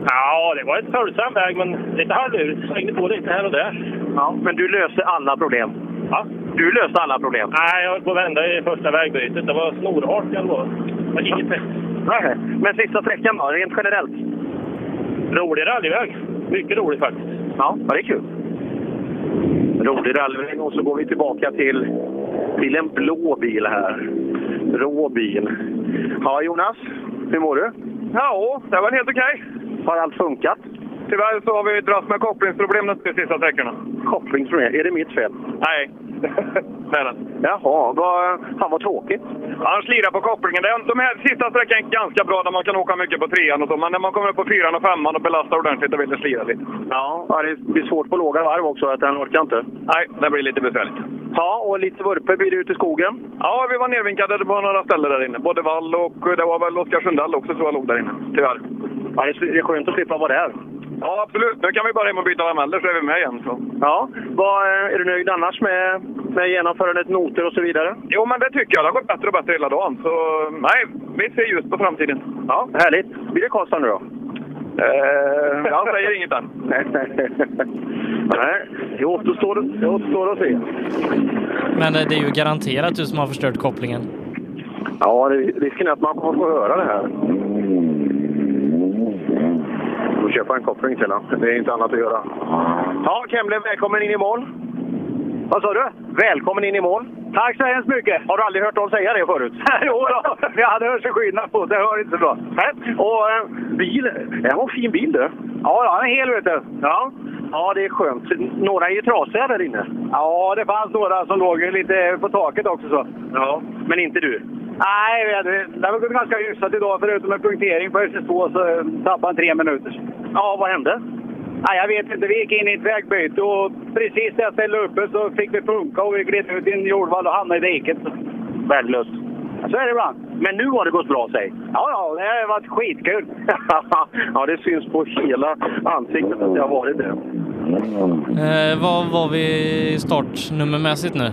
Speaker 30: Ja, det var en följsam väg, men lite halvlurigt. Svängde på lite här och där.
Speaker 21: Ja, men du löste alla problem.
Speaker 30: Ja.
Speaker 21: Du löste alla problem.
Speaker 30: Nej, jag höll på att vända i första vägbytet. Det var snorhalt i alla fall. Det var inget bättre.
Speaker 21: Nej, men sista sträckan då, rent generellt?
Speaker 30: Rolig rallyväg. Mycket rolig faktiskt.
Speaker 21: Ja, ja det är kul. Rolig rallyväg och så går vi tillbaka till, till en blå bil här. Rå bil. Ja, Jonas, hur mår du?
Speaker 13: Ja, det var helt okej.
Speaker 21: Har allt funkat?
Speaker 13: Tyvärr så har vi dragit med kopplingsproblem de sista sträckorna.
Speaker 21: Kopplingsproblem, är det mitt fel?
Speaker 13: Nej, *laughs* det är det
Speaker 21: Jaha, vad, han var tråkigt.
Speaker 13: Han slirar på kopplingen. Den- De här sista sträckorna är ganska bra där man kan åka mycket på trean och så, men när man kommer upp på fyran och femman och belastar ordentligt, då vill det slira lite.
Speaker 21: Ja, ja, det blir svårt på låga varv också, att han orkar inte.
Speaker 13: Nej, det blir lite besvärligt.
Speaker 21: Ja, och lite vurpor blir det ute i skogen.
Speaker 13: Ja, vi var nervinkade på några ställen där inne. Både Wall och eh, det var väl Oskar Sundell också tror jag låg där inne. Tyvärr.
Speaker 21: Ja, det är skönt att slippa vara där.
Speaker 13: Ja, absolut. Nu kan vi bara hem och byta lameller så är vi med igen. Så.
Speaker 21: Ja, vad, eh, är du nöjd annars med, med genomförandet, noter och så vidare?
Speaker 13: Jo, men det tycker jag. Det har gått bättre och bättre hela dagen. Så nej, vi ser ljus på framtiden.
Speaker 21: Ja, härligt. Blir det Karlstad nu då?
Speaker 13: Eh, jag säger inget än.
Speaker 21: Nej, *laughs* Nej, det återstår, det återstår att se.
Speaker 1: Men eh, det är ju garanterat du som har förstört kopplingen.
Speaker 21: Ja, det- risken är att man kommer få höra det här. Får köpa en koppling till han. Det är inte annat att göra. Ja, Kemble, välkommen in i mål. Vad sa du? Välkommen in i mål. Tack så hemskt mycket. Har du aldrig hört någon säga
Speaker 31: *laughs*
Speaker 21: det förut? jo då, vi hade hört sig skillnad på. Det hör inte så bra. Och eh, bil. Det var en fin bil du. Ja, den är hel vet du. Ja. ja, det är skönt. Några är ju trasiga där inne. Ja, det fanns några som låg lite på taket också. Så. Ja, men inte du.
Speaker 31: Nej, vi hade- det har gått ganska hyfsat idag. Förutom en punktering på SS2 så eh, tappade han tre minuter.
Speaker 21: Ja, vad hände?
Speaker 31: Nej, jag vet inte. Vi gick in i ett vägbyte och precis när jag ställde uppe så fick vi punka och vi gled ut i en jordvall och hamnade i diket.
Speaker 21: Värdelöst.
Speaker 31: Så är det ibland.
Speaker 21: Men nu har det gått bra, säg.
Speaker 31: Ja, ja, det har varit skitkul.
Speaker 21: *laughs* ja, det syns på hela ansiktet att det har varit det.
Speaker 1: Eh, vad var vi startnummermässigt nu?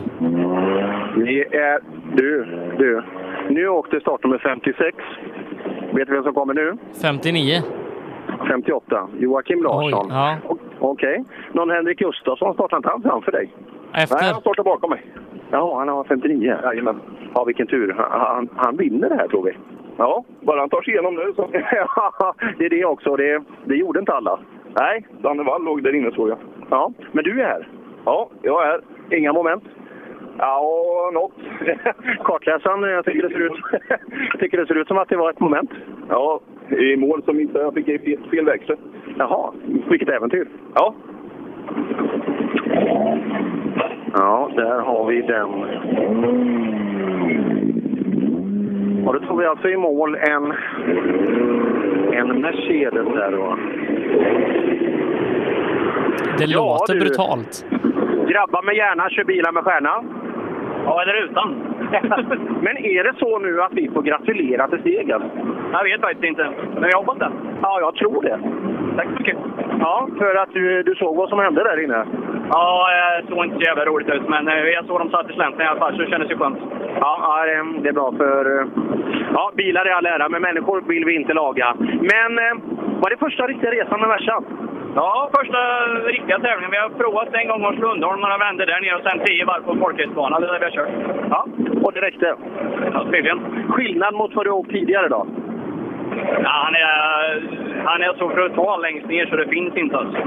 Speaker 21: Vi är... Du, du. Nu åkte startnummer 56. Vet du vem som kommer nu?
Speaker 1: 59.
Speaker 21: 58. Joakim Larsson.
Speaker 1: ja.
Speaker 21: O- Okej. Någon Henrik Gustafsson startar inte han framför dig?
Speaker 1: Efter.
Speaker 21: Nej, han startar bakom mig. Ja, han har 59. Jajamän. Ja, vilken tur. Han, han, han vinner det här tror vi. Ja, bara han tar sig igenom nu så. *laughs* det är det också. Det, det gjorde inte alla. Nej. Danne Wall låg där inne såg jag. Ja, men du är här. Ja, jag är här. Inga moment? Ja, något. *laughs* Kartläsaren, jag tycker det ser ut, *laughs* jag tycker det ser ut som att det var ett moment.
Speaker 32: Ja, i mål som inte jag fick i fel- fel växel.
Speaker 21: Jaha, vilket äventyr. Ja. Ja, där har vi den. Och då tog vi alltså i mål en, en Mercedes där då.
Speaker 1: Det
Speaker 21: Ja,
Speaker 1: låter
Speaker 21: du.
Speaker 1: brutalt.
Speaker 21: Grabbar med hjärna kör bilar med stjärna. Ja, eller utan.
Speaker 13: *laughs*
Speaker 21: Men är det så nu att vi får gratulera till alltså? segern? Jag vet faktiskt inte. Men jag hoppas det. Ja, jag tror det. Tack så mycket. Ja, för att du, du såg vad som hände där inne.
Speaker 33: Ja, det såg inte så jävla roligt ut, men eh, jag såg dem satt i slänten i alla fall, så det kändes ju skönt.
Speaker 21: Ja, ja, det- det är bra för... eh, Ja, bilar är all ära, men människor vill vi inte laga. Men eh, var det första riktiga resan med Mercan?
Speaker 33: Ja, första riktiga tävlingen. Vi har provat en gång hos Lundholm, några vändor där nere och sen tio varv på folkracebanan. Det är där vi har kört.
Speaker 21: Ja, och det räckte?
Speaker 33: Ja, tydligen.
Speaker 21: Skillnad mot vad du åkt tidigare då?
Speaker 33: Ja, han, är, han är så brutal längst ner så det finns inte alltså.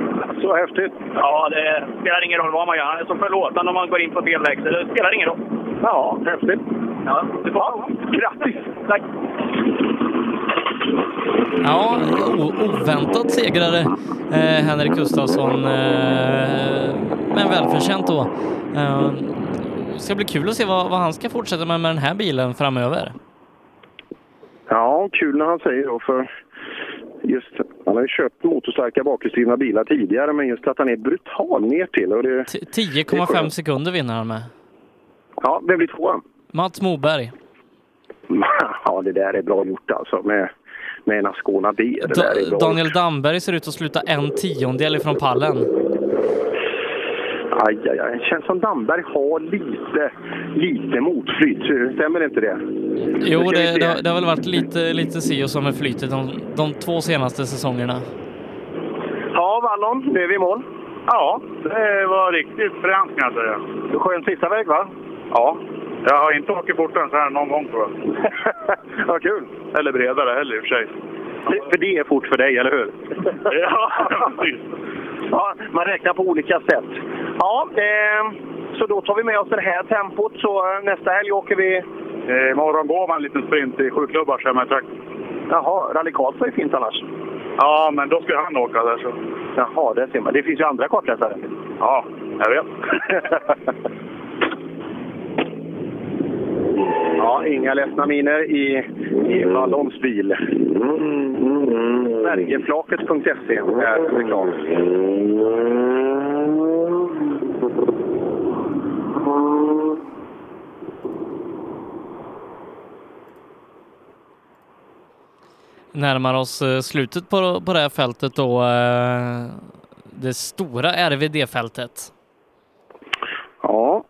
Speaker 21: Så häftigt!
Speaker 33: Ja, det spelar ingen roll vad man gör. Han är så förlåtande om man går in på fel växel. Det spelar ingen roll.
Speaker 21: Ja, häftigt.
Speaker 33: Ja, det får
Speaker 21: Grattis! Tack!
Speaker 1: Ja, o- oväntat segrare eh, Henrik Gustafsson, eh, men välförtjänt då. Eh, det ska bli kul att se vad, vad han ska fortsätta med med den här bilen framöver.
Speaker 21: Ja, kul när han säger då, för just, han har ju köpt motorstarka bakhjulsdrivna bilar tidigare, men just att han är brutal ner till. Och det,
Speaker 1: 10,5 sekunder vinner han med.
Speaker 21: ja, vem blir tvåa?
Speaker 1: Mats Moberg.
Speaker 21: *laughs* Ja, det där är bra gjort alltså med, med en Ascona D. Det där
Speaker 1: Da-
Speaker 21: är bra.
Speaker 1: Daniel Damberg ser ut att sluta en tiondel ifrån pallen.
Speaker 21: Aj, aj, aj. Känns som Damberg har lite, lite motflyt. Stämmer inte det?
Speaker 1: Jo,
Speaker 21: Nu ska vi
Speaker 1: det,
Speaker 21: se.
Speaker 1: det, har- det har väl varit lite, lite si och så med flytet de, de två senaste säsongerna.
Speaker 21: Ja, Wallon, nu är vi i mål.
Speaker 12: Ja, det var riktigt fränt kan jag säga.
Speaker 21: Skön sista väg, va?
Speaker 12: Ja. Jag har inte åkt fortare än så här någon gång tror jag.
Speaker 21: *laughs* Vad kul!
Speaker 12: Eller bredare heller i och för sig.
Speaker 21: För det är fort för dig, eller hur?
Speaker 12: *laughs* ja, precis.
Speaker 21: Ja, man räknar på olika sätt. Ja, eh, så då tar vi med oss det här tempot. Så eh, nästa helg åker vi...
Speaker 12: Eh, Imorgon går man en liten sprint i sju klubbar så hemma i trakten.
Speaker 21: Jaha, Rally Karlstad är fint annars.
Speaker 12: Ja, men då ska han åka där så.
Speaker 21: Jaha, det ser man. Det finns ju andra kartläsare.
Speaker 12: Ja, jag
Speaker 21: *laughs*
Speaker 12: vet.
Speaker 21: Ja, inga ledsna miner i, i Wallons bil. Mm, Sverigeflaket.se E, är reklam.
Speaker 1: Närmar oss eh, slutet på, på det här fältet då. eh, Det stora RVD-fältet.
Speaker 21: Ja,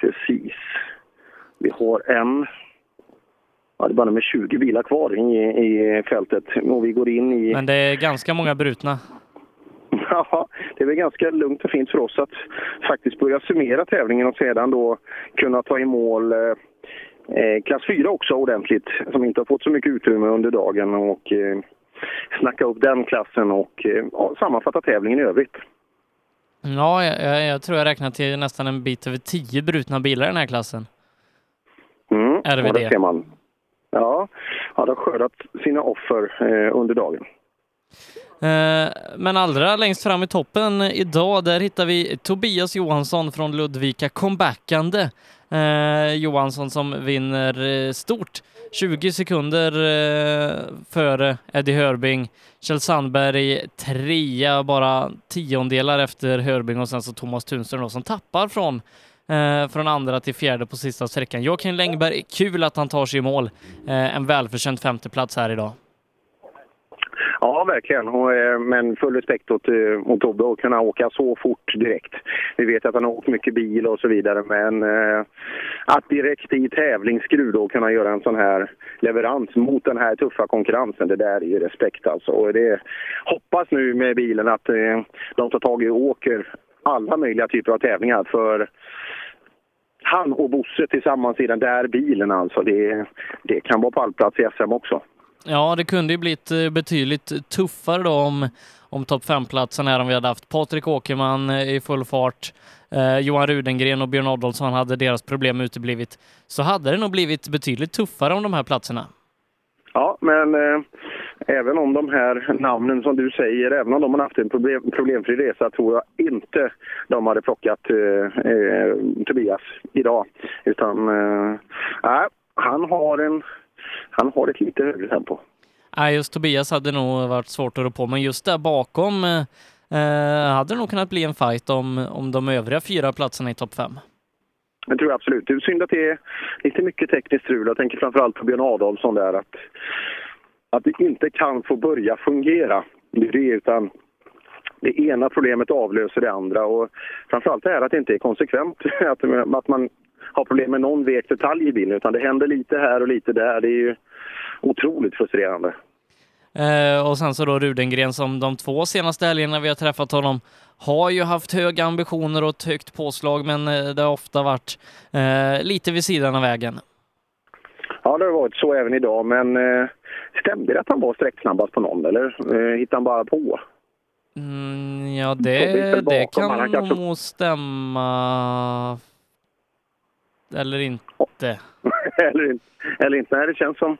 Speaker 21: precis. Vi har en... Ja, det är bara med 20 bilar kvar i, i fältet. Och vi går in i...
Speaker 1: Men det är ganska många brutna.
Speaker 21: *laughs* Ja, det är väl ganska lugnt och fint för oss att faktiskt börja summera tävlingen och sedan då kunna ta i mål eh, eh, klass 4 också ordentligt, som inte har fått så mycket utrymme under dagen och eh, snacka upp den klassen och eh, ja, sammanfatta tävlingen i övrigt.
Speaker 1: Ja, jag, jag, jag tror jag räknar till nästan en bit över tio brutna bilar i den här klassen.
Speaker 21: Mm, Ja,
Speaker 1: RVD.
Speaker 21: där ser man. Ja, ja, de har skördat sina offer eh, under dagen.
Speaker 1: Eh, Men allra längst fram i toppen idag, där hittar vi Tobias Johansson från Ludvika comebackande. Eh, Johansson som vinner eh, stort, 20 sekunder eh, före Eddie Hörbing. Kjell Sandberg trea, bara tiondelar efter Hörbing och sen så Thomas Tunström då, som tappar från eh, från andra till fjärde på sista sträckan. Joakim Längberg, kul att han tar sig i mål. Eh, en välförtjänt femteplats här idag.
Speaker 21: Ja, verkligen. Och, eh, men full respekt åt, eh, åt Tobbe att kunna åka så fort direkt. Vi vet att han har åkt mycket bil och så vidare, men eh, att direkt i tävlingsskruv då kunna göra en sån här leverans mot den här tuffa konkurrensen, det där är ju respekt alltså. Och det hoppas nu med bilen att eh, de tar tag i och åker alla möjliga typer av tävlingar. För han och Bosse tillsammans i den där bilen alltså, det, det kan vara pallplats i SM också.
Speaker 1: Ja, det kunde ju blivit eh, betydligt tuffare då om, om topp 5-platsen här om vi hade haft Patrik Åkerman eh, i full fart, eh, Johan Rudengren och Björn Adolfsson hade deras problem uteblivit, så hade det nog blivit betydligt tuffare om de här platserna.
Speaker 21: Ja, men eh, även om de här namnen som du säger, även om de har haft en problem, problemfri resa tror jag inte de hade plockat eh, eh, Tobias idag. Utan eh, nej, han, har en, han har ett lite högre tempo.
Speaker 1: Nej, just Tobias hade nog varit svårt att rå på, men just där bakom eh, eh, hade det nog kunnat bli en fight om, om de övriga fyra platserna i topp 5.
Speaker 21: Det tror jag absolut. Det är synd att det är lite mycket tekniskt strul. Jag tänker framförallt på Björn Adolfsson där. Att, att det inte kan få börja fungera. Det är det, utan det ena problemet avlöser det andra. Och framförallt det här att det inte är konsekvent. *laughs* Att, att man har problem med någon vek detalj i bilen. Utan det händer lite här och lite där. Det är ju otroligt frustrerande.
Speaker 1: Eh, och sen så då Rudengren som de två senaste helgerna vi har träffat honom har ju haft höga ambitioner och ett högt påslag, men eh, det har ofta varit eh, lite vid sidan av vägen.
Speaker 21: Ja, det har varit så även idag. Men eh, stämde det att han var sträcksnabbast på någon? Eller eh, hittade han bara på? *laughs*
Speaker 1: Mm, ja,
Speaker 21: Så det är
Speaker 1: det, det
Speaker 21: väl bakom,
Speaker 1: kan
Speaker 21: han kanske-
Speaker 1: nog stämma. Eller inte.
Speaker 21: eller, inte- eller inte. Nej, det känns som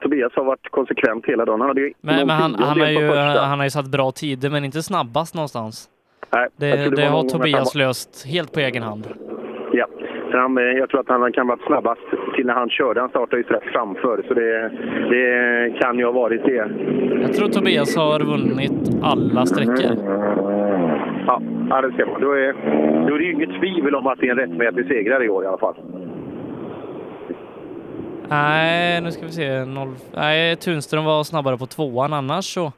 Speaker 21: Tobias har varit konsekvent hela dagen. Han hade ju
Speaker 1: Men,
Speaker 21: någon
Speaker 1: men han,
Speaker 21: tiondel
Speaker 1: han, har
Speaker 21: på
Speaker 1: ju,
Speaker 21: första.
Speaker 1: han har ju satt bra tider, men inte snabbast någonstans.
Speaker 21: Nej, jag
Speaker 1: Det, det
Speaker 21: tror var
Speaker 1: har
Speaker 21: någon gång att han
Speaker 1: Tobias
Speaker 21: var-
Speaker 1: löst helt på egen hand.
Speaker 21: Ja, så han, eh, jag tror att han kan vara snabbast till när han körde. Han startade ju strax framför, så det, det kan ju ha varit det.
Speaker 1: Jag tror Tobias har vunnit alla sträckor.
Speaker 21: Ja, ja det ser man. Då är, då är det ju inget tvivel om att det är en rättmätig segrare i år i alla fall.
Speaker 1: Nej, nu ska vi se. Noll... Nej, Tunström var snabbare på tvåan annars så.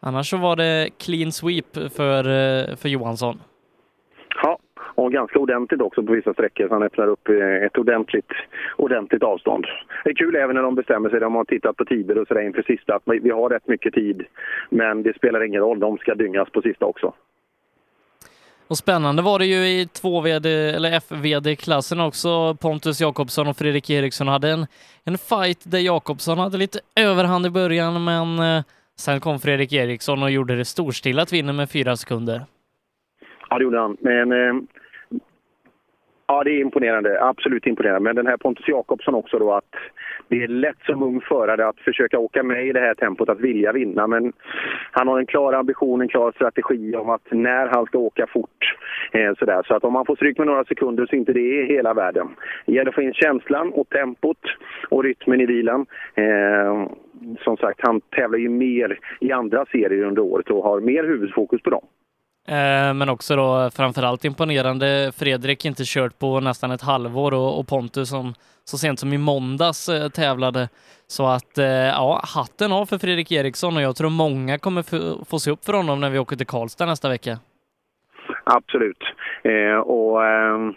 Speaker 1: Annars så var det clean sweep för, eh, för Johansson.
Speaker 21: Ja, och ganska ordentligt också på vissa sträckor. Så han öppnar upp eh, ett ordentligt, ordentligt avstånd. Det är kul även när de bestämmer sig. De har tittat på tider och sådär inför sista. Att vi vi har rätt mycket tid, men det spelar ingen roll. De ska dyngas på sista också.
Speaker 1: Och spännande var det ju i 2VD eller FVD-klassen också. Pontus Jakobsson och Fredrik Eriksson hade en, en fight där Jakobsson hade lite överhand i början, men eh, sen kom Fredrik Eriksson och gjorde det storstilat vinner med fyra sekunder.
Speaker 21: Ja, det gjorde han. Men, eh, ja, det är imponerande. Absolut imponerande. Men den här Pontus Jakobsson också då att det är lätt som ung förare att försöka åka med i det här tempot, att vilja vinna. Men han har en klar ambition, en klar strategi om att när han ska åka fort. Eh, sådär. Så att om han får stryk med några sekunder så inte det är hela världen. Det gäller att få in känslan och tempot och rytmen i bilen. Eh, som sagt, han tävlar ju mer i andra serier under året och har mer huvudfokus på dem.
Speaker 1: Eh, Men också då framförallt imponerande Fredrik inte kört på nästan ett halvår och, och Pontus som så sent som i måndags eh, tävlade. Så att eh, ja, hatten av för Fredrik Eriksson och jag tror många kommer få- få se upp för honom när vi åker till Karlstad nästa vecka.
Speaker 21: Absolut. Eh, och, ehm,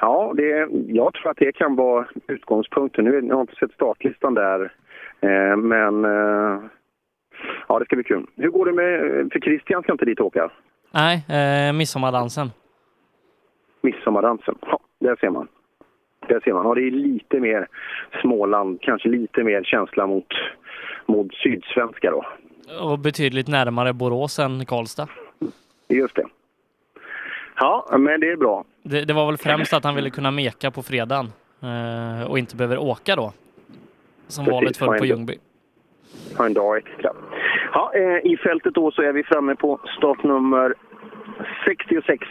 Speaker 21: ja, det, jag tror att det kan vara utgångspunkten. Nu är- jag har inte sett startlistan där, eh, men eh, ja, det ska bli kul. Hur går det med... För Christian ska inte dit åka?
Speaker 1: Nej, eh, midsommardansen.
Speaker 21: Midsommardansen. Ja, där ser man. Där ser man. Ja, det är lite mer Småland, kanske lite mer känsla mot, mot sydsvenska då.
Speaker 1: Och betydligt närmare Borås än Karlstad.
Speaker 21: Just det. Ja, men det är bra.
Speaker 1: Det, det var väl främst att han ville kunna meka på fredagen eh, och inte behöver åka då. Som
Speaker 21: Precis,
Speaker 1: valet föll
Speaker 21: poäng.
Speaker 1: på Ljungby.
Speaker 21: ha en dag extra. Ja, eh, I fältet då så är vi framme på startnummer 66.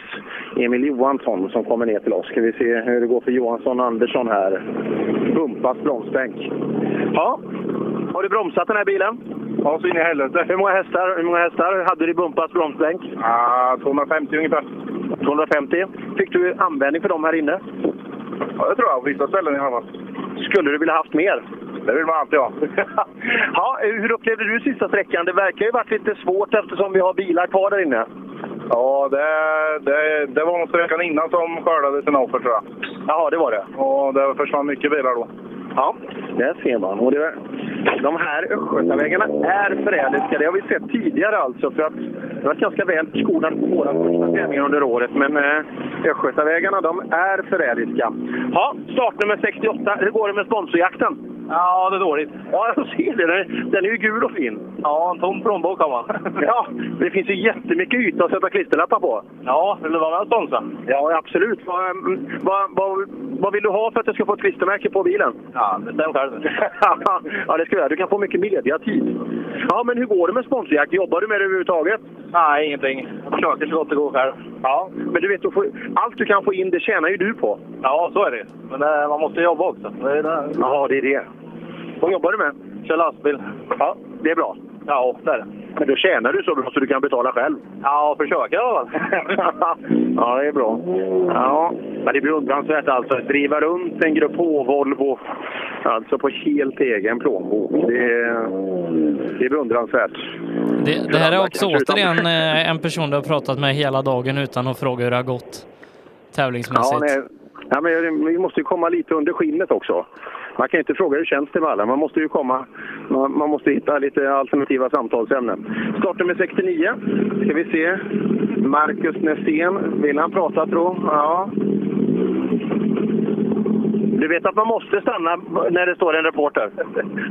Speaker 21: Emil Johansson som kommer ner till oss. Ska vi se hur det går för Johansson Andersson här. Pumpas bromsbänk. Ja, har du bromsat den här bilen?
Speaker 13: Ja, så in i helvete.
Speaker 21: Hur många hästar, hur många hästar hade du i Bumpas bromsbänk?
Speaker 13: Ah, 250 ungefär.
Speaker 21: 250. Fick du användning för dem här inne?
Speaker 13: Ja, det tror jag. På vissa ställen i alla fall.
Speaker 21: Skulle du vilja haft mer? *laughs*
Speaker 13: Det vill man alltid ha.
Speaker 21: ja, hur upplevde du sista sträckan? Det verkar ju varit lite svårt eftersom vi har bilar kvar där inne.
Speaker 13: Ja, det, det, det var nog sträckan innan som skördade sina offer, tror jag.
Speaker 21: Jaha, det var det?
Speaker 13: Och det försvann mycket bilar då.
Speaker 21: Ja, där ser man. Och det, de här östgötavägarna är förrädiska. Det har vi sett tidigare alltså. För att det var ganska väl skonat på våra första tävlingar under året. Men eh, östgötavägarna, de är förrädiska. Ja, startnummer 68. Hur går det med sponsorjakten? Ja, det är dåligt. Ja, jag ser det. Den- Den är ju gul och fin. Ja, en tom plånbok har man. *laughs* ja, det finns ju jättemycket yta att sätta klisterlappar på. Ja, vill du vara med och sponsra? Ja, absolut. Vad, mm, vad, vad, vad vill du ha för att du ska få ett klistermärke på bilen? Ja, bestäm själv. *laughs* ja, det ska jag. Du kan få mycket mediatid. Ja, men hur går det med sponsorjakt? Jobbar du med det överhuvudtaget? Nej, ingenting. Jag försöker så gott det går själv. Ja, men du vet, du får, allt du kan få in, det tjänar ju du på. Ja, så är det Men eh, man måste jobba också. Ja, det är det. Vad jobbar du med? Kör lastbil. Ja, det är bra. Ja, det är det. Men då tjänar du så bra så du kan betala själv. Ja, försöker jag *laughs* Ja, det är bra. Ja, men det är beundransvärt alltså. Att driva runt en grupp H-Volvo, alltså på helt egen plånbok. Det är, det är beundransvärt.
Speaker 1: Det, det här är också återigen eh, en person du har pratat med hela dagen utan att fråga hur det har gått
Speaker 21: Ja,
Speaker 1: tävlingsmässigt.
Speaker 21: nej. Ja, men vi måste ju komma lite under skinnet också. Man kan ju inte fråga hur känns det med alla. Man måste ju komma, man, man måste hitta lite alternativa samtalsämnen. Startnummer 69. Ska vi se. Marcus Nässén. Vill han prata tro? Ja. Du vet att man måste stanna när det står en reporter?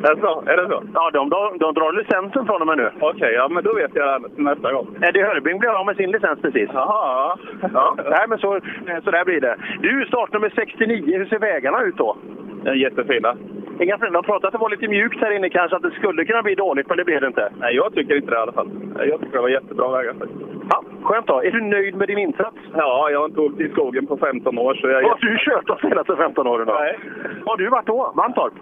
Speaker 21: Är det så? Är det så? Ja, de, de, de drar licensen från och med nu. Okej, ja men då vet jag nästa gång. Eddie Hörbing blev av med sin licens precis. Jaha, ja. Nej, men så, så där blir det. Du, startnummer 69, hur ser vägarna ut då?
Speaker 17: En jättefina.
Speaker 21: Inga problem. De pratade att det var lite mjukt här inne kanske, att det skulle kunna bli dåligt, men det blev det inte.
Speaker 17: Nej, jag tycker inte det i alla fall. Jag tycker det var jättebra vägar faktiskt.
Speaker 21: Ja, skönt då. Är du nöjd med din insats?
Speaker 17: Ja, jag har inte åkt i skogen på 15 år så jag...
Speaker 21: Har du kört de senaste 15 åren då?
Speaker 17: Nej.
Speaker 21: Har du varit då? Mantorp?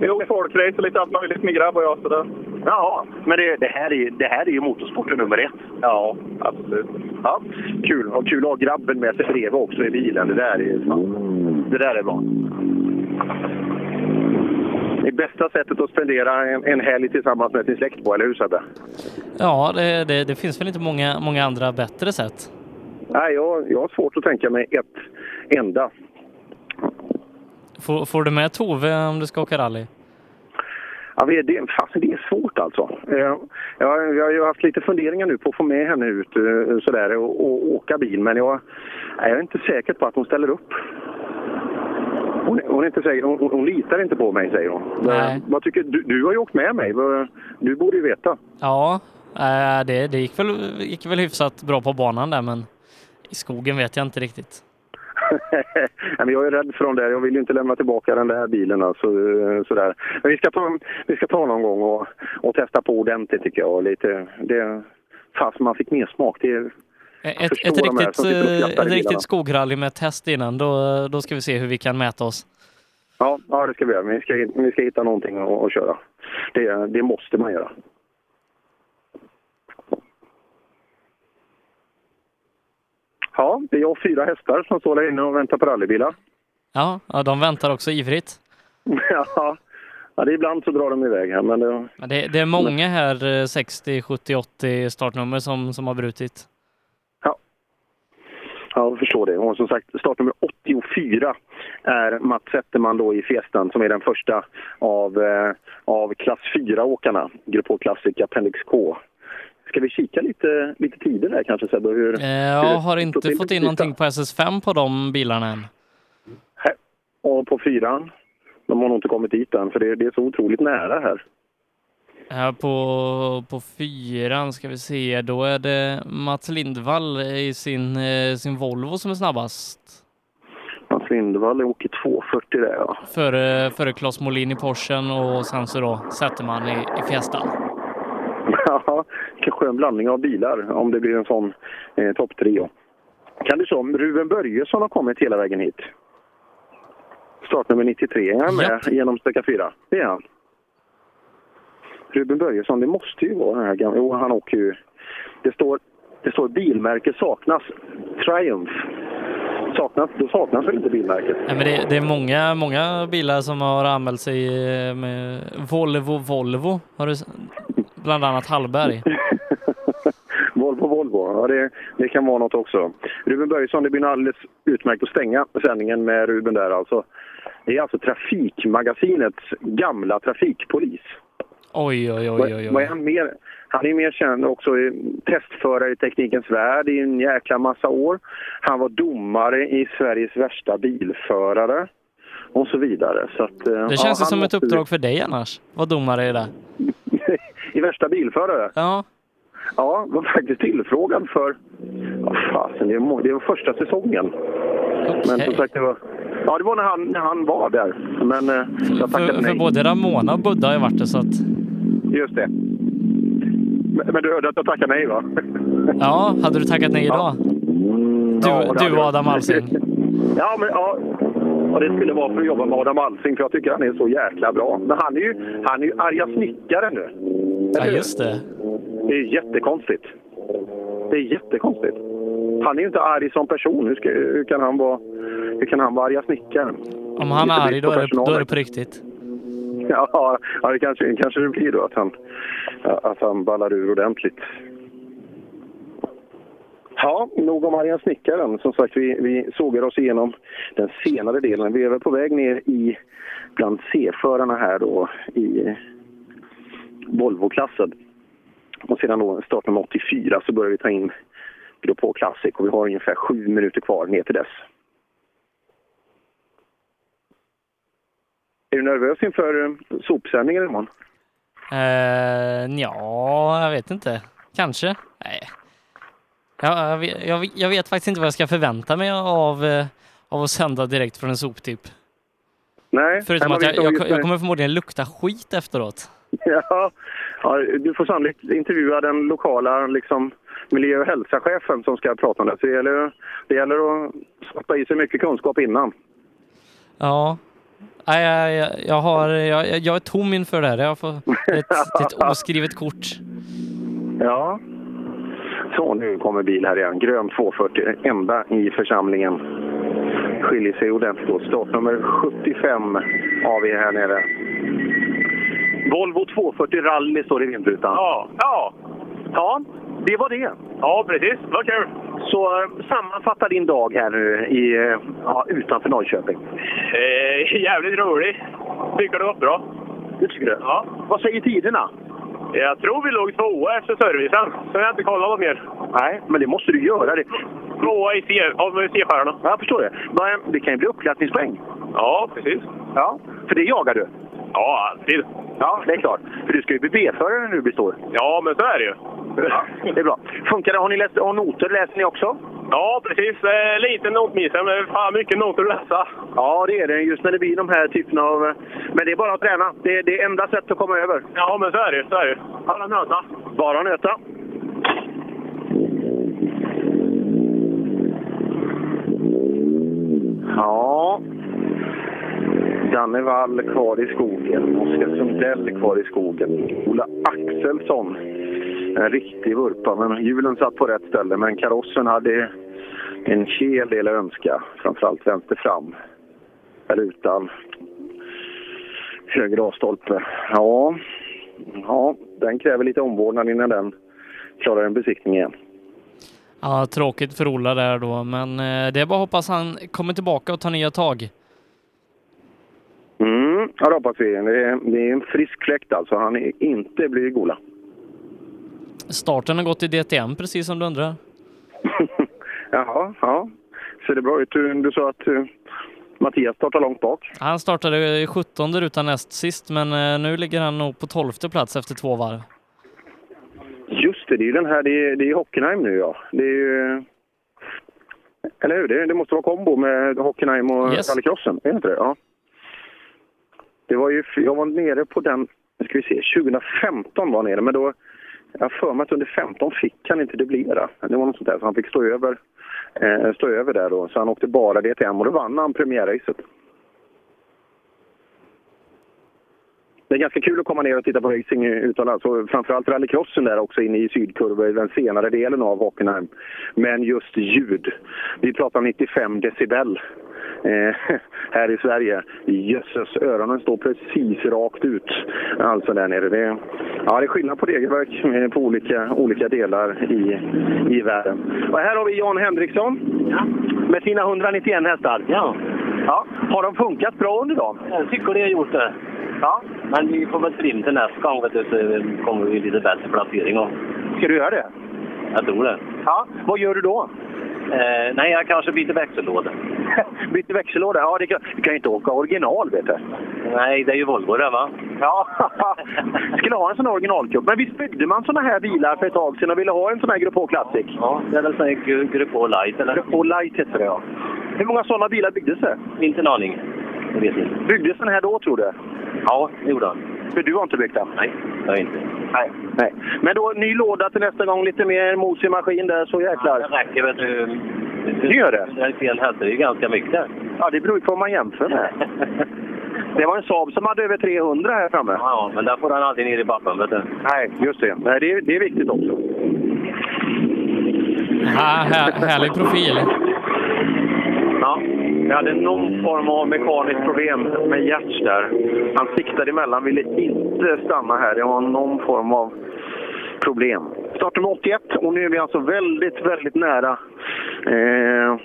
Speaker 17: Jo, folkrace och lite allt möjligt med grabb och jag sådär.
Speaker 21: Ja, men det, det, här är, det här är ju motorsporten nummer ett.
Speaker 17: Ja, absolut.
Speaker 21: Ja, kul. Och kul att ha grabben med sig bredvid också i bilen. Det där är, det där är bra. Det är bästa sättet att spendera en, en helg tillsammans med sin släkt på, eller hur Sebbe?
Speaker 1: Ja, det, det, det finns väl inte många, många andra bättre sätt.
Speaker 21: Nej, jag, jag har svårt att tänka mig ett enda.
Speaker 1: Får, får du med Tove om du ska åka rally?
Speaker 21: Ja, det, det, fasen, det är svårt alltså. Eh, Jag, jag har ju haft lite funderingar nu på att få med henne ut eh, sådär, och, och åka bil, men jag, jag är inte säker på att hon ställer upp. Hon, hon, är inte säker, hon, hon- hon litar inte på mig, säger hon. Eh,
Speaker 1: Nej.
Speaker 21: Vad tycker, du, du har ju åkt med mig, vad- du borde ju veta. *laughs*
Speaker 1: Ja, eh, det, det gick, väl, gick väl hyfsat bra på banan där, men i skogen vet jag inte riktigt.
Speaker 21: Nej, men jag är rädd för dem där. Jag vill ju inte lämna tillbaka den där bilen. Alltså, eh, sådär. Men vi ska ta, vi ska ta någon gång och, och testa på ordentligt tycker jag. Och Lite, det, fast man fick mer smak. Det, är-
Speaker 1: Eh, Ett,
Speaker 21: förstår
Speaker 1: ett,
Speaker 21: de här
Speaker 1: riktigt,
Speaker 21: som sitter och
Speaker 1: eh,
Speaker 21: skrattar i
Speaker 1: ett
Speaker 21: bilarna.
Speaker 1: riktigt skogrally med test innan, då, då ska vi se hur vi kan mäta oss.
Speaker 21: ja, ja, det ska vi göra. Men Vi ska, vi ska hitta någonting att, att köra. Det, det måste man göra. Ja, det är jag och fyra hästar som står där inne och väntar på rallybilar. *laughs*
Speaker 1: Ja, ja de väntar också ivrigt.
Speaker 21: ja, ja, det är ibland så drar de iväg här. Men det,
Speaker 1: Men Det, det är många här, eh, 60, 70, 80 startnummer som, som har brutit.
Speaker 21: Ja, jag förstår det. Och som sagt, startnummer 84 är Mats Zetterman då i Fiestan som är den första av, eh, av klass 4-åkarna, Grupp H Classic Appendix K. Ska vi kika lite, lite tider där kanske Sebbe? Hur,
Speaker 1: Eh,
Speaker 21: hur-
Speaker 1: Jag har inte
Speaker 21: profilen
Speaker 1: fått
Speaker 21: ser
Speaker 1: in någonting på SS5 på de bilarna än.
Speaker 21: Och på fyran? De har nog inte kommit dit än för det, det är så otroligt nära här.
Speaker 1: Här på, på fyran ska vi se, då är det Mats Lindvall i sin, eh, sin Volvo som är snabbast.
Speaker 21: Mats Lindvall åker 2.40 där ja.
Speaker 1: Före, före Claes Molin i Porschen och sen så då Zetterman i, i Fiestan.
Speaker 21: *laughs* Ja, vilken skön blandning av bilar om det blir en sån eh, topptrio. Kan du se om Ruben Börjesson har kommit hela vägen hit? Startnummer 93 är han med genom sträcka 4. Det är han. Ruben Börjesson, det måste ju vara den här gamla... Jo, han åker ju... Det står, det står bilmärke saknas. Triumph. Saknas, då saknas väl inte bilmärket?
Speaker 1: Nej, men det, det är många, många bilar som har anmält sig eh, med Volvo, Volvo. Har du, s- bland annat Hallberg.
Speaker 21: *laughs* Volvo, Volvo. Ja, det, det kan vara något också. Ruben Börjesson, det blir nog alldeles utmärkt att stänga sändningen med Ruben där alltså. Det är alltså Trafikmagasinets gamla trafikpolis.
Speaker 1: Oj, oj, oj, oj.
Speaker 21: Vad är
Speaker 1: oj.
Speaker 21: han mer? Han är mer känd också i testförare i Teknikens Värld i en jäkla massa år. Han var domare i Sveriges värsta bilförare och så vidare. Så att, eh, ja,
Speaker 1: Det känns ju
Speaker 21: han
Speaker 1: som ett
Speaker 21: måste-
Speaker 1: uppdrag för dig annars. Vad domare är det?
Speaker 21: *laughs* I värsta bilförare?
Speaker 1: Ja.
Speaker 21: Ja, var faktiskt tillfrågad för... Ja, fasen, det var, det var första säsongen. Men som sagt, det var... Ja, det var när han, när han var där. Men eh, jag tackade
Speaker 1: För, för
Speaker 21: nej.
Speaker 1: både Ramona och Budda har ju varit det så att...
Speaker 21: Just det. Men, men du hörde att jag tackade nej, va?
Speaker 1: Ja, hade du tackat nej idag? Du,
Speaker 21: Ja, det hade
Speaker 1: du
Speaker 21: jag.
Speaker 1: Adam Alsing.
Speaker 21: *laughs* Ja, men ja. Och det skulle vara för att jobba med Adam Alsing, för jag tycker han är så jäkla bra. Men han är ju, han är ju arga snickare nu.
Speaker 1: Ja, just det.
Speaker 21: Det är jättekonstigt. Det är jättekonstigt. Han är ju inte arg som person. Hur, ska, hur, kan, han vara, hur kan han vara arga snickaren?
Speaker 1: Om han är
Speaker 21: Lite
Speaker 1: arg då
Speaker 21: brist på
Speaker 1: är det,
Speaker 21: personal
Speaker 1: då är
Speaker 21: där.
Speaker 1: det på riktigt.
Speaker 21: *laughs* Ja, ja det kanske, kanske det blir då att han, att han ballar ur ordentligt. Ja, nog om arga snickaren. Som sagt, vi, vi sågar oss igenom den senare delen. Vi är väl på väg ner i bland C-förarna här då i Volvo-klassen. Och sedan då startnummer 84 så börjar vi ta in Grupp H Classic och vi har ungefär sju minuter kvar ner till dess. Är du nervös inför eh, sopsändningen imorgon?
Speaker 1: Uh, ja, jag vet inte. Kanske. Nej. Jag, jag, vet- jag, vet- jag vet faktiskt inte vad jag ska förvänta mig av, eh, av att sända direkt från en soptipp.
Speaker 21: Nej.
Speaker 1: Förutom
Speaker 21: Nej,
Speaker 1: att jag,
Speaker 21: man vet om
Speaker 1: jag,
Speaker 21: just
Speaker 1: jag
Speaker 21: det.
Speaker 1: kommer förmodligen lukta skit efteråt.
Speaker 21: *laughs* Ja, ja, du får sannolikt intervjua den lokala liksom, miljö och hälsochefen som ska prata om det. Så det gäller, det gäller att stoppa i sig mycket kunskap innan.
Speaker 1: Ja. Nej, jag, jag, jag, har, jag, jag- jag är tom inför det här. Jag får det är ett, det är ett oskrivet kort.
Speaker 21: Ja. Så, nu kommer bil här igen. Grön 240, enda i församlingen. Skiljer sig ordentligt åt. Startnummer 75 har vi här nere. Volvo 240 rally står i vindrutan.
Speaker 13: Ja, ja.
Speaker 21: Ja, det var det.
Speaker 13: Ja, precis. Vad kul!
Speaker 21: Så eh, sammanfatta din dag här nu i, eh, ja, utanför Norrköping.
Speaker 13: Eh, jävligt rolig. Tycker det var bra.
Speaker 21: Du tycker det?
Speaker 13: Ja.
Speaker 21: Vad säger tiderna?
Speaker 13: Jag tror vi låg tvåa efter servicen. Så jag har inte kollat vad mer.
Speaker 21: Nej, men det måste du göra. Det.
Speaker 13: Tvåa i C- av C-stjärnorna.
Speaker 21: Ja, jag förstår det. Men det kan ju bli uppklattningspoäng.
Speaker 13: Ja, precis.
Speaker 21: Ja, för det jagar du.
Speaker 13: Ja, alltid.
Speaker 21: Ja, det är klart. För du ska ju bli B-förare när du blir stor.
Speaker 13: Ja, men så är det ju.
Speaker 21: Ja, det är bra. Funkar det? Har ni läst har noter? Läser ni också?
Speaker 13: Ja, precis. Eh, lite notmissar, men fan mycket noter att läsa.
Speaker 21: Ja, det är det. Just när det blir de här typerna av... Men det är bara att träna. Det är det enda sättet att komma över.
Speaker 13: Ja, men så är det ju. Så är det ju. Bara nöta.
Speaker 21: Bara nöta. Ja. Danne Wall kvar i skogen. Oskar Sundell kvar i skogen. Ola Axelsson. En riktig vurpa, men hjulen satt på rätt ställe. Men karossen hade en hel del att önska. Framförallt vänster fram. Eller utan. Höger A-stolpe. Ja. ja, den kräver lite omvårdnad innan den klarar en besiktning igen.
Speaker 1: Ja, tråkigt för Ola där då, men eh, det är bara att hoppas han kommer tillbaka och tar nya tag.
Speaker 21: Mm, ja, det hoppas vi. Det är, det är en frisk fläkt alltså. Han är inte blyg, Ola.
Speaker 1: Starten har gått i DTM precis som du undrar.
Speaker 21: Jaha, ja. Ser det bra ut? Du, du sa att eh, Mattias startar långt bak.
Speaker 1: Han startade i 17 utan näst sist, men eh, nu ligger han nog på 12 plats efter två varv.
Speaker 21: Just det, det är ju den här. Det är, det är Hockenheim nu, ja. Det är ju... Eller hur? Det, det måste vara kombo med Hockenheim och
Speaker 1: Yes.
Speaker 21: rallycrossen. Är det inte det? Ja. Det var ju... Jag var nere på den... Nu ska vi se. 2015 var jag nere, men då... Jag har för mig att under 15 fick han inte dubblera. Det var något sånt där, så han fick stå över, eh, stå över där då. Så han åkte bara DTM och då vann han premiärracet. Det är ganska kul att komma ner och titta på racing utomlands. Och framförallt rallycrossen där också inne i sydkurvor i den senare delen av Hockenheim. Men just ljud. Vi pratar 95 decibel eh, *laughs* här i Sverige. Jösses, öronen står precis rakt ut. Alltså där nere. Det, ja, det är skillnad på regelverk eh, på olika, olika delar i, i världen. Och här har vi Jan Henriksson med sina 191 hästar. Ja. ja. Har de funkat bra under dagen?
Speaker 18: Jag tycker det har gjort det. Ja. Men vi får väl trim till nästa gång vet du, så kommer vi lite bättre placering. Och...
Speaker 21: Ska du göra det?
Speaker 18: Jag tror det.
Speaker 21: Ja. Vad gör du då?
Speaker 18: Eh, nej, jag kanske byter
Speaker 21: *laughs*
Speaker 18: växellåda.
Speaker 21: Bytte växellåda? Ja, det kan, du kan ju inte åka original, vet du.
Speaker 18: Nej, det är ju Volvo det va?
Speaker 21: Ja, *laughs* skulle ha en sån här originalkupp. Men visst byggde man såna här bilar för ett tag sedan och ville ha en sån här Grupp H Classic?
Speaker 18: Ja, det är väl sån här Gru- Grupp H Light eller?
Speaker 21: Grupp H Light heter det ja. Hur många såna bilar byggdes det?
Speaker 18: Inte en aning. Jag vet inte.
Speaker 21: Byggdes den här då, tror du?
Speaker 18: Ja, det gjorde han.
Speaker 21: För du har inte byggt den?
Speaker 18: Nej, det har jag inte.
Speaker 21: Nej. Nej. Men då, ny låda till nästa gång. Lite mer mos i maskin där, så jäklar.
Speaker 18: Det räcker vet du.
Speaker 21: Det gör det?
Speaker 18: Det är fel hästar, det är ju ganska mycket.
Speaker 21: Ja, det beror ju på vad man jämför med. Det var en Saab som hade över 300 här framme.
Speaker 18: Ja, men där får han aldrig ner i backen vet du.
Speaker 21: Nej, just det. Nej, det, är, det är viktigt också.
Speaker 1: Ah, här, härlig profil.
Speaker 21: Ja, jag hade någon form av mekaniskt problem med Gertz där. Han siktade emellan, ville inte stanna här. Det var någon form av problem. Startnummer 81 och nu är vi alltså väldigt, väldigt nära eh,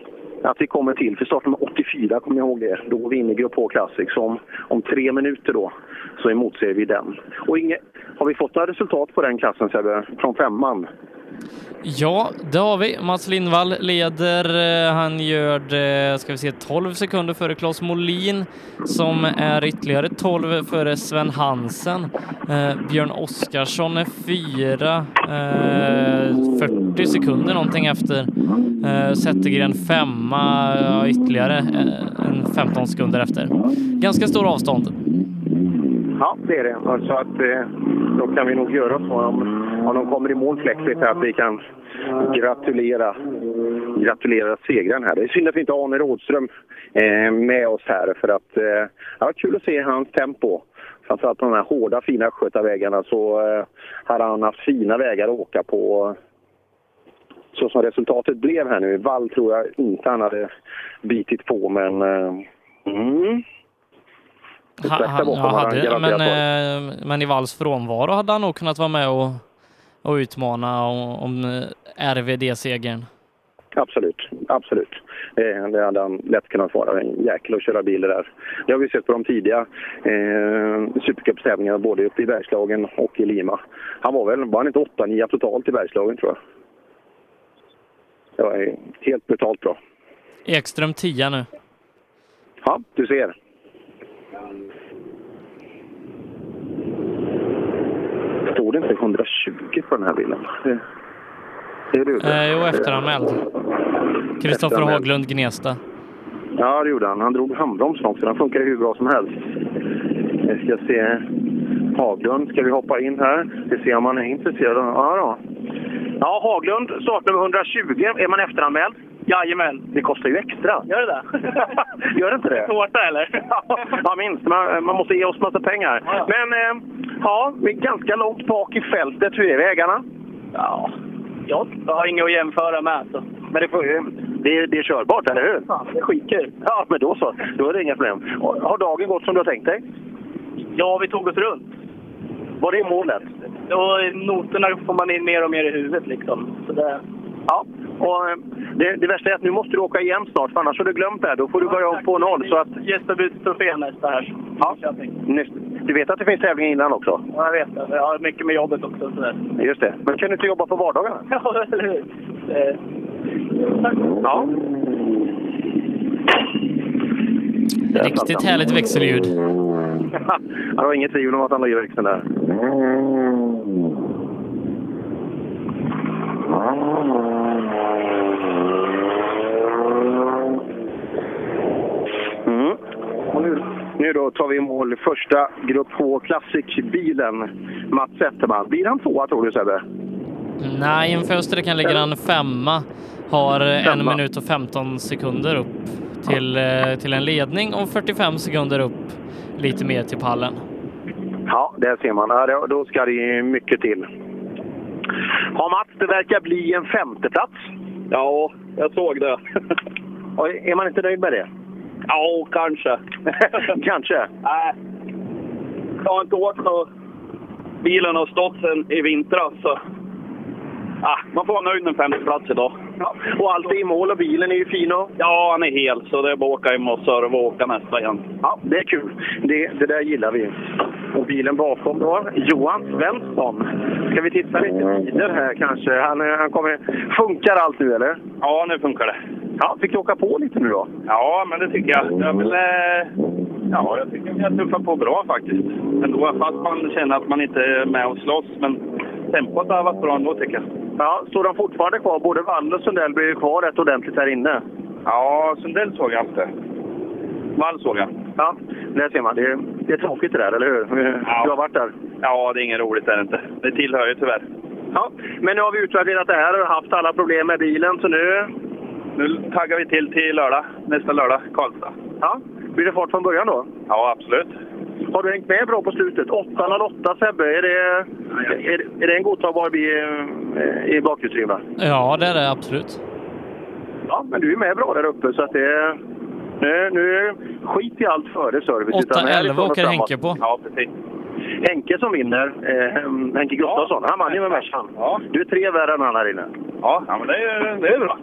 Speaker 21: att vi kommer till. För startnummer 84, kommer jag ihåg det, då går vi in i Grupp H Classic. Så om, om tre minuter då så emotser vi den. Och inge, har vi fått några resultat på den klassen Sebbe? Från femman?
Speaker 1: Ja, det har vi. Mats Lindvall leder. Eh, Han gör det, ska vi se, 12 sekunder före Claes Molin som är ytterligare 12 före Sven Hansen. Eh, Björn Oskarsson är fyra, eh, 40 sekunder någonting efter. Eh, Zettergren femma, ja, ytterligare eh, en 15 sekunder efter. Ganska stor avstånd.
Speaker 21: Ja, det är det. Och Så att, eh, då kan vi nog göra så om, om de kommer i mål fläckligt här, att vi kan gratulera, gratulera segraren här. Det är synd att vi inte har Arne Rådström eh, med oss här för att eh, det var kul att se hans tempo. Framförallt på de här hårda fina vägarna så eh, hade han haft fina vägar att åka på. Så som resultatet blev här nu. I Vall tror jag inte han hade bitit på men eh, mm.
Speaker 1: Ha,
Speaker 21: Strax där
Speaker 1: han,
Speaker 21: bakom
Speaker 1: ja,
Speaker 21: har han
Speaker 1: hade,
Speaker 21: garanterat
Speaker 1: men, eh, men i Walls frånvaro hade han nog kunnat vara med och, och utmana om, om eh, RVD-segern.
Speaker 21: Absolut, absolut. Eh, Det hade han lätt kunnat vara. En jäkel att köra bil det där. Det har vi sett på de tidiga eh, Supercup-tävlingarna både uppe i Bergslagen och i Lima. Han var väl, var han inte 8-9 totalt i Bergslagen tror jag. Det var eh, helt brutalt bra.
Speaker 1: Ekström 10 nu.
Speaker 21: Ja, du ser. Står det inte 120 på den här bilen? Det- Ser du
Speaker 1: Eh, jo, efteranmäld. Kristoffer
Speaker 21: Efteranmäld.
Speaker 1: Haglund, Gnesta.
Speaker 21: Ja, det gjorde han. Han drog handbromsen också. Den funkar ju hur bra som helst. Jag ska se. Haglund ska vi hoppa in här. Vi ser om han är intresserad. Ja, då.
Speaker 7: Ja, Haglund, startnummer 120. Är man efteranmäld? Jajamän.
Speaker 21: Det kostar ju extra.
Speaker 7: Gör det där?
Speaker 4: *laughs*
Speaker 21: *laughs* Gör det inte det?
Speaker 7: Tårta eller?
Speaker 21: ja, minst. Man, man måste ge oss massa pengar. Men eh, ja, vi är ganska långt bak i fältet. Hur är vägarna?
Speaker 7: Ja, jag har inget att jämföra med. Alltså.
Speaker 21: Men det, får, ju- det, är- det är körbart, eller hur?
Speaker 7: Ja, det är skitkul.
Speaker 21: Ja, men då så. Då är det inga problem. Har har dagen gått som du har tänkt dig?
Speaker 7: Ja, vi tog oss runt.
Speaker 21: Var det målet?
Speaker 7: Och noterna får man in mer och mer i huvudet liksom. Så det...
Speaker 21: Ja, och eh, det, det värsta är att nu måste du åka igen snart, för annars har du glömt det här. Då får du börja om på noll. Så att,
Speaker 7: Gästabudstrofén nästa här. Ja.
Speaker 21: Nyss- du vet att det finns tävlingar innan också?
Speaker 7: Jag vet det. Jag har mycket med jobbet också. Så där. *laughs*
Speaker 21: Just det. Men kan du inte jobba på vardagarna?
Speaker 7: Ja, eller hur? Eh,
Speaker 21: *laughs* Ja.
Speaker 1: Riktigt härligt växelljud.
Speaker 21: Han har inget tvivel om att han lägger växeln där. Mm. Och nu, nu då tar vi i mål första Grupp H Classic-bilen. Mats Zetterman. Blir han tvåa tror du Sebbe?
Speaker 1: Nej, inför Österrike ligger han femma. Har eh, en minut och 15 sekunder upp till, eh, till en ledning och 45 sekunder upp lite mer till pallen.
Speaker 21: Ja, det ser man. Ja, då- Då ska det ju mycket till. Ja, Mats, det verkar bli en femteplats. Ja, jag såg *laughs* det. Och är man inte nöjd med det?
Speaker 7: Ja, kanske.
Speaker 21: *laughs* kanske.
Speaker 7: Nej. Jag har inte åkt och bilen har stått sen i vintras. Så. Ah, man får vara nöjd med en femteplats idag.
Speaker 21: Och allt är i mål och bilen är ju fin. Och...
Speaker 7: Ja, han är hel, så det är bara att åka hem och serva och åka nästa igen.
Speaker 21: Ja, det är kul. Det, det där gillar vi. Och bilen bakom då, Johan Svensson. Ska vi titta lite tider här kanske? Han, eh, han kommer... Funkar allt nu eller?
Speaker 11: Ja, nu funkar det.
Speaker 21: Ja, fick du åka på lite nu då?
Speaker 11: Ja, men det tycker jag. jag vill, eh, ja, jag tycker vi har tuffat på bra faktiskt. Ändå, fast man känner att man inte är med och slåss. Men tempot har varit bra ändå tycker jag.
Speaker 21: Ja, står de fortfarande kvar? Både Wall och Sundell blir ju kvar rätt ordentligt här inne.
Speaker 11: Ja, Sundell såg jag inte. Wall såg jag.
Speaker 21: Ja, där ser man. Det är, det är tråkigt det där, eller hur? Du har varit där.
Speaker 11: Ja, det är inget roligt är det inte. Det tillhör ju tyvärr.
Speaker 21: Ja, men nu har vi utvärderat det här och haft alla problem med bilen, så nu...
Speaker 11: Nu taggar vi till till lördag. Nästa lördag, Karlstad.
Speaker 21: Ja, blir det fart från början då?
Speaker 11: Ja, absolut.
Speaker 21: Har du hängt med bra på slutet? 8.08 Sebbe, är det, är, det- är det en godtagbar bil eh, i bakhjulsdrivna?
Speaker 1: Ja, det är det absolut.
Speaker 21: Ja, men du är med bra där uppe så att det... Nu, nu skit i allt före service. utan
Speaker 1: 8.11
Speaker 21: härifrån och
Speaker 1: åker
Speaker 21: framåt.
Speaker 1: Henke på.
Speaker 11: Ja, precis.
Speaker 21: Henke som vinner, eh, Henke Gustafsson, han vann ju med Mercan. Du är tre värre än han här inne.
Speaker 11: Ja, ja men det är, det är bra.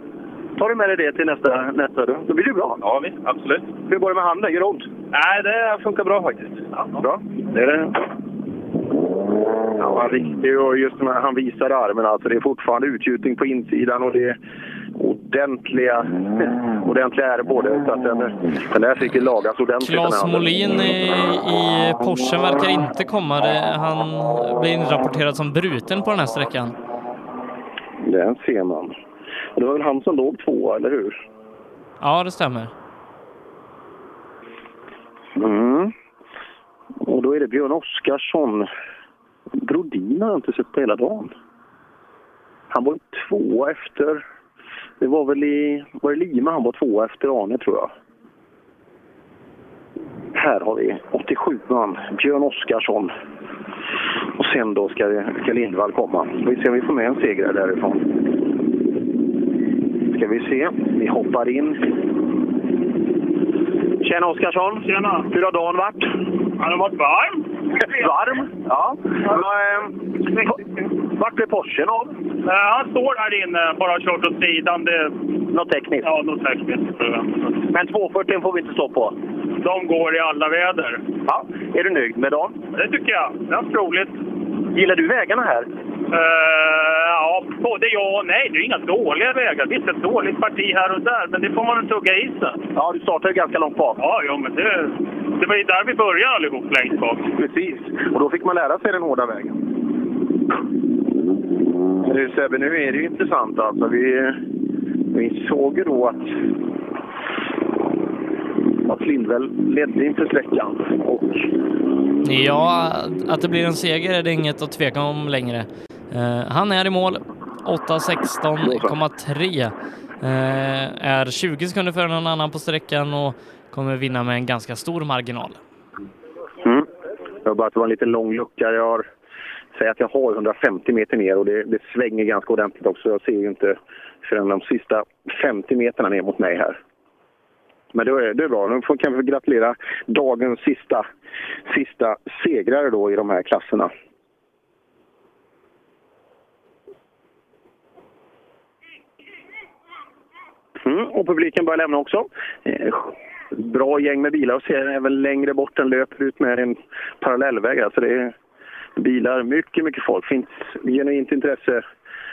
Speaker 21: Tar du med dig det till nästa, nästa då? Då blir det bra.
Speaker 11: Ja, visst. Absolut.
Speaker 21: Hur går det med handen? Gör det ont?
Speaker 11: Nej, det funkar bra faktiskt.
Speaker 21: Bra. Det är det. Han var riktig och just när han visade armen alltså. Det är fortfarande utgjutning på insidan och det är ordentliga, *laughs* ordentliga är det både. Så att den, den där fick ju lagas ordentligt. den
Speaker 1: Claes
Speaker 21: här.
Speaker 1: Molin i, i Porsche verkar inte komma. Det- Han blir inrapporterad som bruten på den här sträckan.
Speaker 21: Den ser man. Och det var väl han som låg tvåa, eller hur?
Speaker 1: Ja, det stämmer.
Speaker 21: Mm. Och då är det Björn Oskarsson. Brodin har jag inte sett på hela dagen. Han var ju tvåa efter... Det var väl i var det Lima han var tvåa efter Arne, tror jag. Här har vi 87an, Björn Oskarsson. Och sen då ska, det- ska Lindvall komma. Vi ser om vi får med en segrare därifrån. Ska vi se. Vi hoppar in. Tjena Oskarsson! Tjena! Hur har dagen varit?
Speaker 13: Han har varit varm.
Speaker 21: Varm? Ja. Vart blev Porschen av?
Speaker 13: Han står där inne, bara har kört åt sidan. Det...
Speaker 21: Något tekniskt?
Speaker 13: Ja, något tekniskt. tror jag.
Speaker 21: Men 240 får vi inte stå på?
Speaker 13: De går i alla väder.
Speaker 21: Ja. Är du nöjd med dagen?
Speaker 13: Det tycker jag. Det är roligt.
Speaker 21: Gillar du vägarna här?
Speaker 13: Eh, ja, både ja och nej. Det är inga dåliga vägar. Visst, ett dåligt parti här och där, men det får man väl tugga i sig.
Speaker 21: Ja, du startar ju ganska långt bak.
Speaker 13: Ja, ja men det, det var ju där vi började allihop, längst bak.
Speaker 21: Precis. Och då fick man lära sig den hårda vägen. Men du Sebbe, nu är det ju intressant alltså. Vi, vi såg ju då att, att Lindväll ledde inför sträckan. Och
Speaker 1: Ja, att det blir en seger är det inget att tveka om längre. Eh, han är i mål. 8.16,3 eh, är 20 sekunder före någon annan på sträckan och kommer vinna med en ganska stor marginal.
Speaker 21: Mm. Jag har bara att det var en liten lång lucka. Jag har, säger att jag har 150 meter ner och det, det svänger ganska ordentligt också. Jag ser ju inte förrän de sista 50 meterna ner mot mig här. Men det är, det är bra. Nu får, kan vi gratulera dagens sista, sista segrare då i de här klasserna. Mm, och publiken börjar lämna också. Eh, Bra gäng med bilar och ser även längre bort. Den löper ut med en parallellväg. Alltså det är bilar, mycket, mycket folk. finns genuint intresse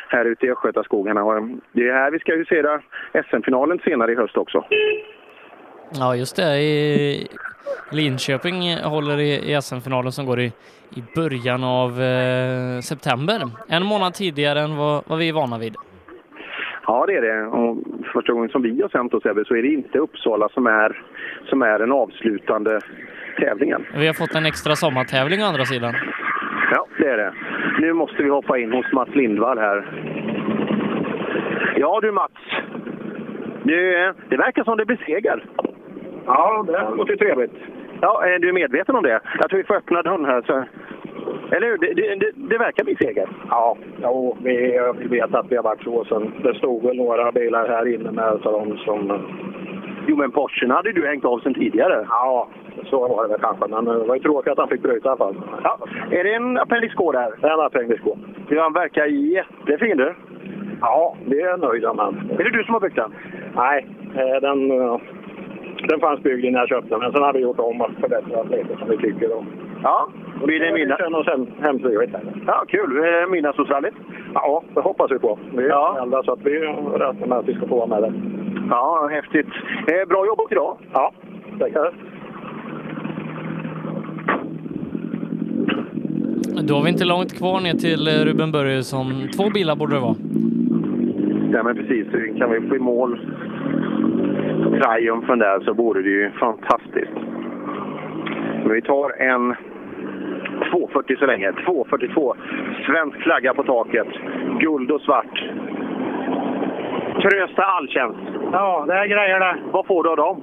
Speaker 21: här ute i Östgötaskogarna. Och, eh, Det är här vi ska ju se SM-finalen senare i höst också.
Speaker 1: Ja, just det. I Linköping håller i i SM-finalen som går i, i början av eh, september. En månad tidigare än vad, vad vi är vana vid.
Speaker 21: Ja, det är det. Och första gången som vi har sänt oss Ebbe, så är det inte Uppsala som är, som är den avslutande tävlingen.
Speaker 1: Vi har fått en extra sommartävling å andra sidan.
Speaker 21: Ja, det är det. Nu måste vi hoppa in hos Mats Lindvall här. Ja du Mats, du, eh, det verkar som det blir seger. Ja, det låter trevligt. Ja, eh, du är medveten om det? Jag tror vi får öppna dörren här. Så... Eller hur? Det, det, det, det verkar bli seger.
Speaker 16: Ja, jo, vi eh, vi vet att vi har varit så. Sen, det stod väl några bilar här inne med så de som...
Speaker 21: Jo, men Porschen hade du hängt av sen tidigare.
Speaker 16: Ja, så var det väl kanske. Men eh, det var ju tråkigt att han fick bryta i alla fall.
Speaker 21: Ja. Är det en appendix K där?
Speaker 16: Det är en appendix K.
Speaker 21: Du, han verkar jättefin du.
Speaker 16: Ja, det är jag nöjd med.
Speaker 21: Är det du som har byggt den?
Speaker 16: Nej, eh, den, eh, den fanns byggd innan jag köpte den. Men sen har vi gjort om och förbättrat lite som vi tycker om.
Speaker 21: Ja, blir
Speaker 16: middag?
Speaker 21: det middag?
Speaker 16: Det känns hem- hemskt trevligt.
Speaker 21: Ja, kul. Eh, Midnattsosrallyt?
Speaker 16: Ja, det hoppas vi på. Vi är
Speaker 21: Ja.
Speaker 16: snälla så att vi räknar med att vi ska få vara med där.
Speaker 21: Ja, häftigt. Eh, bra jobbat idag.
Speaker 16: Ja, tackar.
Speaker 1: Då har vi inte långt kvar ner till eh, Ruben Börjesson. Två bilar borde det vara.
Speaker 21: Ja, men precis. Kan vi få i mål triumfen där så vore det ju fantastiskt. Men vi tar en 240 så länge. 242. Svensk flagga på taket. Guld och svart. Trösta alltjänst.
Speaker 16: Ja, det är grejer det.
Speaker 21: Vad får du av dem?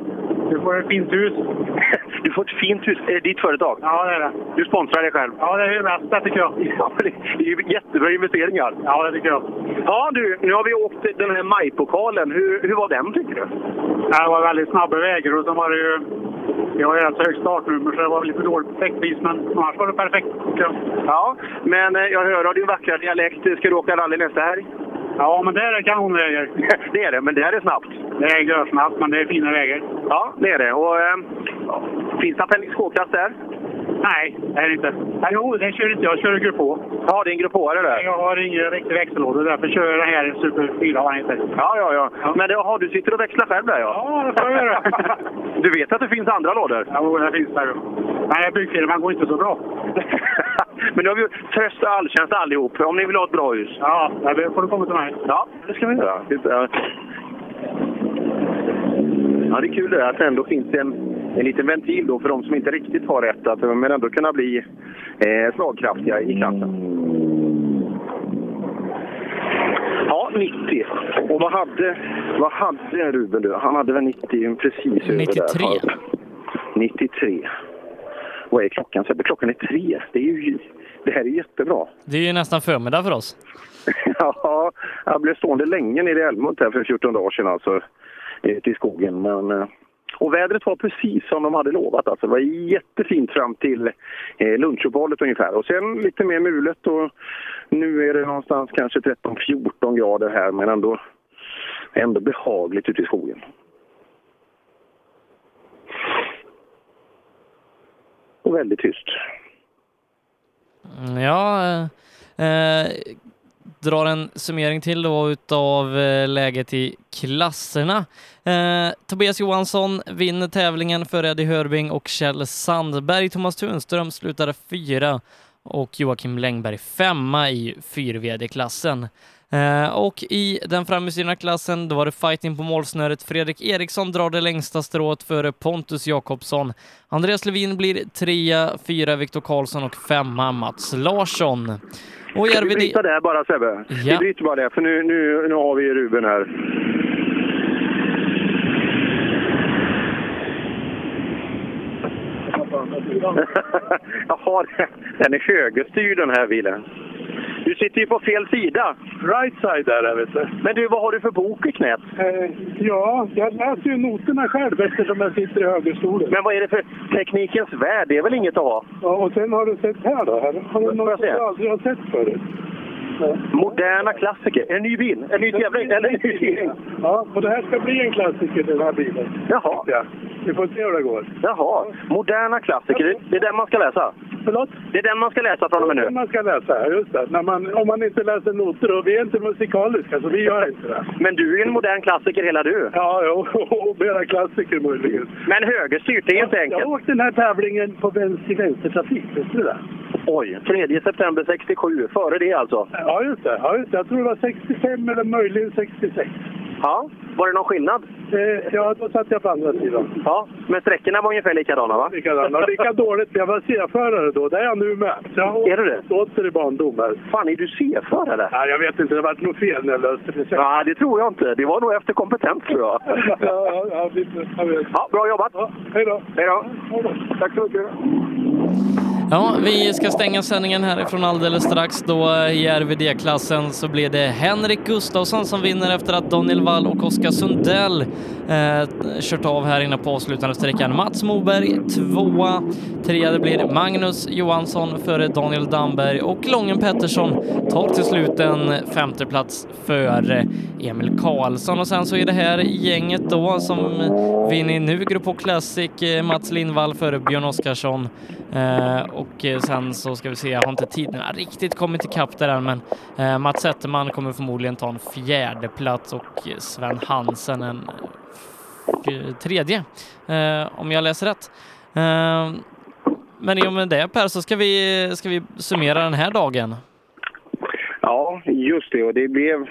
Speaker 16: Du får ett fint hus.
Speaker 21: *laughs* Du får ett fint hus. Är det ditt företag?
Speaker 16: Ja, det är det.
Speaker 21: Du sponsrar dig själv?
Speaker 16: Ja, det är ju det bästa tycker jag.
Speaker 21: *laughs* Ja, men det är ju jättebra investeringar.
Speaker 16: Ja, det tycker jag.
Speaker 21: Ja, du. Nu har vi åkt den här majpokalen. Hur, hur var den, tycker du?
Speaker 16: Det var väldigt snabba vägar och sen var det ju... Jag har ju rätt så högt startnummer så det var lite dåligt täckvis men annars var det perfekt.
Speaker 21: Ja, men eh, jag hör av din vackra dialekt. Ska du åka rally nästa helg?
Speaker 16: Ja, men det är kanonvägar.
Speaker 21: *laughs* det är det, men det här är snabbt.
Speaker 16: Det är görsnabbt men det är fina vägar.
Speaker 21: ehm, Ja, det är det. Och, eh, finns det appendix K-klass där?
Speaker 16: Nej, det är det inte. Nej, jo, det kör inte jag. Jag kör en grupp H. Ja, det är en grupp H, är det Jag har ingen riktig växellåda, därför kör jag den här Super 4 har jag inte.
Speaker 21: Ja, ja, ja. Men det, aha, du sitter och växlar själv där ja?
Speaker 16: Ja, det får jag *laughs* göra.
Speaker 21: Du vet att det finns andra lådor?
Speaker 16: Jo, det finns där. Nej, byggfirman går inte så bra.
Speaker 21: *laughs* Men nu har vi ju Tröst och Alltjänst allihop, om ni vill ha ett bra hus.
Speaker 16: Ja, det får du komma till mig.
Speaker 21: Ja, det ska vi göra. Det är- Ja, det är kul det där att det ändå finns en, en liten ventil då för de som inte riktigt har rätt, att men ändå kunna bli eh, slagkraftiga i klassen. Ja, 90. Och vad hade, vad hade Ruben då? Han hade väl 90 precis över
Speaker 1: 93.
Speaker 21: där. 93. Vad är klockan? Sebbe? Klockan är tre. Det, är ju, det här är jättebra.
Speaker 1: Det är ju nästan förmiddag för oss.
Speaker 21: *laughs* Ja, jag blev stående länge nere i Älmhult här för 14 dagar sedan alltså, ute i skogen. Men, eh, och vädret var precis som de hade lovat. Alltså. Det var jättefint fram till eh, lunchuppehållet ungefär. Och sen lite mer mulet och nu är det någonstans kanske 13-14 grader här men ändå, ändå behagligt ute i skogen. Och väldigt tyst.
Speaker 1: Mm, Ja, eh, eh, drar en summering till då utav eh, läget i klasserna. Eh, Tobias Johansson vinner tävlingen för Eddie Hörbing och Kjell Sandberg. Thomas Tunström slutar fyra och Joakim Längberg femma i 4VD-klassen. Eh, och i den framhjulsdrivna klassen då var det fighting på målsnöret. Fredrik Eriksson drar det längsta strået före Pontus Jakobsson. Andreas Levin blir trea, fyra Viktor Karlsson och femma Mats Larsson. Och i
Speaker 21: Ska vi
Speaker 1: RVD...
Speaker 21: bryta där bara Sebbe?
Speaker 1: Ja.
Speaker 21: Vi bryter bara där, för nu, nu, nu har vi Ruben här. Jaha, den är högerstyrd den här bilen. Du sitter ju på fel sida. Right side där, vet du. Men du, vad har du för bok i knät?
Speaker 22: Ja, jag läser ju noterna själv eftersom jag sitter i högerstolen.
Speaker 21: Men vad är det för teknikens värld? Det är väl inget att ha?
Speaker 22: Ja, och sen har du sett här då? Här har du
Speaker 21: Får jag
Speaker 22: något
Speaker 21: se?
Speaker 22: jag aldrig har sett förut.
Speaker 21: Moderna klassiker. En ny bil. En ny tävling. Eller en ny bil.
Speaker 22: Ja, och det här ska bli en klassiker den här bilen.
Speaker 21: Jaha.
Speaker 22: Ja. Vi får se hur det går.
Speaker 21: Jaha, moderna klassiker. Det- Det är den man ska läsa?
Speaker 22: Förlåt?
Speaker 21: Det är den man ska läsa från och med
Speaker 22: Det är
Speaker 21: nu?
Speaker 22: det man ska läsa, just det. När man, om man inte läser noter. Och vi är inte musikaliska, så vi gör inte det.
Speaker 21: Men du är en modern klassiker hela du.
Speaker 22: Ja, jo. Och mera klassiker möjligen.
Speaker 21: Men högerstyrt, det är inte enkelt.
Speaker 22: Jag åkte den här tävlingen på vänster vänstertrafik, visste du det?
Speaker 21: Oj, 3 september 67. Före det alltså?
Speaker 22: Ja, just det. Ja, just det. Jag tror det var 65 eller möjligen 66.
Speaker 21: Ja, var det någon skillnad?
Speaker 22: Eh, ja, då satt jag på andra sidan.
Speaker 21: Ja, men sträckorna var ungefär likadana va?
Speaker 22: Likadana. Lika dåligt. Jag var C-förare då. Det är jag nu med. Så jag
Speaker 21: Är du det?
Speaker 22: Åter i barndom här.
Speaker 21: Fan, är du C-förare?
Speaker 22: Nej, jag vet inte. Det vart nog fel när jag löste det. sen.
Speaker 21: Ja, det tror jag inte. Det var nog efter kompetens tror jag.
Speaker 22: *laughs* ja, ja, ja, lite. Jag vet.
Speaker 21: Ja, bra jobbat!
Speaker 22: Hej då!
Speaker 21: Hej då! Tack så mycket!
Speaker 1: Ja, vi ska stänga sändningen härifrån alldeles strax då eh, i RVD-klassen så blir det Henrik Gustafsson som vinner efter att Daniel Wall och Oskar Sundell eh, kört av här inne på avslutande sträckan. Mats Moberg tvåa, trea det blir Magnus Johansson före Daniel Damberg och Lången Pettersson tar till slut en femteplats före Emil Karlsson och sen så är det här gänget då som vinner nu Grupp H Classic, eh, Mats Lindvall före Björn Oskarsson eh, och eh, sen så ska vi se, jag har inte tiderna riktigt kommit ikapp där än men eh, Mats Zetterman kommer förmodligen ta en fjärde plats och eh, Sven Hansen en eh, f- tredje eh, om jag läser rätt. Eh, men i och med det Per så ska vi, ska vi summera den här dagen.
Speaker 21: Ja, just det. Och det blev,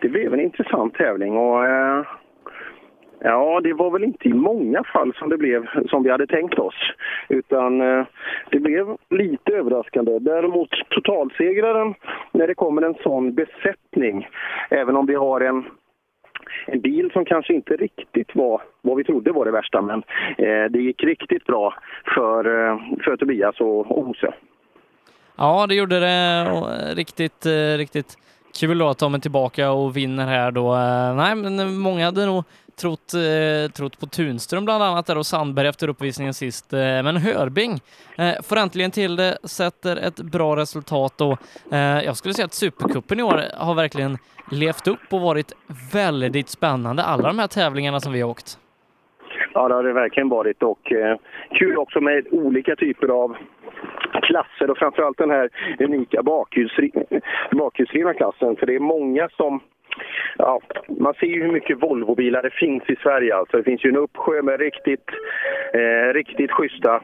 Speaker 21: det blev en intressant tävling. Och, eh, ja, det var väl inte i många fall som det blev som vi hade tänkt oss. Utan eh, det blev lite överraskande. Däremot totalsegraren, när det kommer en sån besättning, även om vi har en en bil som kanske inte riktigt var vad vi trodde var det värsta, men eh, det gick riktigt bra för, eh, för Tobias och Ose.
Speaker 1: Ja, det gjorde det och, eh, riktigt, eh, riktigt kul då att de är tillbaka och vinner här då. Eh, Nej, men många hade nog trott, eh, trott på Tunström bland annat där och Sandberg efter uppvisningen sist. Eh, Men Hörbing eh, får äntligen till det, sätter ett bra resultat och eh, jag skulle säga att Supercupen i år har verkligen levt upp och varit väldigt spännande alla de här tävlingarna som vi har åkt.
Speaker 21: Ja, det har det verkligen varit och eh, kul också med olika typer av klasser och framförallt den här unika bakhjulsdri- bakhjulsdrivna klassen. För det är många som Ja, man ser ju hur mycket Volvobilar det finns i Sverige. Alltså, det finns ju en uppsjö med riktigt, eh, riktigt schyssta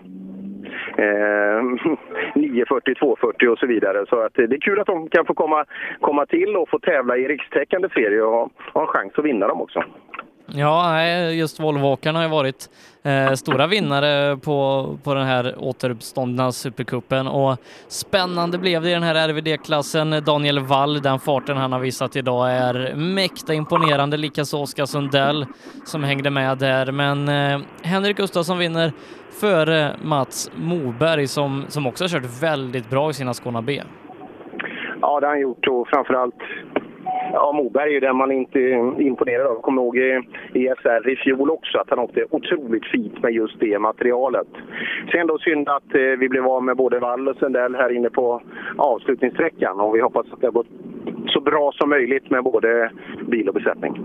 Speaker 21: eh, *laughs* 940, 240 och så vidare. Så att, eh, det är kul att de kan få komma, komma till och få tävla i rikstäckande serier och ha, ha en chans att vinna dem också.
Speaker 1: Ja, nej, just Volvoåkarna har ju varit eh, stora vinnare på, på den här återuppståndna Supercupen och spännande blev det i den här RVD-klassen. Daniel Wall, den farten han har visat idag är mäkta imponerande, likaså Oskar Sundell som hängde med där. Men eh, Henrik Gustafsson vinner före Mats Moberg som, som också har kört väldigt bra i sina Skåne B.
Speaker 21: Ja, det har han gjort och framförallt Ja, Moberg är ju den man inte är imponerad av. Jag kommer ihåg i i SR i fjol också att han åkte otroligt fint med just det materialet. Sen då synd att eh, vi blev av med både Wall och Sundell här inne på avslutningssträckan och vi hoppas att det har gått så bra som möjligt med både bil och besättning.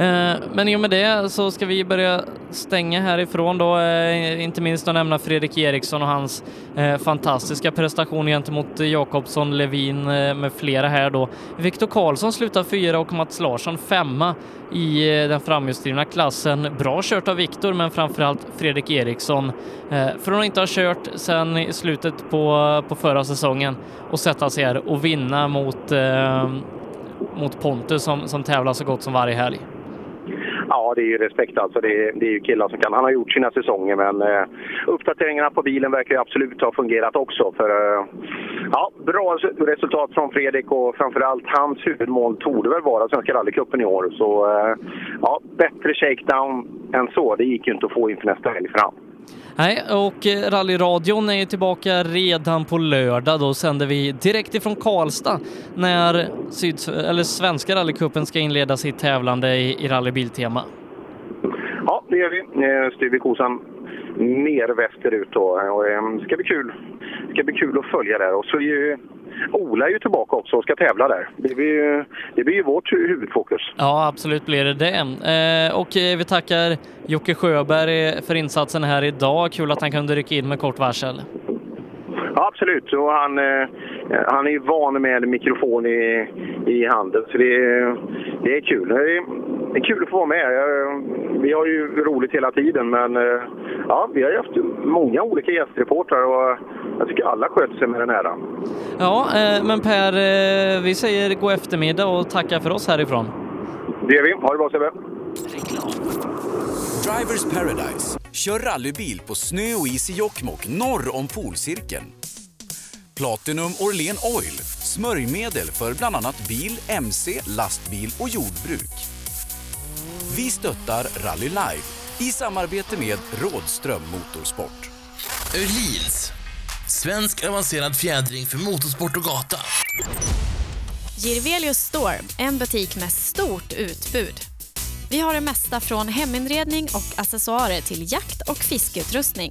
Speaker 1: Eh, Men i och med det så ska vi börja stänga härifrån då, eh, inte minst att nämna Fredrik Eriksson och hans eh, fantastiska prestation gentemot Jakobsson, Levin eh, med flera här då. Viktor Karlsson slutar fyra och Mats Larsson femma i eh, den framhjulsdrivna klassen. Bra kört av Viktor, men framförallt Fredrik Eriksson. eh, Från att inte ha kört sedan i slutet på, på förra säsongen och sätta sig här och vinna mot eh, mot Pontus som, som tävlar så gott som varje helg.
Speaker 21: Ja, det är ju respekt alltså. Det är, det är ju killar som kan. Han har gjort sina säsonger men eh, uppdateringarna på bilen verkar ju absolut ha fungerat också. För, eh, ja, bra res- resultat från Fredrik och framförallt hans huvudmål torde väl vara Svenska rallycupen i år. Så eh, ja, bättre shakedown än så. Det gick ju inte att få inför nästa helg fram.
Speaker 1: Nej, och eh, rallyradion är ju tillbaka redan på lördag. Då sänder vi direkt ifrån Karlstad när syds eller Svenska rallycupen ska inleda sitt tävlande i, i rallybiltema.
Speaker 21: Ja, det gör vi. Eh, styr vi kosan ner västerut då. Och, eh, ska bli kul. ska bli kul att följa där. Och så är ju Ola är ju tillbaka också och ska tävla där. Det blir ju, det blir ju vårt hu- huvudfokus.
Speaker 1: Ja, absolut blir det det. Eh, och eh, vi tackar Jocke Sjöberg eh, för insatsen här idag. Kul att han kunde rycka in med kort varsel.
Speaker 21: Ja, absolut. Och han, eh, han är ju van med mikrofon i, i handen, så det, är- det är kul. Det är, det är kul att få vara med. Jag, vi har ju roligt hela tiden, men eh, ja, vi har ju haft många olika gästreportrar och jag tycker alla sköter sig med den äran.
Speaker 1: Ja, eh, men Per, eh, vi säger god eftermiddag och tackar för oss härifrån.
Speaker 21: Det gör vi. Ha det bra Sebbe!
Speaker 26: Drivers Paradise. Kör rallybil på snö och is i Jokkmokk norr om polcirkeln. Platinum Orlen Oil. Smörjmedel för bland annat bil, mc, lastbil och jordbruk. Vi stöttar Rally Live i samarbete med Rådström Motorsport.
Speaker 23: Öhlins. Svensk avancerad fjädring för motorsport och gata.
Speaker 24: Girvelius Store, en butik med stort utbud. Vi har det mesta från heminredning och accessoarer till jakt och fiskeutrustning.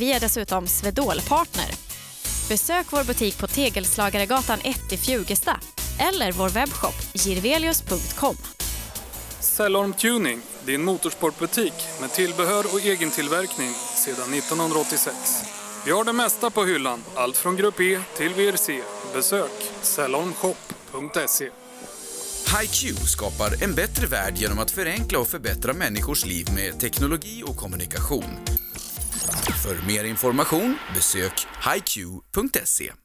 Speaker 24: Vi är dessutom Swedol-partner. Besök vår butik på Tegelslagaregatan 1 i Fjugesta eller vår webbshop girvelius.com.
Speaker 34: Cellorm Tuning, din motorsportbutik med tillbehör och egen tillverkning sedan 1986. Vi har det mesta på hyllan, allt från Grupp E till VRC. Besök cellormshop.se.
Speaker 26: HiQ skapar en bättre värld genom att förenkla och förbättra människors liv med teknologi och kommunikation. För mer information besök hiq.se.